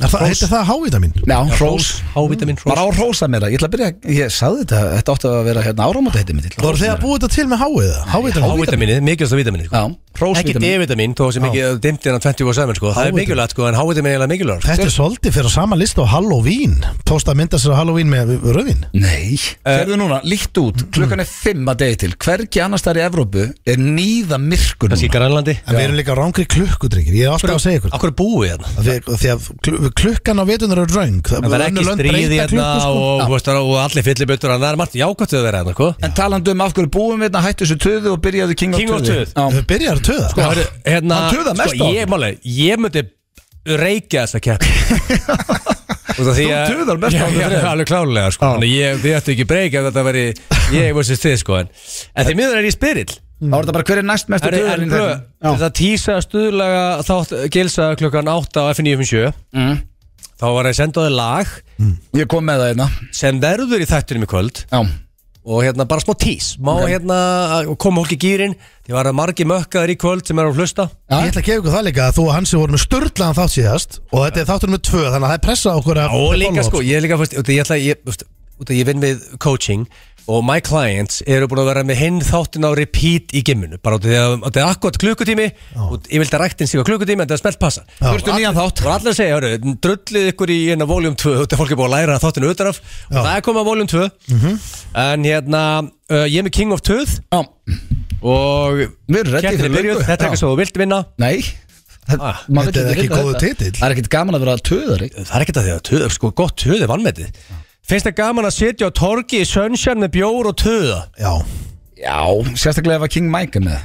B: Er það, heitir það hávitamin?
A: Já, hrós
C: Hrós, hávitamin,
A: Bara
C: hrós
A: á hrósa mér Ég ætla að byrja Ég sagði þetta Þetta átti að vera hérna áramóta heiti mitt
B: Voru þið að búa þetta til með hávið það? Hávitamin?
C: Hávitaminni, mikilvægst að vitaminni
A: Já,
C: Ekki
A: hrósvitamin
C: D-vitamin, þó sem ekki dimmt innan 24-7 sko. Það er
B: Hávitamin.
C: mikilvægt, sko, en hávitamin er eiginlega mikilvægt
B: Þetta er svolítið fyrir á sama lista á Halloween Tósta mynda sér á Halloween með röðin
A: Nei
C: Eh.
A: Hérðu núna, líkt út Klukkan er fimm að degi til Hvergi annars þar í Evrópu Er nýða myrkur
C: Kanski í
A: núna
C: Grænlandi
B: En við erum líka rángri klukkudryggir Ég er alltaf að segja ykkur
C: Akkur er búið hérna
B: Af Því af því að klu- klukkan á vetunar er röng
C: En það er ekki stríð hérna
B: sko.
A: sko.
C: og, og, og allir fyllibuttur Það er margt jákvæmt að vera hérna, sko
A: En talandu um af hverju búum við hérna Hættu þessu töðu og byrjaðu King of
C: King of
A: töðu
C: Töðu.
A: Já.
B: Við byrjar að töða
C: Sko, hörru, hérna,
A: Hann tuðar mest á
C: sko,
A: okkur.
C: ég, máli, ég myndi reykja þessa kepp Þú
A: Þú tuðar mest á okkur
C: okkur
A: þrem.
C: Alveg klálega, sko Þannig ég, þið ættu ekki breyk ef þetta veri ég versus þið, sko En, en því miður er ég spyrill
A: Þá er þetta bara hver er hérna? næst mestu
C: Er, en blö,
A: töðu
C: það tísa stuðlaga þátt gilsa klukkan 8 á F957
A: Mm.
C: Þá var ég sendaði lag
A: Ég kom með það hérna
C: sem verður í þættunum í kvöld
A: Já
C: og hérna bara smá tís má hérna koma fólki í gýrin því var að margi mökkaður í kvöld sem er að hlusta
B: Ég ætla að gefa ykkur það líka að þú og Hansi voru með störlaðan þátt síðast og þetta er þáttur með tvö þannig að það er pressa á okkur að
C: og
B: að
C: líka
B: follow
C: sko,
B: up.
C: ég er líka fyrst, ég ætla, ég, þú veist, út að ég vinn við coaching og my clients eru búin að vera með hinn þáttin á repeat í gimminu bara út af því að að þetta er akkurat klukkutími og ég vildi að ræktin sig á klukkutími en það er smelt passa um
A: Þurftu nýjan þátt
C: og allir að segja, hörru, drullið ykkur í hérna voljum 2 þetta er fólk er búin að læra þáttinu utanaf og það er komið að voljum 2
A: Mhm.
C: en hérna, uh, ég er með King of 2
A: Já,
C: og
A: við erum ready
C: kettin er
A: fyrir
C: byrjuð,
A: löngu. Já.
C: þetta er eitthvað sem þú vilt vinna
A: Nei
C: Ah,
A: maður veit
B: þetta er ekki
A: hérna
B: góður
A: þetta.
B: titill.
A: Það er ekkit gaman að vera töðar ekki?
C: það er ekkert að því að töð, sko, gott töð er vannmetið finnst það gaman að sitja á torgi í sunshine með bjór og töða
B: Já,
A: Já, sérstaklega ef að King Mike er með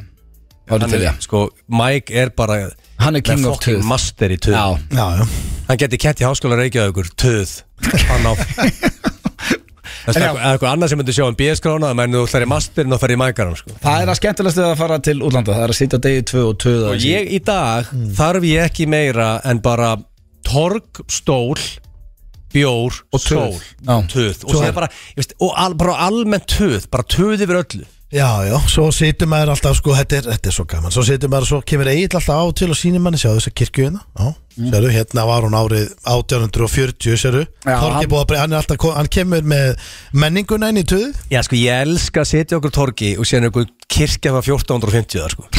A: Það er til
C: er,
A: ég
C: sko, Mike er bara
A: Hann er
C: með
A: king of
C: fucking
A: töð
C: master í töð
A: Já,
B: já, já
C: hann geti kent í háskóla reykjaðugur töð hann á Það er eitthvað annað sem myndi sjá um BS-krána menn þú ætlar í masterinn og ferð í mækaran sko.
A: það er að skemmtilegast að fara til útlanda Það er að sitja á degi tvö og töða
C: og ég í dag
A: Mm.
C: þarf ég ekki meira en bara torg, stól bjór og
A: töð.
C: stól
A: Já.
C: töð og, síðan bara, ég veist, og al, bara almennt töð bara töð yfir öllu
B: Já, já, svo situr maður alltaf sko, þetta er, þetta er svo gaman, svo situr maður svo kemur eigill alltaf á til og sýnir manni, sjáðu þessa kirkju hérna, já,
A: Mm.
B: sérðu, hérna var hún árið 1840, sérðu,
A: Já, hann-
B: Torgi búið að breyja, hann er alltaf, ko- hann kemur með menninguna inn í töðu,
C: Já, sko, ég elska að setja okkur torgi og síðan okkur kirkja frá 1450 þar, sko.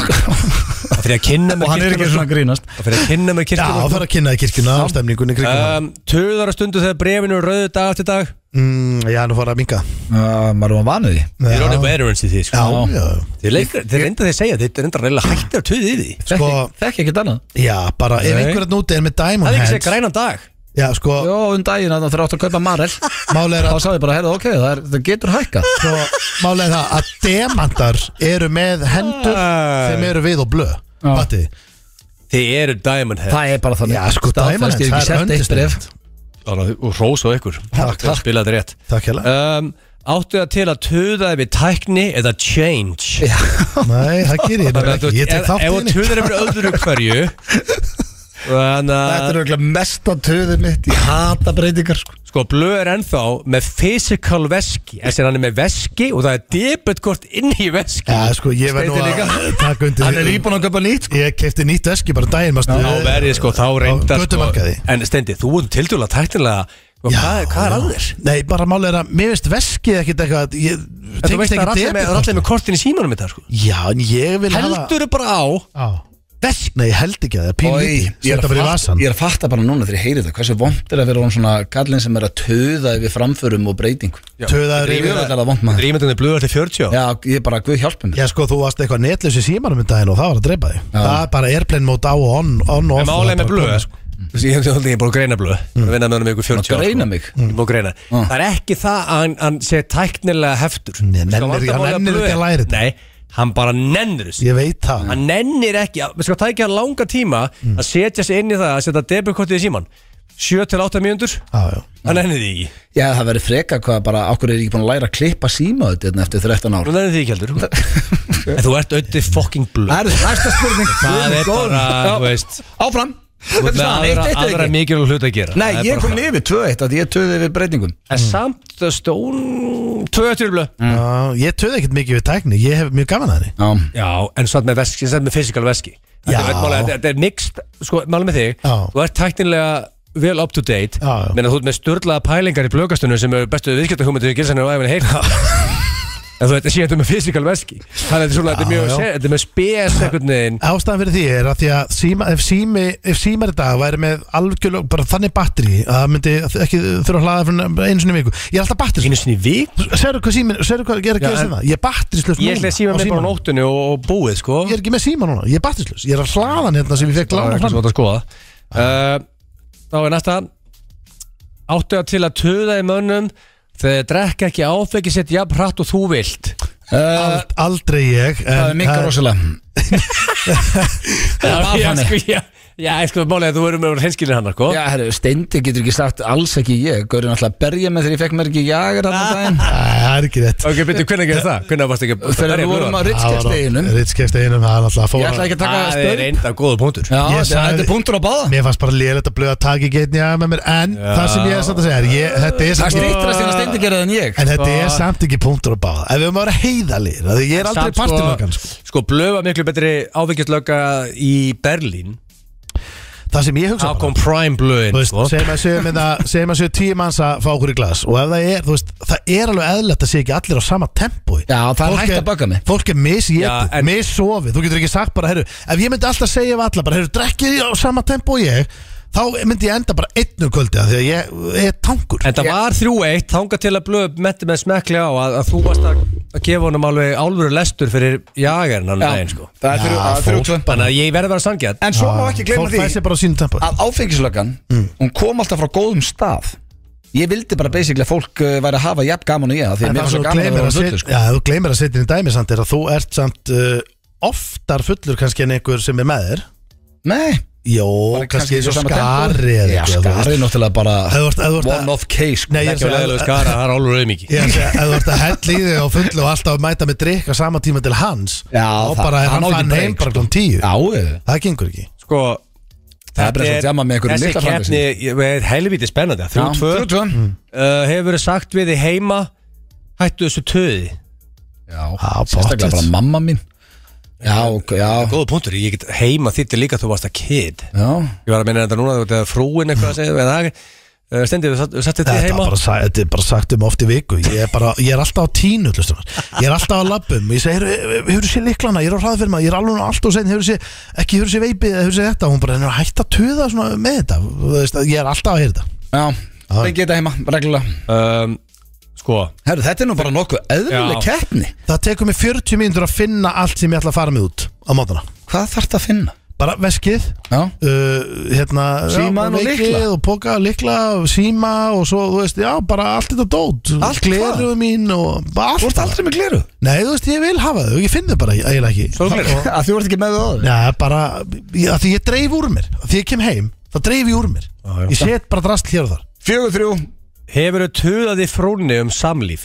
C: Það fyrir að kynna mér
A: Og hann er ekki
C: kirkjuna,
A: svona að grínast
C: Það fyrir að kynna mér
B: já,
C: kirkjuna
B: það
C: sko.
B: þarf að kynna kirkjuna á stemningunni kringum
A: Uh,
B: hann,
C: um, Töðara stundu þegar brefinu er rauðu dag eftir dag
B: mm, já, nú fara að minga,
A: Uh, Maður var vanuð því
C: Þið er orðið veterans í því, sko.
B: já, já, já.
C: Þið leikar, þið reynda þeir segja, þið reynda reyla hættir að töði í því.
B: sko,
A: Þekki ekkert annað
B: já, bara, ef
C: Nei.
B: einhverjarn úti er með
C: Það
B: diamond
C: er ekki segja
B: hands,
C: grænan dag.
B: já, sko,
A: Jó, um daginn að það áttu að kaupa Marel Þá
B: málega er að
A: sagði ég bara, heyrðu, ok, það, er, það getur hækka
B: Svo málega það að demantar eru með hendur
C: Æ.
B: sem eru við og blöð Patti,
C: Þið eru diamond head.
A: Það er bara þannig
B: já sko
A: Staðfest,
B: dæmanins,
A: ég hef ekki
B: það er
A: sett eitt bref
B: öndistend
C: Þannig að- Og rós á ykkur.
B: Takk,
C: Það spilaði rétt.
B: Takk hérlega
C: Um, áttu það til að töða yfir tækni eða change?
B: Nei, það gerir ég nefnilega
C: Þannig að
B: ekki, ég tek
C: ef-
B: þátt í
C: Ef að
B: henni
C: töðar yfir öðru hverju Þannig
A: Þetta
C: að
A: er auðvitað mesta töðið mitt Ég hata breytingar sko.
C: sko blöð er ennþá með physical veski Þessi hann er með veski og það er debetkort inn í veski
B: Já sko, ég verð nú
C: Steindi
B: að taka
A: Hann er
B: undir
A: íbúin að kaupa nýtt
B: Ég kefti nýtt eski bara daginn mástu
C: Þá verði sko þá reynda
B: Á
C: sko,
B: götumarkaði.
C: En Steindi, þú ert tildjúlega tæknilega sko, hvað, hvað er að þér?
B: Nei, bara málega er að mér veist veskið ekkert eitthvað að Ég
C: En Þú veist
B: tengist
C: að það er
B: ekki
C: allir með- það er allir
B: debit
C: með kortin í símanum þetta sko
B: Já, en ég vil hafa
C: Heldur er bara á
B: Á.
C: veski
B: Nei, held ekki að það,
A: Oj,
B: pínlíti
A: ég er
B: Setta
A: að
B: bara í
A: fatta-
B: vasan
A: Ég er að fatta bara núna þegar ég heyri þetta Hversu vond er að vera hún svona gallin sem er að töða yfir framförum og breytingu
B: Töðaður
A: Ég
B: yfir
A: er alltaf vond maður
C: Rímyndunni blöð er til 40 ára.
A: Já, ég er bara, guð hjálpa mér
B: Já sko, þú varst eitthvað netlaus í símanum um daginn og það var að dreipa þig Það er bara airplane mode á og on, on og
C: En
B: off og
C: málega
B: þetta
C: með
B: var
C: blöð
B: komið, sko.
C: Þú veist, Ég hef ég er búin að greina blöð Ég vinna með honum í ykkur 40
A: Að
C: ár,
A: greina
C: sko.
A: mig?
C: Ég er búin að greina Það er ekki það að hann- hann sé tæknilega heftur
B: Nei,
C: Sko,
B: nennir ekki- hann
C: vandamálið
B: nennir
C: Blöð-
B: ekki að læra þetta.
C: Nei, hann bara nennir þessu
B: Ég veit það
C: Hann nennir ekki, að- við sko tækja hann langa tíma að setja sig inn í það að setja debutkortið í síman 7 til 8 mínútur
B: Já, já
C: Hann nennir því ekki
A: Já, það verður freka hvað bara, okkur er ég ekki búin að læra að klippa síma þetta hérna eftir 13
C: Þú
A: ár
C: nennir því ekki heldur En þú ert auðvitað fucking blöð
A: Það er næsta spurning
C: Það
A: Guð minn
C: er
A: góður.
C: bara,
A: Já.
C: þú veist
A: Áfram
C: Þú ert með
A: staðan,
C: aðra,
A: eitt- eitt eða
C: aðra
A: ekki?
C: mikilvæg hlut að gera
A: Nei, ég
C: Það
A: er
C: bara
A: komin
C: svona.
A: yfir 2-1 að ég töði við breytingum
C: En samt uh, stón Tvö tjörflöð
B: Já, ég töði ekkert mikið við tækni, ég hef mjög gaman að henni
A: Já,
C: Já, en samt með veski, samt með fysikal veski Þetta
B: Já.
C: er, málega, þetta, þetta er mixt, sko, málum með þig
B: Já.
C: Þú ert tæknilega vel up to date
B: Já, já.
C: Meina þú ert með störlaða pælingar í blökastunum sem eru bestu viðskiptahúmyndu í gilsanir og æfinni heyrta En þú veit, síðan þetta með fysikal veski Þannig að þetta er svona, þetta er
B: Já,
C: mjög,
B: já.
C: sér- þetta er með spes einhvern veginn
B: Ástæðan fyrir því er að því að síma, ef, sími, ef símar í dag væri með algjörlega bara þannig batteri að það myndi ekki þurfa að hlaða fyrir einu sinni í viku Ég er alltaf batteri
C: Einu sinni í vik
B: Segðu hvað símin, segðu hvað er að
C: Já,
B: gera
C: en-
B: þetta Ég er batterislaus
C: Ég ætla að síma
B: á
C: mig bara á
B: símanum.
C: nóttunni og, og búið, sko
B: Ég er ekki með síma núna, ég er batterislaus Ég er að hlaðan hérna sem ég fekk
C: Það er
B: lána
C: eitthvað sem
B: fram
C: þú átt að skoða uh, Þá er næsta Áttu að til að töða í mönnum Þegar þeir drekka ekki áfengi sitt jafn hratt og þú vilt
A: uh,
B: Ald- Aldrei ég en
A: það er mikka rosalega var
C: Já,
A: þannig.
C: sko, já, já, ég sko, málið að þú erum með hinskilin hann, sko
A: Já, herru, Steindi getur ekki sagt alls ekki ég Gaurinn alltaf að berja með þegar ég fekk mér ekki jagar þarna um daginn
B: Æ, Það er ekki rétt
C: Ok, byrju, hvernig gerði það? Hvernig varst ekki að
A: Þegar við vorum á Ritskjæfsteginum
B: Ritskjæfsteginum, það er alltaf að
A: Ég
B: fóra
A: ætla ekki að taka
C: Það er
A: stöð
C: reynda góða punktur
A: Já, þetta
B: Ég
A: þetta
B: sagði-
A: er punktur á báða
B: Mér fannst bara lélægt að blöða tak í getni að með mér En það sem ég er samt að segja er ég, Þetta er
A: Það
B: samt
A: stýttra síðan að Steindi gera það en ég
B: En þetta er samt ekki punktur að báða Ef við höfum að vera heiðalir af því Ég er aldrei
C: Samt,
B: partilökan sko.
C: Sko, blöfa miklu betri áfengislöka í Berlín
B: Það sem ég hugsa
C: Þá kom Prime blöðin,
B: Þú veist,
C: sko
B: segjum að séu mynda, segjum að séu tíu manns að fá okkur í glas og ef það er, þú veist, það er alveg eðlætt að sé ekki allir á sama tempói
A: Já, það er
B: Fólk
A: hægt að bögga mig.
B: Fólk er
C: Já,
B: misjetið,
C: en-
B: missofið, þú getur ekki sagt bara, herru, ef ég myndi alltaf segja við alla bara, herru, drekkið á sama tempói ég þá myndi ég enda bara einn um kvöldi af því að ég, ég er tankur
C: En það var 3-1, þanga til að blöð metti með smekkli á að, að þú varst að, að gefa honum alveg álfur lestur fyrir jagarinn hann daginn sko
A: það er þrjú-
B: Já,
A: það er
B: fólk-
A: þrjú tvö
C: Þannig að ég verði að vera sangjað
A: En svo má ekki gleyma
B: Fólk
A: því
B: fæsir Mm. bara á sínu tempói
A: að áfengislökan hún kom alltaf frá góðum stað ég vildi bara basically að fólk uh, væri að hafa jafn gaman og ég af því að
B: En
A: mér
B: það
A: var svo
B: sem þú
A: gaman að vera fullu sko.
B: gleymir að setja Já, þú gleymir að setja inn í dæmi samt er að þú ert samt uh, oftar fullur kannski en einhver sem er með þér
A: nei,
B: Jó,
A: bara
B: kannski eins og
A: sama
B: skari
A: tempói.
B: eða
A: já,
B: eitthvað, þú veist.
A: skari er náttúrulega bara
B: Ef þú ert- ef þú ert að-
A: one off case sko.
B: Nei, ég er að
C: Ekki
B: segja-
C: alveg eðlug skara, það er álfur auðmiki
B: Ég er að segja, ef þú ert að hella í þig á fullu og alltaf að mæta með drikk á sama tíma til hans
A: Já,
B: þá
A: það-
B: bara er
A: hann
B: hann
A: á ekki
B: fann
A: break,
B: heim bara
A: sko.
B: klón tíu
A: já, eh,
B: Það gengur ekki
C: Sko,
A: það er bara svo djama með einhverjum
C: þessi
A: litla
C: keppni ég- er helviti spennandi
A: Já,
C: 3-2 uh,
B: Mm.
A: 3-2.
C: Hefur verið sagt við þið heima Hættu þessu töði
A: já,
B: Já,
A: sérstaklega
B: pottet.
A: bara mamma mín já, ok, já,
C: Góða punktur, ég get heima þitt líka þú varst að kid
A: já
C: Ég var að minna þetta núna, þú veit að frúin eitthvað að segja en það er Stendið, þú satt þetta
B: Þetta er,
C: heima
B: bara, sa- þetta er bara sagt um oft í viku Ég er, bara, ég er alltaf á tínu hlustunar. Ég er alltaf á labbum Ég segi, hefur hefur þú séð liklana, ég er á hraða fyrir maður Ég er alveg allt og sein, hefur þú séð Ekki hefur þú séð veipið, eða hefur þú séð þetta Hún bara, henni, hætt að tuða svona með þetta Þú veist, Ég er alltaf að heyra þetta
A: já, fengi þetta heima, reglulega
C: um, Sko,
A: herru, þetta er nú bara nokkuð eðlileg
C: Já.
A: keppni
B: Það tekur mig 40 mínútur að finna allt sem ég ætla að fara með út á mátana
A: hvað þarf það að finna?
B: Bara veskið,
A: já,
B: uh, hérna,
A: Símann
B: já,
A: og
B: veikið
A: lykla.
B: og poka, og lykla, og síma og svo, þú veist, já, bara allt þetta dót
A: Allt
B: gleru mín og bara
A: þú
B: allt
A: ert aldrei með gleru
B: nei, þú veist, ég vil hafa þau, ég finn þau bara eiginlega ekki
C: Sólgleru?
B: Og-
A: að þú ert ekki með það áður
B: Já, bara, ég, að því ég dreif úr mér að því ég kem heim, þá dreif ég úr mér ég set bara drast hér og þar
A: Fjögur þrjú
C: hefur þau töðaði fróni um samlíf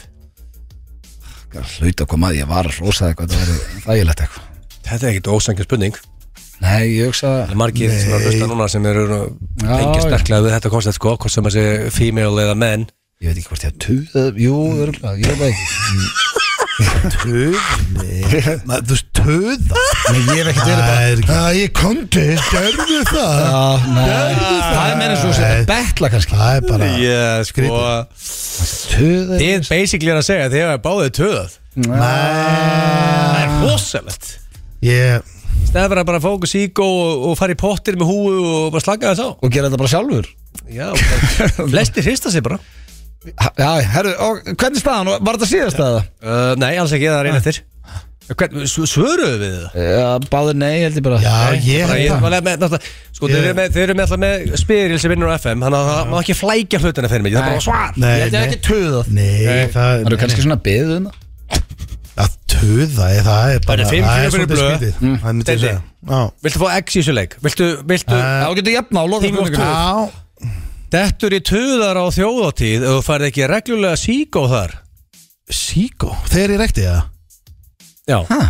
A: Hlaut að koma að ég var að rosa eitthvað Það verið þægilegt eitthvað
C: Þetta er ekkert ósangja spurning Það
A: Nei, ég hugsa
C: er margir sem eru að hlusta núna sem eru
A: já.
C: engið sterklega við þetta koncept sko hvort sem að sé female eða menn
A: Ég veit ekki hvort ég að tuð Jú, örgulega, ég veit það ekki
B: töð, nei, þú veist, töða
A: Nei, ég hef ekki verið bara
B: það er ekki að ég komdi, gerðu það
A: Já, nei Það er meira svo sem
B: Nei.
A: betla kannski
B: það er bara
C: yeah, sko,
A: Tuð er-
C: Þið basically er að segja að þið hefur báðið töðað
B: Nei,
C: Það er rosalegt
B: ég,
C: Það er bara að fókus ígó og, og fara í pottir með húu og bara slaka þess á
A: Og gera þetta bara sjálfur
C: Já, bara- flestir hrista sig bara
A: Ha- Já, herru, og hvernig staðan? Var þetta síðast að það?
C: uh, Nei, alls ekki, það er einu eftir Ah. Hvern- s- Svöruðu við það?
A: Já, báður nei, held ég bara
B: já, ég
C: bara, ég,
B: held það.
C: bara, með, náttúrulega, sko, þeir eru með, þeir eru með, alltaf með spyril sem vinnur á FM þannig að það má ekki flækja hlutina fyrir mig það er bara svar
B: Nei,
A: Ég held ég
B: nei.
A: ekki tuðað
B: nei, það
A: Það eru kannski svona beðið um það
B: að töða ég, það er bara
C: Það er fimm
B: það er
C: kíló fyrir
B: svolítið
C: blöð.
B: skrítið.
A: Mm.
B: það er myndið að
C: Steindi.
B: segja já,
C: viltu fá X í þessu leik viltu, viltu
B: Eh,
A: Þá getur jafna á lokum
C: Team of
A: spurningunni.
B: já,
C: dettur í töðar á þjóðatíð og þú færð ekki reglulega síkó þar
B: síkó þegar ég rekti það
C: já
A: Ha?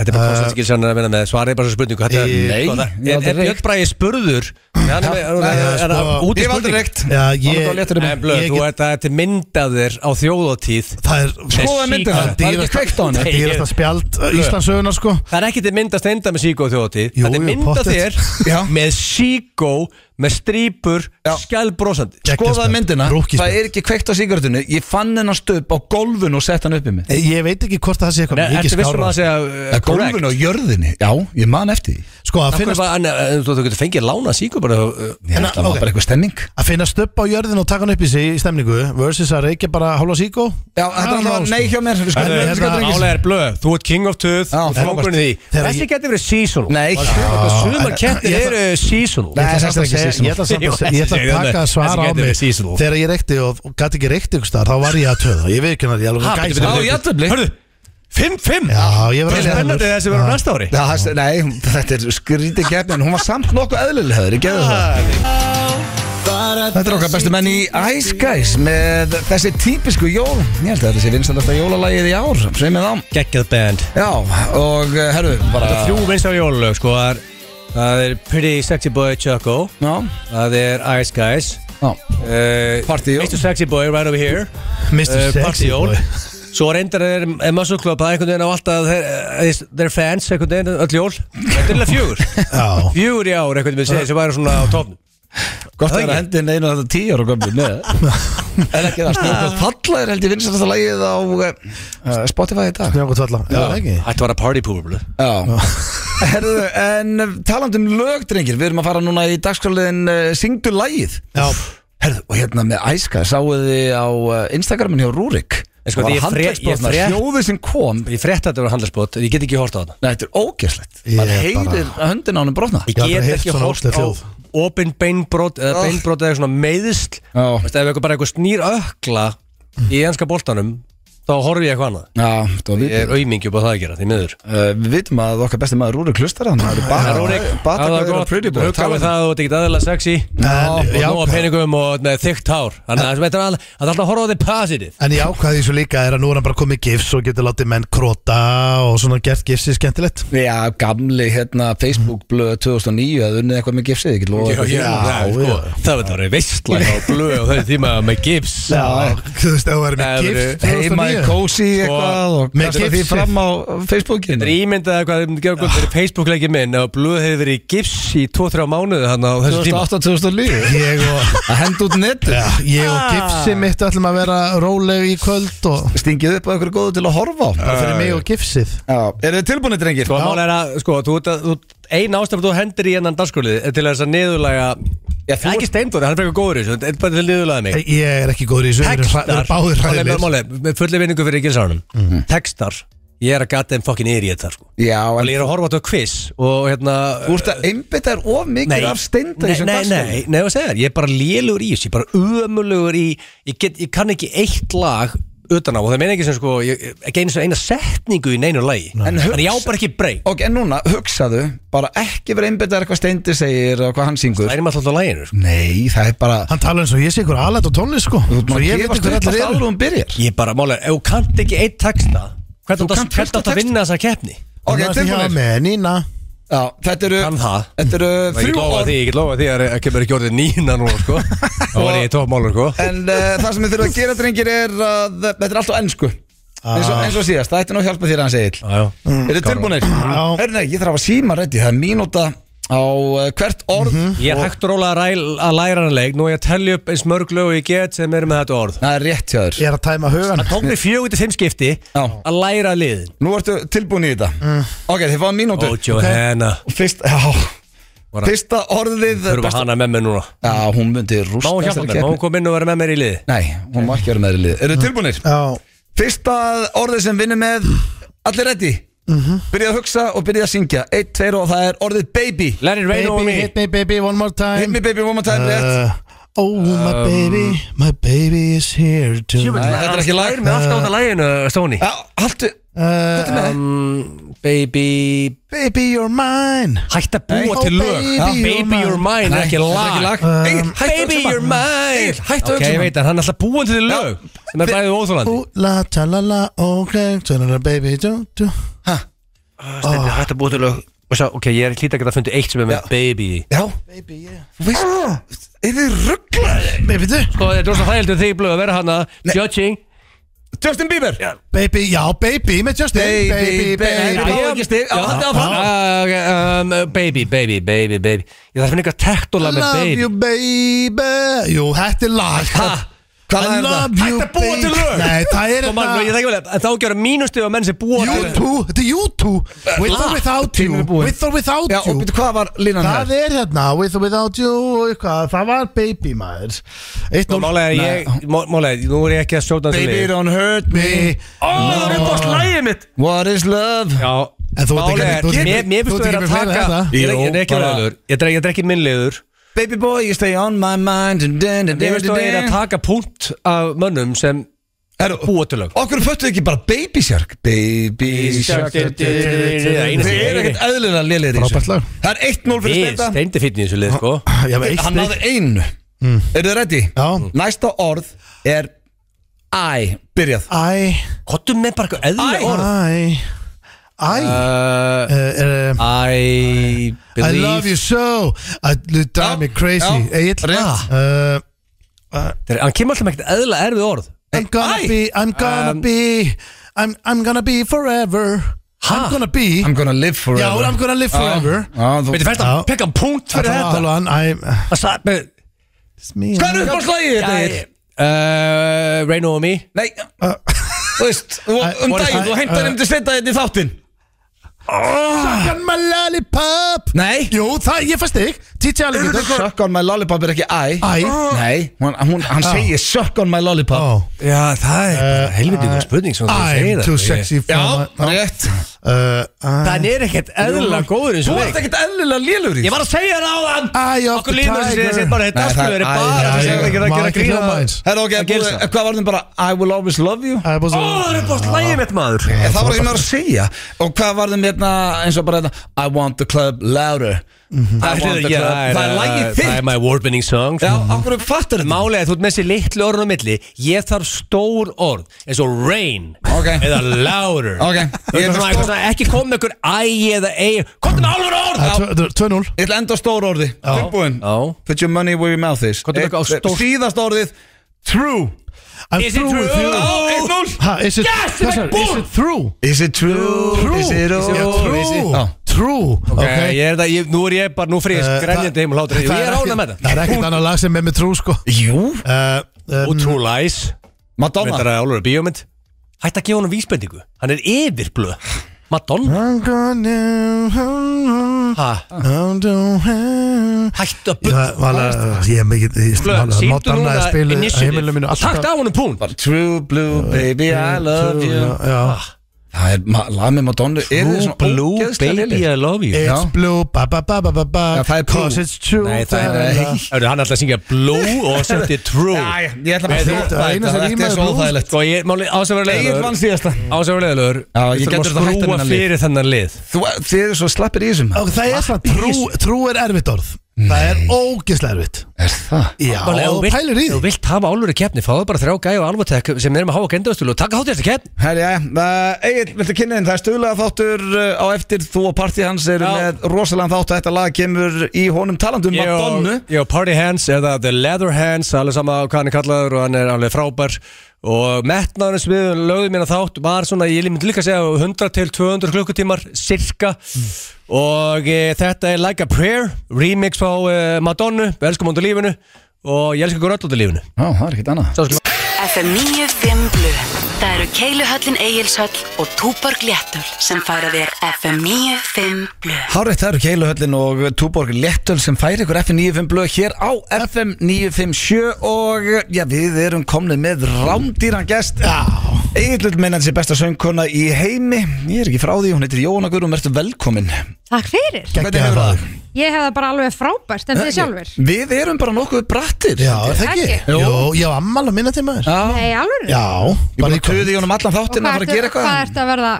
C: Þetta er bara konstantskil sem hann er að vinna með svarið bara svo spurningu Þetta er,
B: Í-
A: Nei,
C: sko,
A: ég
C: það-
A: hef
C: er,
A: aldrei
C: er Björn
A: reykt.
C: Bræði spurður Nei, hann er, er, er, er, er
B: sko,
C: út í
A: Ég hef aldrei
C: spurningu
A: reykt
B: Já,
A: Hann er
B: ég,
A: bara léttur um
C: En blöð,
B: Ég
C: þú
B: get-
C: ert að þetta myndaðir á þjóðatíð
B: það er
A: Skoða myndina,
B: það er
A: það er ekki
B: dýrasta-
A: kveikt á henni.
B: það er dýrasta spjald uh, Íslandsögunar sko
C: Það er ekki til myndast enda með síkó á þjóðatíð
B: Jú,
C: Þetta er
B: jú,
C: myndað
B: pottet.
C: þér
A: Já.
C: með síkó með strýpur skjálbrósandi
B: Geggjað
A: Skoðaði
B: spjald.
A: myndina,
B: Rúkkispjald.
A: það er ekki kveikt á sigurðunni Ég fann hennar stöp á gólfinu og sett hann upp í mig
B: Ég veit ekki hvort það sé
A: um
B: eitthvað
C: Nei,
B: mikið
C: Ertu vissum
B: skára
C: að segja
A: Á
C: uh, correct?
A: gólfinu og jörðinni, já, ég man eftir því
B: Sko að
C: Af hverju
B: finnast
C: bara- en, en Þú þú getur fengið lána síkó bara uh,
A: Ég held
B: En
A: að það var
B: að- ok.
A: bara eitthvað stemming
B: Að finna stöpp á jörðin og taka hann upp í sig í stemningu versus að reykja bara hálfa síkó
A: Já, þetta
B: Já,
A: er alltaf
B: sko.
A: nei hjá mér við skoðum
B: En,
A: við
B: hérna,
A: skoðum drengis.
C: Álega er blöð, þú ert king of tooth
A: Já,
C: og
A: það
B: var
C: frákurinn
B: bara-
C: í því
B: þegar
C: Þessi
B: ég-
C: getur verið seasonal
A: Nei, Ah,
C: Sumar kettir
B: Ég-
C: eru seasonal
B: Ég ætla
A: Nei,
B: samt að
A: þetta er
B: segja-
A: ekki seasonal.
B: ég ætla samt
C: Jú,
B: að segja- ég ætla
C: þessi
B: að taka
C: gæti verið-
B: svara
C: þessi
B: á
C: gæti
B: mig
C: verið seasonal.
B: Þegar ég reykti og og gat ekki reykt ykkur staðar Þá var ég að töða Ég veit ekki hann
C: Ha,
B: að
C: bíddu,
B: ég
C: bíddu,
A: Já,
C: bíddu.
A: jafntefli.
C: Hörðu, 5-5
B: Já, ég var
C: Það er
B: alveg
C: spennandi
B: hemmur.
C: þessi verður
B: Já.
C: næsta ári
A: Já, það- Nei, þetta er skrítið keppni En hún var samt nokkuð eðlilega þegar ég geði það Þetta Ah, er okkar bestu menn í Ice Guys Með þessi típisku jól Ég held að þetta sé vinsalasta jólalagið í ár Sveim með þá
C: Gekkið band
A: Já, og eh, herru, bara
C: Þrjú veins á jólulög sko það er- Það er Pretty Sexy Boy Choco
A: Já,
C: Það er Ice Guys
A: já
C: uh,
A: Party Jól.
C: Mr. Sexy Boy right over here
B: Mr.
C: Eh,
B: Sexy
C: Party Jól
B: Boy.
C: Svo reyndar er, er Muscle Club Það er einhvern veginn á alltaf þeir, eh, Their fans einhvern veginn öll jól Þetta er alveg fjögur
B: Já.
C: Fjögur í ár einhvern veginn sem væri svona á topnum
A: Gott
C: Það
A: að vera
C: ekki.
A: hendin einu þetta tíu ára gömlu með En ekki það sko. snjókvæmt falla er held ég vinsalasta lagið á eh, Spotify í dag
B: Snjókot valla Já, ekki
C: Þetta var að party públu
A: Já Herðu, en taland um lög, drengir Við erum að fara núna í dagskráliðin uh, Syngdu lagið
B: Já,
A: Herðu, og hérna með æska Sáuð þið á uh, Instagramin hjá Rúrik
C: En sko,
A: Það var
C: ég fre- ég
A: handleggsbrotna,
C: fre-
A: Hljóðið sem kom Nei,
C: Ég frétti að þetta var handlarspot Ég get ekki hort á þetta
A: þetta er ógeslegt
B: Ég
A: Man
B: bara-
A: heyrir bara... höndin á hann brotna
C: Ég
B: Ég hef aldrei
C: get
B: heyrt
C: ekki
B: svona
C: hort
B: ógeðslegt
C: á
B: hljóð.
C: opin beinbrot eða
A: Ah.
C: beinbrot eða svona meiðsl
A: Já.
C: Veist, Ef eitthvað bara eitthvað snýr ökla í enska boltanum þá horfi ég eitthvað annað
A: Já, það var
C: Ég er
A: vitið
C: aumingi upp á það að gera því miður
A: Uh, Við vitum að okkar besti maður Rúrik hlustar hann Það eru bara Rúrik Batakvæður og Pretty Boy um-
C: Hugga við það og þetta er aðeins sexy
B: En-
C: og
B: já.
C: nóga peningum og með þygt hár Þannig að þetta er all- þetta er alltaf að horfa á þig positive
B: En ég ákvaði þessu líka er að nú er hann bara komið gifs og getur látið menn krota og svona gert gifsið skemmtilegt
A: Já, gamli hérna Facebook blöð 2009 að unnið eitthvað með gifsið, ég get lofa
C: Já,
A: ykkur því.
C: já, það,
B: já.
C: sko, það verður að vera veistlæg og blöð og þessi tíma með gips
B: Já, þú veist, ef þú verður með
C: Það verður
B: gifs
A: heima í
B: 2009.
A: kósi eitthvað og
B: með
A: kastar því
B: gifsið.
A: fram á Facebookinu
C: Það er ímyndað um hvað þeim gefur gott fyrir Facebook-leikið minn og blöð hefur verið í gips í 2-3 mánuði þannig á þessu tíma
A: 2008-2009
B: Ég og,
A: að henda út netu
B: já, ég
C: Ah.
B: og gifsið mitt ætlum að vera róleg í kvöld og
A: stingið upp á ykkur góðu til að horfa á
B: bara
C: Eh.
B: fyrir mig og gifsið
A: Já, eru þið tilbúinir drengir?
C: Sko, mál er að, sko, þú, ert að- þú, ein ástæðan þú hendir í hennan dagskrólið er til þess að niðurlega Já, þú... Ekki steindóri, hann er frekar góður í þessu, þetta er bara til að niðurlega mig
B: Ég er ekki góður í þessu, við erum hra- við erum báðir
C: Mál er-
B: hræðilegir
C: mál er, með fulli vinningu fyrir gilsarunum
A: Mhm.
C: Textar, ég er að gata þeim fucking yfir í þetta, sko
A: Já,
C: Og
A: en
C: ég er að horfa á þetta quiz og hérna
A: þú ert að einbytta er of mikið af steinda í
C: nei,
A: þessum
C: nei,
A: dagskránni.
C: nei, nei, þú segir, ég er bara lélugur í þessu, ég er bara ömulugur í ég, get, ég kann ekki eitt lag utan á og það meina ekki sem sko, ég, ekki einu, eina setningu í neinu lagi
A: En
C: Þannig ég á
A: hugsa-
C: bara ekki breyk
A: Ok, en núna, hugsaðu bara ekki vera einbytta er hvað steindi segir og hvað hann syngur
C: Það er maður alltaf á laginu, sko
A: Nei, það er bara
B: Hann tala eins og ég sé ykkur alætt á tónlist sko Svo
A: Maður
B: ég veit
A: gefast
B: ykkur
A: upp
B: allir
A: alltaf áður
B: eru
A: en hún byrjar
C: Ég er bara málega, ef þú kannt ekki eitt texta
A: Þú
C: Hvernig
A: kannt
C: átt
A: fullt af
C: hvern átt að vinna þessa keppni?
A: Ok,
B: Þannig að ég hafa
A: tilbúinir
B: með Nína
A: Já, þetta eru
C: Kann það.
A: Þetta eru
C: Ég
A: þrjú
C: lofa
A: orð
C: því, ég lofa því að það kemur ekki orðið nýna núna sko Það var ég í toppmálur sko
A: En uh, það sem þið þurfum að gera, drengir, er að þetta er alltaf ennsku eins
C: Ah.
A: og, eins og síðast, það ætti nú að hjálpa þér að hann segil
C: Já, já.
A: Er þið tilbúinir?
B: Já.
A: Herri, nei, ég þarf að síma reddi, það er mínúta á uh, hvert orð
C: Ég er hægt og rólega að, ræl, að læra hann leik Nú er ég að tellja upp eins mörg lög og ég get sem eru með þetta orð
A: Það er rétt hjá þér
B: Ég er að tæma hugan
C: Það tók mig fjögur til fimm skipti
A: Já.
C: að læra liðin
A: Nú ertu tilbúin í þetta
C: Mm.
A: Ok, þið fáum mínútu
C: Ó, Johanna
A: Fyrst, já,
C: Var að-
A: Fyrsta orðið
C: Þurfa
A: besta-
C: hana með mér núna
A: Já, hún myndi
C: Má
A: rústa
C: hún hjálpa
A: þessari
C: mér, má
A: keppni.
C: hún koma inn og vera með mér í liði
A: Nei, hún má ekki vera með þér í lið
C: Mm.
A: Er þið tilbúinir?
B: Já,
A: Fyrsta orðið sem vinnur með Allir reddi Byrjað að hugsa og byrjað að syngja Eitt, tveir og það er orðið baby
C: Let it rain over
B: baby
C: me
B: hit me baby one more time
A: Hit me Um, baby one more time, rétt
B: Uh, Oh my baby, my baby is here tonight
A: þetta er ekki lag.
C: Hann slær mig alltaf á það læginu, Stóni
A: Já, haltu
B: uh,
C: Baby
B: Baby you're mine
C: Hætt að búa
B: Nei.
C: til
B: Ó,
C: lög
B: baby,
C: Já.
B: you're
C: Baby
B: mine.
C: You're Mine er ekki lag
A: Egil, hættu að
C: Baby
A: hugsa
C: You're
A: um það.
C: Mine
A: Egil, hættu að
C: Ok,
A: hugsa um
C: ég veit að hann er alltaf búin til lög sem er bæðið óþólandi
B: Ooh la ta la la, ok Turn on a baby do do
A: Ha,
C: Steindi, hætti að búa til lög Og sá, ok, ég er hlýta að geta fundið eitt sem er með baby í.
A: Já Baby, yeah Þú veist Er þið rugglaði?
B: Nei, veitu
C: Sko, þetta er rosa þægilegt við þig í blöð að vera hana Judging
A: Justin Bieber Já
B: Baby, já, baby með Justin
A: Baby, baby,
B: baby.
A: baby. fá ekki stig. Á,
C: Já,
A: haldið áfram.
C: á, ok, um, Baby, baby, baby, baby Ég þarf að finna eitthvað tektóla með
B: Love
C: baby
B: you baby Jú, þetta er lag
A: Hvað
B: I
A: er það?
B: love you
A: Hætti að búa til
B: baby.
A: lög
B: Nei, það er
C: Sko, mann, ég
B: þetta
C: þekki vel að- en Þá gera mínustu á menn sem búa
B: U2, þetta er U2 With or
A: lag.
B: without you
A: Tíminn er búinn.
B: With or without
A: Já, og
B: you
A: býttu hvað var línan
B: Það
A: hér?
B: er hérna, with or without you og eitthvað, það var baby maður Eitt núll.
C: Málega, ég, má- málega, nú er ég ekki að sjóta þessu
A: Baby
C: lið
A: don't hurt me
C: Ó, það er upp á slæðið mitt
A: What is love?
C: Já,
B: En þú ert ekki-
C: málega,
B: þú ert ekki-
C: mér- mér
B: þú
C: finnst
B: ert ekki
C: þú vera
B: með
C: að
B: fleiri
C: taka
B: þetta?
C: Ég er ekki- ég
A: Jú,
C: er ekki
A: bara-
C: ræðilegur Ég dreg- ég drekki minn liður
A: Baby boy, you stay on my mind Dun, dun, dun,
C: Mér finnst þú
A: dun,
C: vera að
A: dun.
C: taka punkt af mönnum sem
A: Herru,
C: búa til lög
A: Okkur föttuðu ekki bara Baby Shark Baby Shark
C: Þið
A: Þeir eru
C: eru
A: ekkert eðlilega lélir í
B: Frábært lag.
A: Það er 1-0 fyrir
C: Við
A: Steinda
C: steindi fyrir í þessu lið sko
B: Já, með eitt
A: Hann
B: stig.
A: náði einu Eru þið ready?
B: Já.
A: Næsta orð er I Byrjað
B: Æ,
C: Kottum með bara eitthvað
A: Æ.
C: eðlilega orð
B: æ Æ
C: Uh,
B: Eh, eh,
C: I
B: I
C: believe
B: love you so I you drive me crazy
A: já,
B: Egil
A: rétt.
B: uh,
C: Þeir, Hann kemur alltaf með ekkert eðla erfið orð
B: I'm gonna
A: Æ.
B: be I'm gonna
C: Um,
B: be I'm, I'm gonna be forever I'm gonna be
A: I'm gonna live forever
B: Já, I'm gonna live forever
A: Já, þú
C: Veitir, fæst að
B: Já.
C: pekka um punkt fyrir
B: Þetta var
C: þetta
B: alveg hann I- uh,
C: Það sagði með
B: It's me
A: Hvað er upp á slagið þetta er?
C: Uh, Rain on me
A: Nei Þú veist, þú- um
B: what is
A: daginn,
B: I-
A: þú heimtar um til Steinda þetta í þáttinn
B: Suck on my lollipop
A: Nei
B: Jú, það, ég fæst þig T.T. Alligator
A: Suck on my lollipop er ekki I Ah.
B: I.
A: Nei, hún, hún, hann
B: Já.
A: segir suck on my lollipop
B: Ó,
C: Já, það er bara helviti
B: uh,
C: uh, spurning sem þú
B: Oh, I'm
C: segir
B: too
C: það
B: sexy for
A: Já,
B: my
A: rétt
B: Uh, I-
C: Það er ekkert eðla góður eins
A: Þú
C: og
A: ert
C: leik
A: ekkert eðlilega lélur í
C: Ég var að segja það á þann
B: Eye of the
C: Okkur líður þessi
B: tiger.
C: þessi bara
A: Nei,
C: þetta
A: það
C: skulur
A: er-
C: bara
A: æ,
C: að
A: það
C: segja
A: er-
C: það ekki að
B: má
C: gera
B: ekki
C: grína
B: hljóma eins.
A: Herra, ok,
C: Það
A: búið,
C: gerist það.
A: hvað var þeim bara I will always love you
B: I was
C: Ó, það er bara slægið mitt maður
A: Eh, Það var ekki maður að segja Og hvað var þeim hérna eins og bara þetta I want the club louder I
C: Það
A: want the club Það er lagið
C: Það er
A: þitt
C: my award-winning song
A: Já, okkur fattar þetta
C: Málega, þú ert með þessi litlu orðin á milli Ég þarf stór orð eins og rain
A: Ok.
C: Eða louder
A: Ok, ég er
C: Ég er
A: með
C: svona,
A: stór-
C: stór... svona, Ekki kom með einhver æ eða ei Komdu með alvöru orð
B: Það er tvö- 2-0
A: Ég ætla að enda á stór orði Tilbúin
C: Já.
A: Put your money where your mouth is
C: Komdu með eitthvað á
A: Eitt-
C: stórt.
A: Síðasta orðið True
B: I'm
C: Is it
B: through with
C: true?
B: you
A: Á, 1-0
B: Ha, is it,
C: Yes,
B: hvað
C: ég
B: sagði-
C: fekk ból!
B: is it through?
A: Is it true?
B: True.
A: Is it all?
B: Já,
A: Is it- oh.
B: True
A: Já.
B: True
C: Ok,
B: ok.
C: ég er það, ég, nú er ég bara, nú fyrir
B: Eh,
C: ég grenjandi heim og hlátur Ég
B: það
C: er
B: ekki-
C: ánað með
B: Það er
C: það
B: ekkert annað lag sem er með trú sko
A: Jú
B: Uh, um,
C: Og True Lies
A: Madonna
C: Reyndar að álur bíómynd Hætt að gefa honum vísbendingu Hann er yfirblöð Madonna
B: I'm gonna
C: ha,
B: I'm gonna-
C: Hættu að
B: Ég var- var alveg- Ég er mikið Ég er
C: Blöð,
B: alveg
C: síndu
B: Moderna að
C: núna
B: spila á heimilinu mínu
C: initiative Ah,
B: alltaf.
C: Takk á honum pún
A: True blue baby I love
B: True,
A: you
B: já, já.
C: Ah.
A: Það er ma- lag með Madonna Er þið svona
C: Blue
A: ógeðslega
C: baby
A: lélegir?
C: I love you
B: It's
A: Já.
B: blue ba ba ba ba ba ba
A: Já, það er true.
B: Cause it's true
A: Nei, það er-
B: da, da, da.
C: Hörru, hann ætla að syngja Blue og setti True
A: Æ, ég ætla bara
C: Nei,
A: að
C: þú-
A: fljóta
B: það er eina
A: þetta,
B: sem
A: Þetta
B: rímaði
A: er svo
B: blue.
A: óþægilegt
C: Sko, ég, máli,
A: Egil vann
C: ásverðulegur
A: síðasta
C: Ásverðulegur
A: Já, ég getur þetta hætta
C: Rúa
A: minna lið.
C: fyrir þennan lið
A: Þú, þið eru svo slappir í þessum
B: Og það er svona trú, trú er erfitt orð Það er ógislega erfitt
A: Er það?
B: Já,
C: Máli, ef
B: og
C: þú vilt-
B: pælir í
C: ef Þú
B: því
C: vilt hafa álur í keppni Fáðu bara þrjá gæja og alvotek sem er með háa gendastölu og taka hátt í þetta keppn
A: Herja, uh, Egil, viltu kynna þinn? Það er stöðlega þáttur uh, á eftir Þú og partí hans eru
C: Já.
A: með rosalega þátt og Þetta lag kemur í honum um talandum Madonnu
C: Jó, Party Hands eða The Leather Hands alveg sama hvað hann er kallaður og hann er alveg frábær og metnaðurins við lögðum hérna þátt var svona, ég myndi líka að segja 100 til 200 klukkutímar, cirka og e, þetta er Like a Prayer remix frá e, Madonnu við elskum hundu lífinu og ég elska ykkur öll út í lífinu
A: Já, það er ekkert annað
C: Sá skulum
G: FM 95 Blu Það eru Keiluhöllin Egilshöll og Túborg Léttul sem færa þér FM 95 Blu
A: Hárétt, það eru Keiluhöllin og uh, Túborg Lettöl sem færi ykkur FM 95 blöð hér á FM 957 og uh, já, við erum komnið með rámdýran gest Egil meina þessi besta söngkona í heimi Ég er ekki frá því, hún heitir Jóhanna Guðrún, ertu velkomin
H: Takk fyrir.
A: Hvernig hefur það?
H: Ég hef það bara alveg frábært en þið sjálfur.
A: Við erum bara nokkuð brattir
B: Já, er það
H: Ekki?
B: ekki Jó, já, ammal að minna til maður
A: Já.
H: Nei, alveg.
B: Já,
A: Ég bara
B: í kvöld.
A: töði í honum allan þáttinn að fara að gera
H: Hvað
A: eitthvað
H: ertu að verða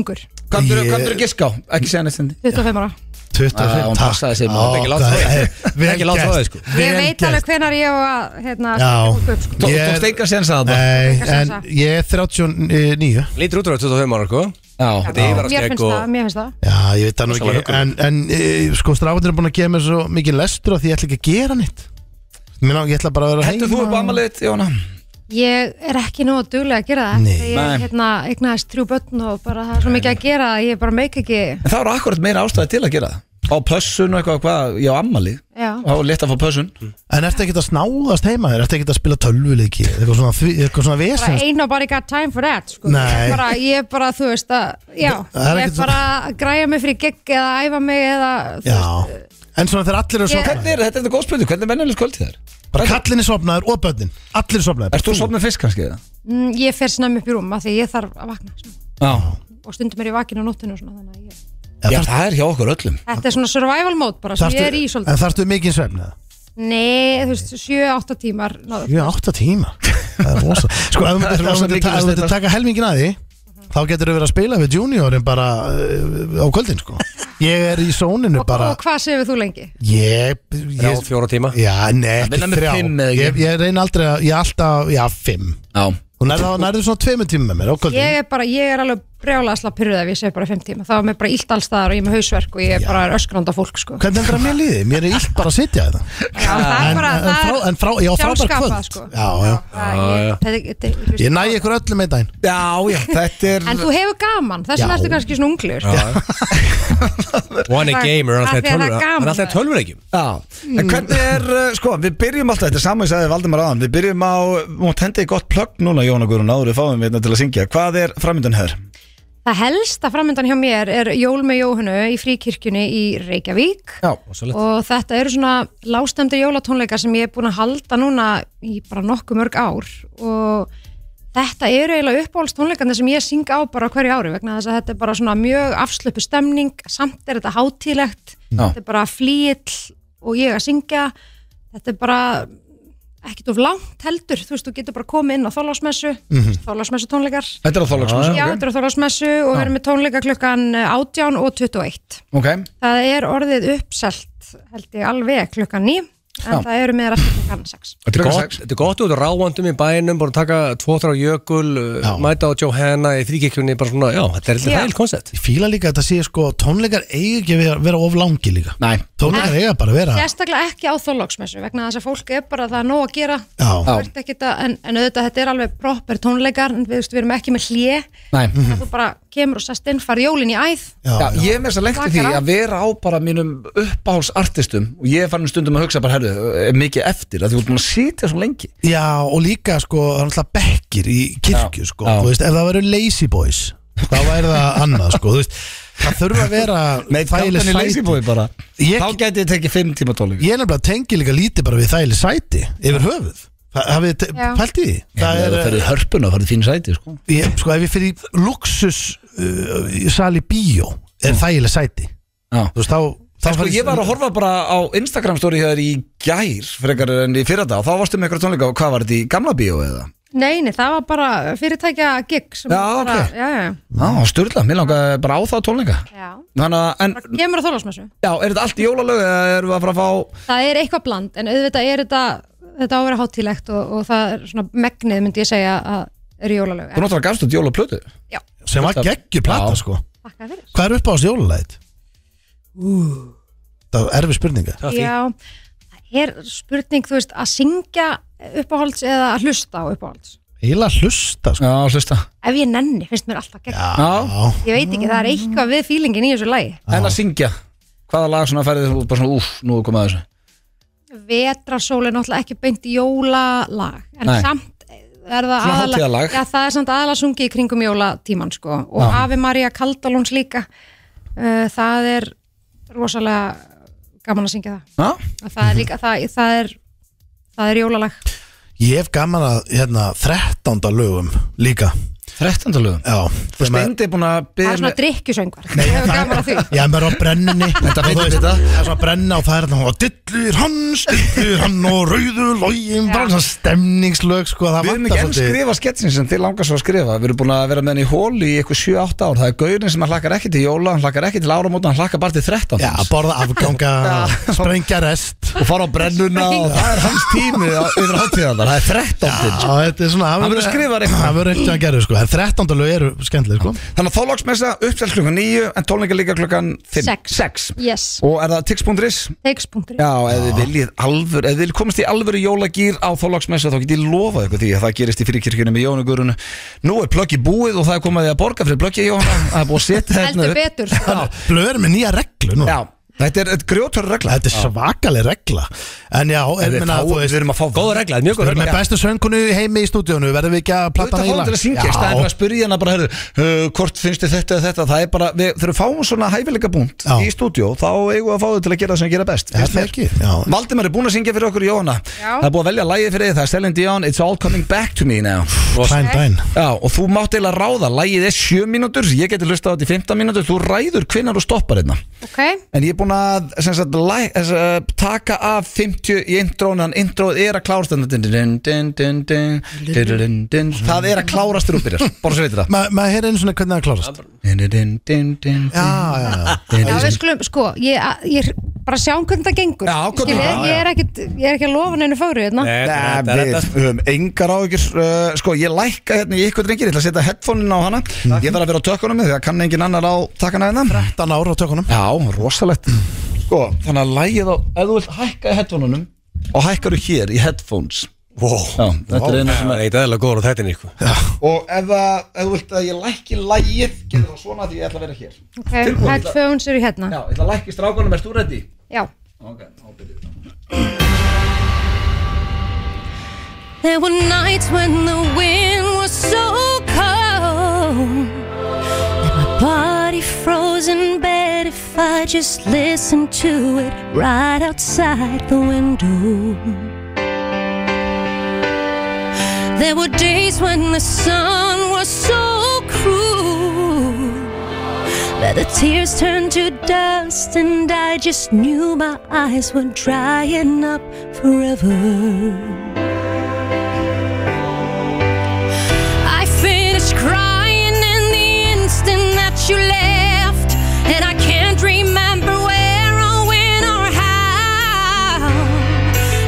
H: ungur?
A: Hvað
B: Ég-
A: er að giska á? Ekki segja neitt hindi
H: 25 ára.
B: 25,
A: Já, hún
B: takk.
A: passaði sig,
B: Já,
A: maður. Ekki láta
B: það
A: það.
B: er- vel
C: Ekki láta
B: gert.
C: það, sko.
H: Ég
B: Vel
H: veit
B: gert.
H: alveg hvenar ég á að, hérna,
B: Já.
H: stakka upp, sko.
A: Tókst
B: Ég-
A: enga séns að það
B: Nei,
H: Engan
B: en
H: sénsa.
B: ég er 39
C: Lítur út á 25 ára, sko
A: Já, Já.
C: Þetta er
H: Mér
C: yfirraskegg
H: finnst
C: og
H: það, mér finnst það
B: Já, ég veit það nú
C: Rosalega
B: ekki En, en e, sko, stráðin er búin að gefa mér svo mikið lestur og því ég ætla ekki að gera nýtt Mér ná, ég ætla bara að vera
A: Hættu þú upp ammaliðið, Jóna?
H: Ég er ekki nóg duglega að gera það
B: Nei.
H: Þegar Ég
A: Nei.
H: hérna, eignaðist þrjú börn og bara það er svo mikið að gera að Ég bara meik ekki
A: En það eru akkurat meira ástæði til að gera það Á pössun og eitthvað, hvað, já, ammalið
H: Já,
A: Þá er létt að fá pössun
B: En ertu ekki að snáðast heima þér? Ertu ekki að spila tölvuleiki? Eitthvað svona, því- eitthvað svona
H: bara
B: vesens?
H: eina bara got time for that sko.
B: Nei.
H: bara, Ég er bara, þú veist að Já,
B: Það er ekkert
H: ég er
B: svo-
H: bara að græja mig fyrir gegg eða æfa mig eða þú
B: Já
H: veist,
B: En svona þegar allir eru
H: Ég-
B: sofnaðir
A: Hvernig er þetta, þetta er góð spurning, hvernig er mennulegt kvöld í þær?
B: Bara kallin er sofnaður og börnin Allir eru sofnaður
A: Erst þú sofnið fyrst kannski eða?
H: mm, Ég fer snemma upp í rúm af því ég þarf að vakna sko. svona.
A: Já,
H: og stundum er ég vakin á nóttinu og svona, þannig að ég,
A: já
B: Já,
A: það er hjá okkur öllum
H: Þetta er svona survival mode bara sem ég er í
B: þarftu,
H: svolítið
B: en þarftu mikið svefn eða?
H: Nei, þú veist, 7-8 tímar náðu.
B: Ég er átta tíma Það er rosa Sko,
A: Það
B: ef þú
A: er
B: myndir- ef
A: rosa
B: þú myndir
A: mikið
B: ta- ef þú myndir
A: þetta.
B: taka helmingin að því Þá getur þú verið að spila við juniorin bara uh, á kvöldin sko Ég er í sóninu
H: Og,
B: bara
H: og hvað segir þú lengi?
B: Ég,
C: þrjá,
B: ég
C: fjóra tíma
B: Já, nei,
A: vinna
B: ekki
A: með
B: þrjá
A: fimm eða ekki?
B: ég, ég reyni aldrei að, ég er alltaf, já, fimm
A: Já,
B: Þú nærðu nærðu svona tveimur tímum með mér á kvöldin
H: Ég er bara, ég er alveg brjálega slá pyrruð ef ég segi bara 5 tíma, þá er mér bara illt alls staðar og ég er með hausverk og ég er bara öskranda fólk sko.
B: Hvernig endur að mér líði? Mér er illt bara að sitja hérna. þetta
H: Já, það er
B: En,
H: bara,
B: en,
H: það
B: frá, en
H: er
B: frá, já, frábær
H: sjálfskapað,
B: kvöld
H: sko.
B: Já, já
H: það ég- þetta- þetta- þú veist-
B: Ég næ ykkur öllum einn daginn
A: já, já þetta er
H: En þú hefur gaman, þess
B: Já.
H: vegna ertu kannski svona unglegur sko.
C: One a
H: Það-
C: gamer, hann
H: af
C: alltaf
H: því að það er
C: tölvur hann
H: gaman.
C: alltaf tölvuleikjum
A: Já, en hvernig er, uh, sko, við byrjum alltaf, þetta er samansæði Valdimar aðan, við byrjum á, mútt hendi í gott plögg núna Jóna Guðrún áður við fáum hérna til að syngja, hvað er framöndan hefur?
H: Það helsta framöndan hjá mér er Jól með Jóhannu í fríkirkjunni í Reykjavík
A: Já,
H: og þetta eru svona lástemdir jólatónleikar sem ég er búin að halda núna í bara nokkuð mörg ár og þetta eru eiginlega uppáhaldstónleikarnir sem ég syng á bara á hverju ári vegna þess að þetta er bara svona mjög afslöpu stemning samt er þetta hátílegt þetta er bara flýill og ég að syngja þetta er bara ekkert of langt heldur, þú veist, þú getur bara komið inn á þólásmessu, mm tónleikar
A: þetta er á þálagsmessu,
H: já, þetta er á þólásmessu og við erum með tónleika klukkan eh, 18 og 21
A: ok,
H: Það er orðið uppselt held ég alveg klukkan ný en það eru með rætti klukkan 6
A: þetta er
C: Gott- Þetta er gott út ráandum í bænum bara taka tvo, þrjá jökul uh, mæta á Johanna í fríkirkjunni bara svona, já, þetta er eitthvað
H: Já.
C: hægilt koncept
B: Ég fíla líka að þetta sé sko Tónleikar eigi ekki að vera- vera of langi líka
A: Nei,
B: Tónleikar eiga bara að vera
H: Sérstaklega ekki á þóloksmessu vegna þess að fólk er bara það er nóg að gera
B: Já,
H: Þú ert ekkit að, en, en auðvitað þetta er alveg proper tónleikar en við, veist, við erum ekki með hlje
A: nei,
H: mm. þú bara kemur og sest inn, farið jólin í æð
B: já,
A: Já,
B: já
A: ég er með þess að lengti því
H: Slakar á.
A: að vera á bara mínum uppáhalsartistum og ég er farin stundum að hugsa bara, herru, er mikið eftir að því þú ert búin að sitja svo lengi
B: Já, og líka sko, það er alltaf bekkir í kirkju
A: Já,
B: sko
A: já.
B: Þú veist, ef það veru lazy boys Þá væri það annað sko, þú veist Það þurfa að vera þægileg
A: í
B: sæti.
A: leysibóði bara
B: Ég-
A: Þá gæti ég tekið 5 tíma tónleika
B: Ég er nefnilega tengi líka lítið bara við þægileg sæti Yfir höfuð Ha- Hafið þið
H: Já.
B: pælt í því?
A: Það er það fyrir hörpuna, það fyrir þín sæti sko.
B: ég, sko, ef ég fyrir í luxus uh, í sal í bíó er þægileg sæti
A: Mm. Já.
B: þú veist, þá, þá
A: Sko,
B: færðu-
A: ég var að horfa bara á Instagram story hér í gær frekar enn í fyrradag og þá varstu með eitthvað tónleika og hvað var þetta í gamla bíó eða?
H: Nei, nei, það var bara fyrirtækja gig sem
A: Já,
H: bara,
A: ok.
H: já, já,
A: Já, styrla, mér langaði bara á það tónleika
H: já
A: Þannig að, en,
H: bara kemur á þólasmessu
A: já, er þetta allt í jólalög eða erum við að fara að fá
H: Það er eitthvað bland, en auðvitað er þetta þetta á að vera hátílegt og, og það er svona megnið myndi ég segja að er jólalög
A: Þú náttúrulega gafst út jólaplötu
H: Já,
B: sem var geggjur plata
A: Já.
B: sko
H: þakka fyrir
B: hvað er upp á þessu jólulæt? það er erfi spurninga
H: Já, það er spurning, þú veist, að syngja uppáhalds eða að hlusta á uppáhalds
B: heila hlusta sko.
A: Já, hlusta
H: Ef ég nenni, finnst mér alltaf gegn
A: Já.
H: Ég veit ekki, það er eitthvað við fílingin í þessu lagi
A: en að syngja hvaða lag svona færið þú bara svona úf, nú er komið að þessu
H: Vetrasól er náttúrulega ekki beint jólalag En
A: Nei.
H: samt er það
A: Svona
H: aðalega-
A: hátíðarlag.
H: Já, það er samt aðalega sungið í kringum jólatíman sko. Og Afi Maria Kaldalóns líka uh, Það er rosalega gaman að syngja það
A: Já,
H: Og Það er líka, það, það er Það er jólalag
B: ég hef gaman að hérna, 13. lögum líka
A: 13. lögum
B: já,
A: Þú
B: þegar maður-
A: steindi búin að
H: Það
A: byrja
H: er svona drikkjusöngvar Ég hefur gaman að því
B: Já, maður er á brennunni Þetta
A: veit
B: veist, þetta Það er svona að brenna og það er þannig Dillir hann, stillir hann og rauður login Bara svona stemningslög sko það
A: Við erum
B: vantar
A: ekki enn
B: svolítið-
A: skrifa sketsin sem þið langar svo að skrifa Við erum búin að vera með henni í hól í eitthvað 7-8 ár Það er gaurin sem hann hlakkar ekki til jóla Hann hlakkar ekki til áramóta, hann hlakkar bara til 13
B: Já, borða afganga, sprengja rest
A: Og fara á brennuna og það er hans tími á- Yfir hátíðanar, það er 13
B: Já, þetta er svona
A: Hann verður skrifari.
B: Það verður eitthvað að gera sko en 13. lög eru skemmtileg sko.
A: Þannig að þólagsmessa uppsett klukkan 9 en tónleika líka klukkan 5
H: Sex. Yes,
A: Og er það tix.is?
H: teikspunktur
A: Já, ef þið viljið alvör, ef þið viljið komast í alvöru jólagýr á Þólagsmessa þá get ég lofað ykkur því að það gerist í fyrirkirkjunni með Jónugurunu. Nú er plöggi búið og það er komið að því að borga fyrir plöggi Jóhanna, það er búið að setja hérna
H: Heldur
A: upp.
H: betur sko.
B: Blöð er með nýja reglu nú
A: Já, þetta er grjótur regla.
B: Þetta er svakaleg regla En já, er,
A: Við
B: menna,
A: fáum-
B: þú
A: við
B: veist
A: erum að fá
C: Góða regla, þetta er mjög
A: Sko,
C: góð
B: Við erum
C: regla
B: með bestu söngunu heimi í stúdíónu Verðum við ekki að platta
A: Þetta
B: hana í
A: fórum
B: lag?
A: til að syngja, í staðinn fyrir að spyrja hana bara, heyrðu, uh, hvort finnst þið þetta eða þetta, það er bara, við, þegar við fáum svona hæfileika búnt
B: Já.
A: í stúdjó, þá eigum við að fá þau til að gera það sem gera best,
B: Er það ekki? Já.
A: Valdimar er búin að syngja fyrir okkur Jóhanna,
H: Já.
A: það er búin að velja lagið fyrir þið, það er Celine Dion, It's All Coming Back To Me Now.
B: Fæn dæn
A: Já, og þú mátt eiginlega ráða, lægið er 7 mínútur, ég geti lustað á þetta í 15 mínútur, þú ræður hvinnar og stoppar hérna.
H: Ok,
A: En ég er búinn að sem sagt, læ, þess, uh, taka af 50 í intrónan, intróð er að klárast þarna. Dun, dun, dun, dun, dun, dun, dun, dun, dun. Það er að klárast þér útbyrjar, bara svo veitir það.
B: Ma- Maður heyrir einu svona hvernig það klárast
A: Dun, dun, dun, dun,
B: Já,
A: dun.
B: já, já
H: já við skulum, sko ég, ég bara sjáum hvernig það gengur
A: Já, hvernig-
H: Skilur, ég, ég, er ekkit, ég er ekki að lofa neinu fóru hérna
C: Nei,
A: Nei,
C: þetta er
A: við
C: þetta
A: höfum engar áhyggjur uh, Sko, ég lækka hérna í ykkur drengir Ég ætla að setja headphonein á hana Ég þarf að vera á tökkunum því að kann engin annar á takkana hérna
B: 13 ára á tökunum
A: Já, rosalegt Sko, þannig að lægið á Ef þú vilt hækka í headphoneunum Og hækkaru hér í headphones
C: Wow,
A: Já, þetta er eina
C: það
A: svona
C: er eitt eðla góður á þetta
A: sko.
C: nýku
A: Og ef, það, ef þú vilt að ég lækki lægið Getur það svona því ég ætla að vera hér Já,
H: okay,
A: Tilbúin.
H: Headphones eru hérna
A: ég ætla að lækki strákunum, erst þú ready?
H: Já.
A: Ok, ábyrðið
I: There were nights when the wind was so cold that my body froze in bed if I just listened to it right outside the window. There were days when the sun was so cruel that the tears turned to dust and I just knew my eyes were drying up forever. I finished crying in the instant that you left, and I can't remember where or when or how.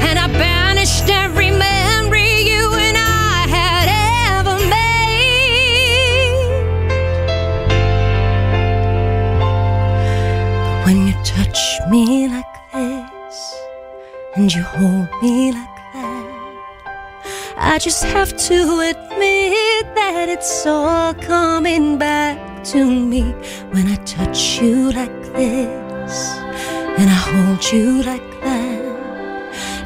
I: And I banished every memory you and I had ever made. When you touch me like this, and you hold me like that. I just have to admit that it's all coming back to me when I touch you like this and I hold you like that.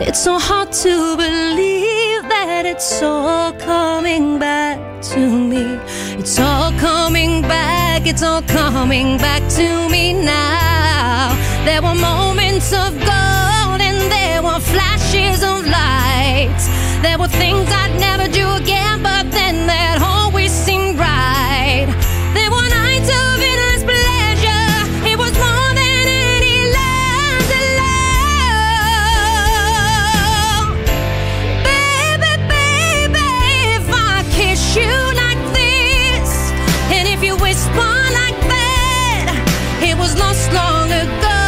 I: It's so hard to believe that it's all coming back to me. It's all coming back, it's all coming back to me now. There were moments of gold and there were flashes of light. There were things I'd never do again, but then that always seemed right. There were nights of endless pleasure. It was more than any land alone. Baby, baby, if I kiss you like this, and if you whisper like that, it was lost long ago,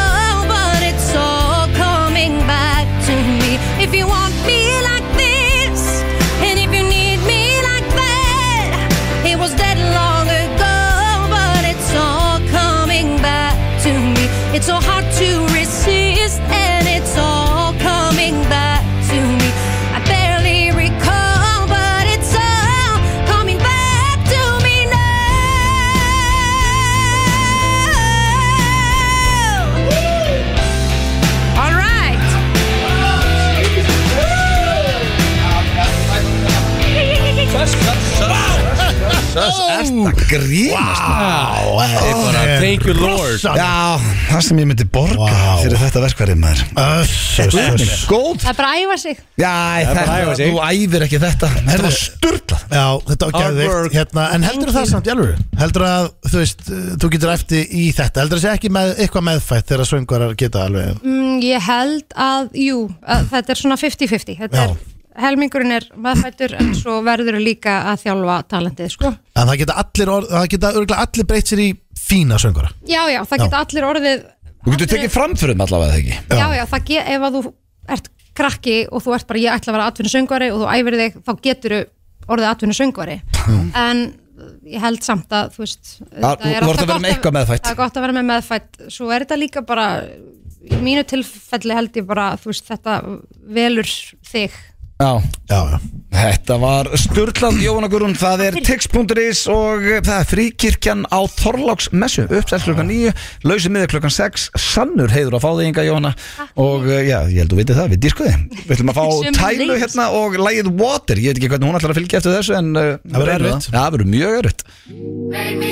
I: but it's all coming back to me. If you want me like this, and if you need me like that, it was dead long ago, but it's all coming back to me. It's so hard to resist, and it's all coming back to me. I barely recall, but it's all coming back to me now. All right.
A: Þetta grínast
C: Þetta er bara, thank you lord
B: Rossa
A: Já, það sem ég myndi borga
B: Vá.
A: Fyrir þetta verkvarðið maður
B: Öss, öss, öss.
A: Góð
H: Það er bara að æfa sig
A: Já, þetta,
C: hæfa sig.
A: þú æfir ekki þetta Þetta var sturglað
B: Já, þetta var
C: Hard
B: gæðvikt
C: work.
B: hérna, En heldur það samt, jálfur Heldur að, þú veist, eh, þú getur eftir í þetta Heldur það sé ekki með, eitthvað meðfætt Þegar söngvarar geta alveg
H: mm, Ég held að, jú, að þetta er svona 50-50 Þetta
B: Já.
H: er, helmingurinn er maðfættur en svo verður líka að þjálfa talentið, sko
B: En það geta allir, orð, það geta örgulega allir breytt sér í fína söngvara
H: Já, já, það geta allir orðið
A: Þú getur tekið framförum allavega eða ekki
H: Já, já, það get, ef að þú ert krakki og þú ert bara, ég ætla að vera atvinnusöngvari og þú æfir þig, þá getur orðið atvinnusöngvari en eh, ég held samt að þú veist
A: Ja,
H: það er
A: þú
H: alltaf
A: ert að vera
H: gott
A: með eitthvað meðfætt.
H: það er gott að vera með meðfætt, svo er þetta líka bara í mínu tilfelli held ég bara þú veist, þetta velur þig
A: Já,
B: já, já.
A: Þetta var Sturland Jóhanna Gurun, það er tix.is og eh, það er fríkirkjan á Þorláksmessu, uppsett klukkan 9 lausið miður klukkan 6, sannur heiður að fá þig Inga Jóhanna og eh, já, ég held að þú veitir það, við dýrkuði Við ætlum að fá
H: Sömuleiðis.
A: tælu hérna og lægið Water, ég veit ekki hvernig hún ætlar að fylgja eftir þessu en eh,
B: Það verður
A: Já,
B: erfitt.
A: það verður mjög erfitt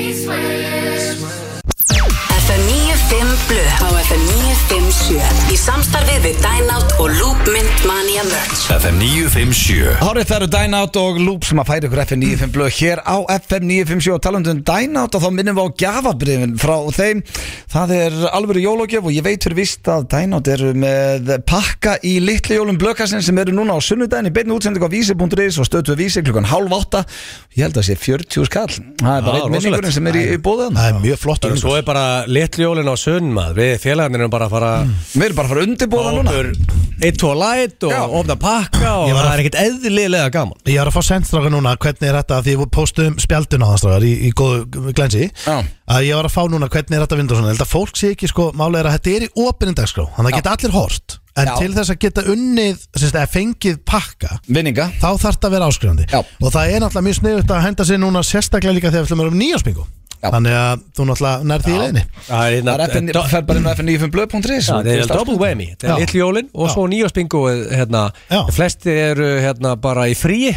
G: FM 95 Blu á FM 957 í samstarfið við Dynout og Loop Mint Mania Merch
J: FM 957
A: Hárið það eru Dynout og Loop sem að færa ykkur FM 95 blöð hér á FM 957 og talandi um Dynout og þá minnum við á gafabrifin frá þeim það er alvöru jólogjöf og ég veit fyrir vist að Dynout eru með pakka í litli jólum blöðkassin sem eru núna á sunnudaginn í beinni útsending á vísi.is og stöðtu vísi klukkan halv átta ég held að sé 40 skall það er bara
C: Já,
A: einn minningurinn sem er í, í bóðan
B: það er mjög flott
C: Svo er bara litljólinna á sunn maður Við félagarnir erum bara að fara
A: við erum bara að fara undirbóða núna
C: Eitt og læt
A: Já.
C: og ofna pakka
B: Ég var
C: og
B: að-
C: það er ekkert eðlilega gaman
B: Ég var að fá sendstráka núna hvernig er þetta því við postum spjaldun á það strákar í, í góðu glensi
A: Já.
B: að ég var að fá núna hvernig er þetta vindur og svona, held að fólk sé ekki sko málega er að þetta er í opinni dagskrá þannig að geta allir hort en
A: Já.
B: til þess að geta unnið sérst, að fengið pakka
A: vinninga
B: þá þarf þetta að vera áskrifandi
A: Já.
B: og það er náttúrulega mjög sniðut að henda sér núna sérstaklega líka þegar við ætlum að vera um nýjáspingu
A: Já.
B: þannig að þú náttúrulega nærð því í leginni
C: Það er hérna-
A: það er FN,
C: do-
A: fer bara inn á fm9.is
C: Já, það er double whammy, þetta
B: hérna Já.
C: er litljólin og svo nýjáspingu hérna,
B: Já.
C: flestir eru hérna, bara í fríi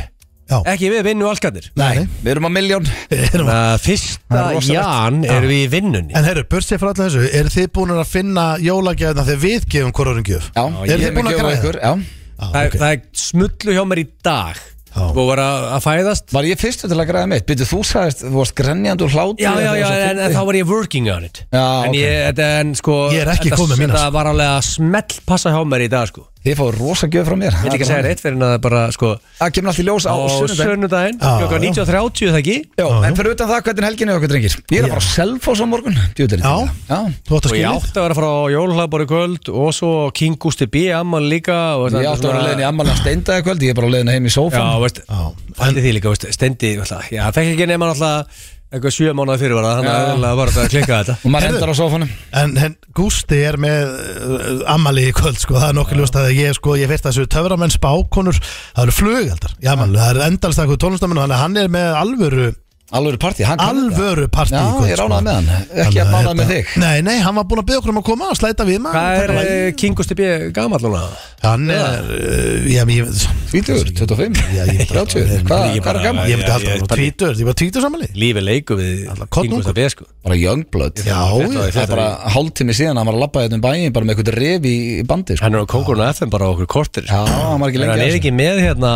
B: Já.
C: ekki við vinnu allskarnir
B: Nei.
A: við erum á miljón
B: Erum-
C: uh,
B: Það
C: Fyrsta
B: er rosalegt.
C: jan
B: Já.
C: eru við í vinnunni
B: En herru, börsið frá allir þessu, eru þið búin að finna jólagjafna þegar við gefum hvororinn gjöf?
A: Já,
B: Eru
A: ég
B: þið
A: hef
B: búin að
A: gjöf á
B: græða?
A: ykkur, já.
B: Já,
C: það,
B: ok.
C: okay. það er smullu hjá mér í dag
B: Já.
C: og var að, að fæðast
A: Var ég fyrstu til að græða mitt? Býttu þú sagðist, þú varst grenjandi úr hlátur
C: Já, já, já, en, en þá var ég working on it
A: Já,
C: En,
A: ok.
C: ég, þetta- en sko
B: Ég er ekki
C: þetta-
B: komið með mína,
A: sko.
C: Þetta var alveg að smell passa hjá mér í dag sko
A: Þið fáið rosa gjöf frá mér
C: Ég vil ekki segja reitt fyrir en að bara sko
A: Það kemur allt í ljós á
C: á
A: sunnudaginn
C: sunnudaginn,
B: Já,
C: klokkan
B: já.
C: 19.30 er það ekki
A: Já,
B: Já,
A: en fyrir utan það, hvernig er helginni okkur drengir? Ég er að fara að selfa á morgun Djúdurinn
B: Já.
A: já
B: Þú átt að
C: Og ég
B: skilja
C: átti að vera að fara á jólhlaðbor í kvöld og svo King Gusti B. Amman líka og
A: Ég átti að vera leiðin í ammala steindaði kvöld Ég er bara á leiðin heim í
C: Já,
A: sófan
C: veist,
B: Já.
C: fætti því líka, veist, stendi alltaf, Já, það fekk ekki nema alltaf eitthvað sjö mánuði fyrirvara þannig að
A: Já.
C: það var bara að klikka
A: Og
C: þetta
A: maður
B: Heyrðu.
A: hendar á sófanum
B: En, en Gústi er með uh, ammali í kvöld sko, það er nokkuð ljóst að ég sko, ég veit þessu töframenn spákonur, það eru flugaldar í ammali, það eru endalstakku tónlistamenn þannig að hann er með alvöru,
A: Alvöru partí, hann kann þetta.
B: alvöru partí
A: Já,
B: í kvöld sko.
A: ég er ánað með hann Ekki
B: Þannig
A: að mánað
B: þetta-
A: með þig
B: Nei, nei, hann var búin að byggja okkur um að koma og slæta við maður
C: Hvað er
B: taka lagið.
C: eh, King Gusti B. gamall núna?
B: Hann er, uh, já, ég veit
A: Tvítugur, 25,
B: Já, ég veit
A: 30
B: alltaf-
A: Hvað hvað
C: ég
A: er
C: bara-
A: gaman?
B: Ég myndi
C: Já,
B: halda
C: ég
B: hann
C: bara-
B: tvítur, ég var tvítur sammali
C: Lífið leiku við
B: Alltaf
C: King
B: kollungur.
C: Gusti B. sko
A: Bara Youngblood
B: Já, já,
A: Það er bara hálftími síðan að maður labbaði þetta um bæin bara með eitthvað ref í í bandi sko.
C: Hann er á Kongurinn á FM bara á okkur kortir
A: Já, hann var ekki lengi
C: Hann
A: að
C: er
A: þessu.
C: ekki með hérna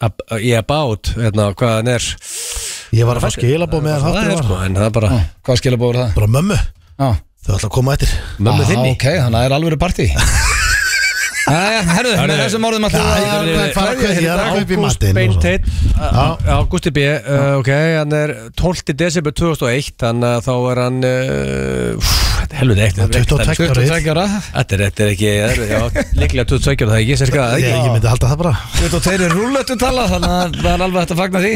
C: ab- í About, hérna, hvað hann er
B: Ég var að fá skilabóð með
C: Það er
B: hann
C: sko, en það er bara
A: Já, Hvað skilabóður það?
B: Bara mömmu,
A: Já.
B: þau ætla að koma eftir
C: mömmu
A: Ah,
C: þinni
A: ok, þannig að það er alvöru partí Jæja, herðu,
C: Herðu.
A: með þessum orðum
B: Já,
A: alltaf
B: ég
A: að
B: er að fara að kveðja, ég er að kaupa í matinn
C: Ágúst
B: og svo.
C: Beinteit Ágústi B, uh, ok, hann er 12. desember 2001 þannig að þá er hann uh, helviti eitt þetta er ekki-
B: 22 árið
A: 22 ára
C: þetta er, þetta er ekki, þetta er- já, líklega 22 ára, það er ekki, sérska það er
B: Ég,
C: ekki
B: ég myndi halda það bara
A: 22 er rúllötu tala, þannig að það er alveg hægt að fagna því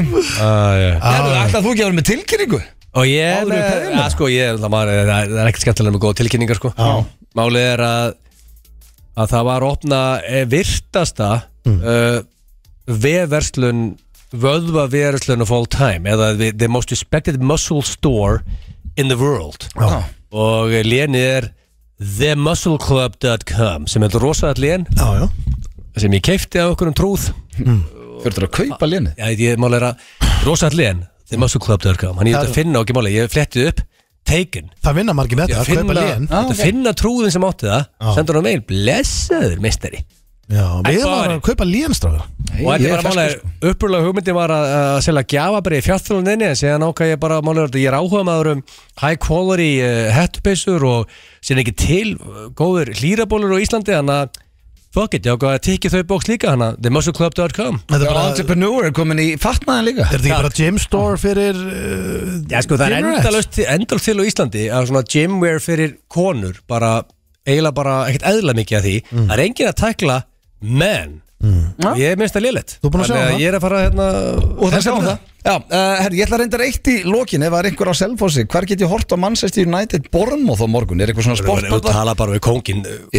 C: Ah, já.
A: Herðu, ætlað þú ekki að vera með tilkynningu?
C: og ég er
A: Áður
C: með,
A: við kveðjum
C: að, sko, ég, það, maður, það er- það er ekkert skemmtilega með góða tilkynningar sko. málið er að að það var opna eh, virtasta
A: Mm.
C: uh, veverslun vöðvaverslun of all time eða the, the most respected muscle store in the world
B: Já.
C: og eh, lénið er themuscleclub.com sem er rosaðat lén
B: Já, já
C: sem ég keipti af okkur um trúð
A: Fyrir að kaupa lénu
C: Já, ég mál er að rosaðat lén themuscleclub.com, hann ég þetta að finna og ekki máli ég fletti upp, taken
B: Það vinna margir með þetta,
C: Ég
B: að
C: finna,
B: kaupa lén
C: ah,
A: ok.
C: finna trúðin sem átti það
B: Já.
C: sendur hann á mail, blessaður meistari
B: Já, við
C: Æ,
B: varum
C: bara-
B: að kaupa lén stráður
C: og þetta er bara
A: sko.
C: málega,
B: sko.
C: upprúlega hugmyndin var að, að selja gjafabrið fjárþjóðaninni en síðan ákvað ég bara málega, ég er áhuga maður um high quality uh, hettubissur og síðan ekki til uh, góður hlýrabólur á Íslandi hann að fuck it, ég ákvað að tikið þau bóks líka hann að themuscleclub.com
B: Þetta er bara, er
A: Entrepreneur er komin í fatnaðin líka
B: þetta ekki bara gym store fyrir uh,
C: Já, sko, það er
B: gym rats?
C: endalaust til, endal til á Íslandi að svona gymwear fyrir konur bara, eiginlega bara ekkert eðla mikið af því það er engin að tækla menn mm. ég minnst það lélegt
B: Þú er búin að sjá
C: Þannig
B: það?
C: ég er að fara hérna
A: Og það sjáum það Já, uh, herri, ég ætla að reynda reitt í lokin ef það er einhver á selfósi, hvar get ég hort á Manchester United Bournemouth á morgun, er eitthvað svona sport
C: Þú tala bara við uh, kóngin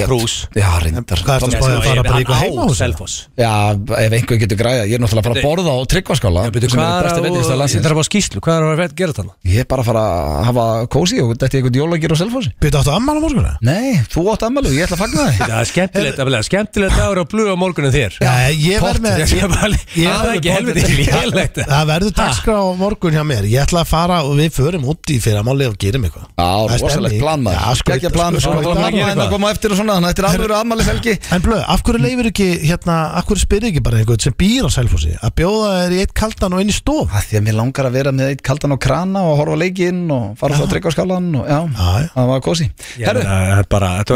C: Krús
A: Já, reyndar
B: Hvað ertu að spáði að fara bara í eitthvað heima á þessu?
C: Selfoss
A: Já, ef einhver getur græða, ég er náttúrulega bara að borða á tryggvaskála sem er besti veitingastað
C: Ég
A: landsins
C: þarf að skýslu, hvað er að vera að gera þarna?
A: Ég er bara að fara að hafa kósi og þetta er eitthvað jólagir á selfósi
B: Byrja áttu amman á morgunu?
A: Nei, þú átt ammælu, ég ætla að fagna þig
C: Það er skemmtilegt, það er skemmtilegt dagur á blöð á morgunum þér
B: Já, ég verð með
C: Ég er bara- Það er ekki helviti lélegt
B: Það verður dagskrá á morgun hjá mér Ég ætla að fara og við förum út í fyrramáli og gerum eitthvað
A: Já,
B: Það er
A: rosalegt
B: stemning.
A: plan maður
B: Já, sko,
A: Gekkja plan,
B: sko,
A: sko,
B: sko,
A: sko,
B: sko,
A: sko, sko, koma á eftir og svona Þannig að þetta er alveg ammæli selgi
B: En blöð, af hverju leifir ekki hérna, af hverju spyrir ekki bara einhvern sem býr á Selfossi að bjóða þér í eitt kaldan og inn í stof
A: Það því að mér langar að vera með eitt kaldan og krana og horfa á leikinn og fara svo að tryggja á skálan og já,
B: Já, já.
A: það var kósi Herru,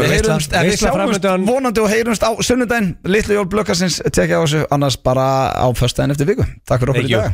C: Við
A: við heyrumst, en við sjáumst vonandi og heyrumst á sunnudaginn, litlu jól blökkarsins tekja á þessu, annars bara á föstudaginn eftir viku. Takk fyrir okkur
C: Thank
A: í
C: you.
A: dag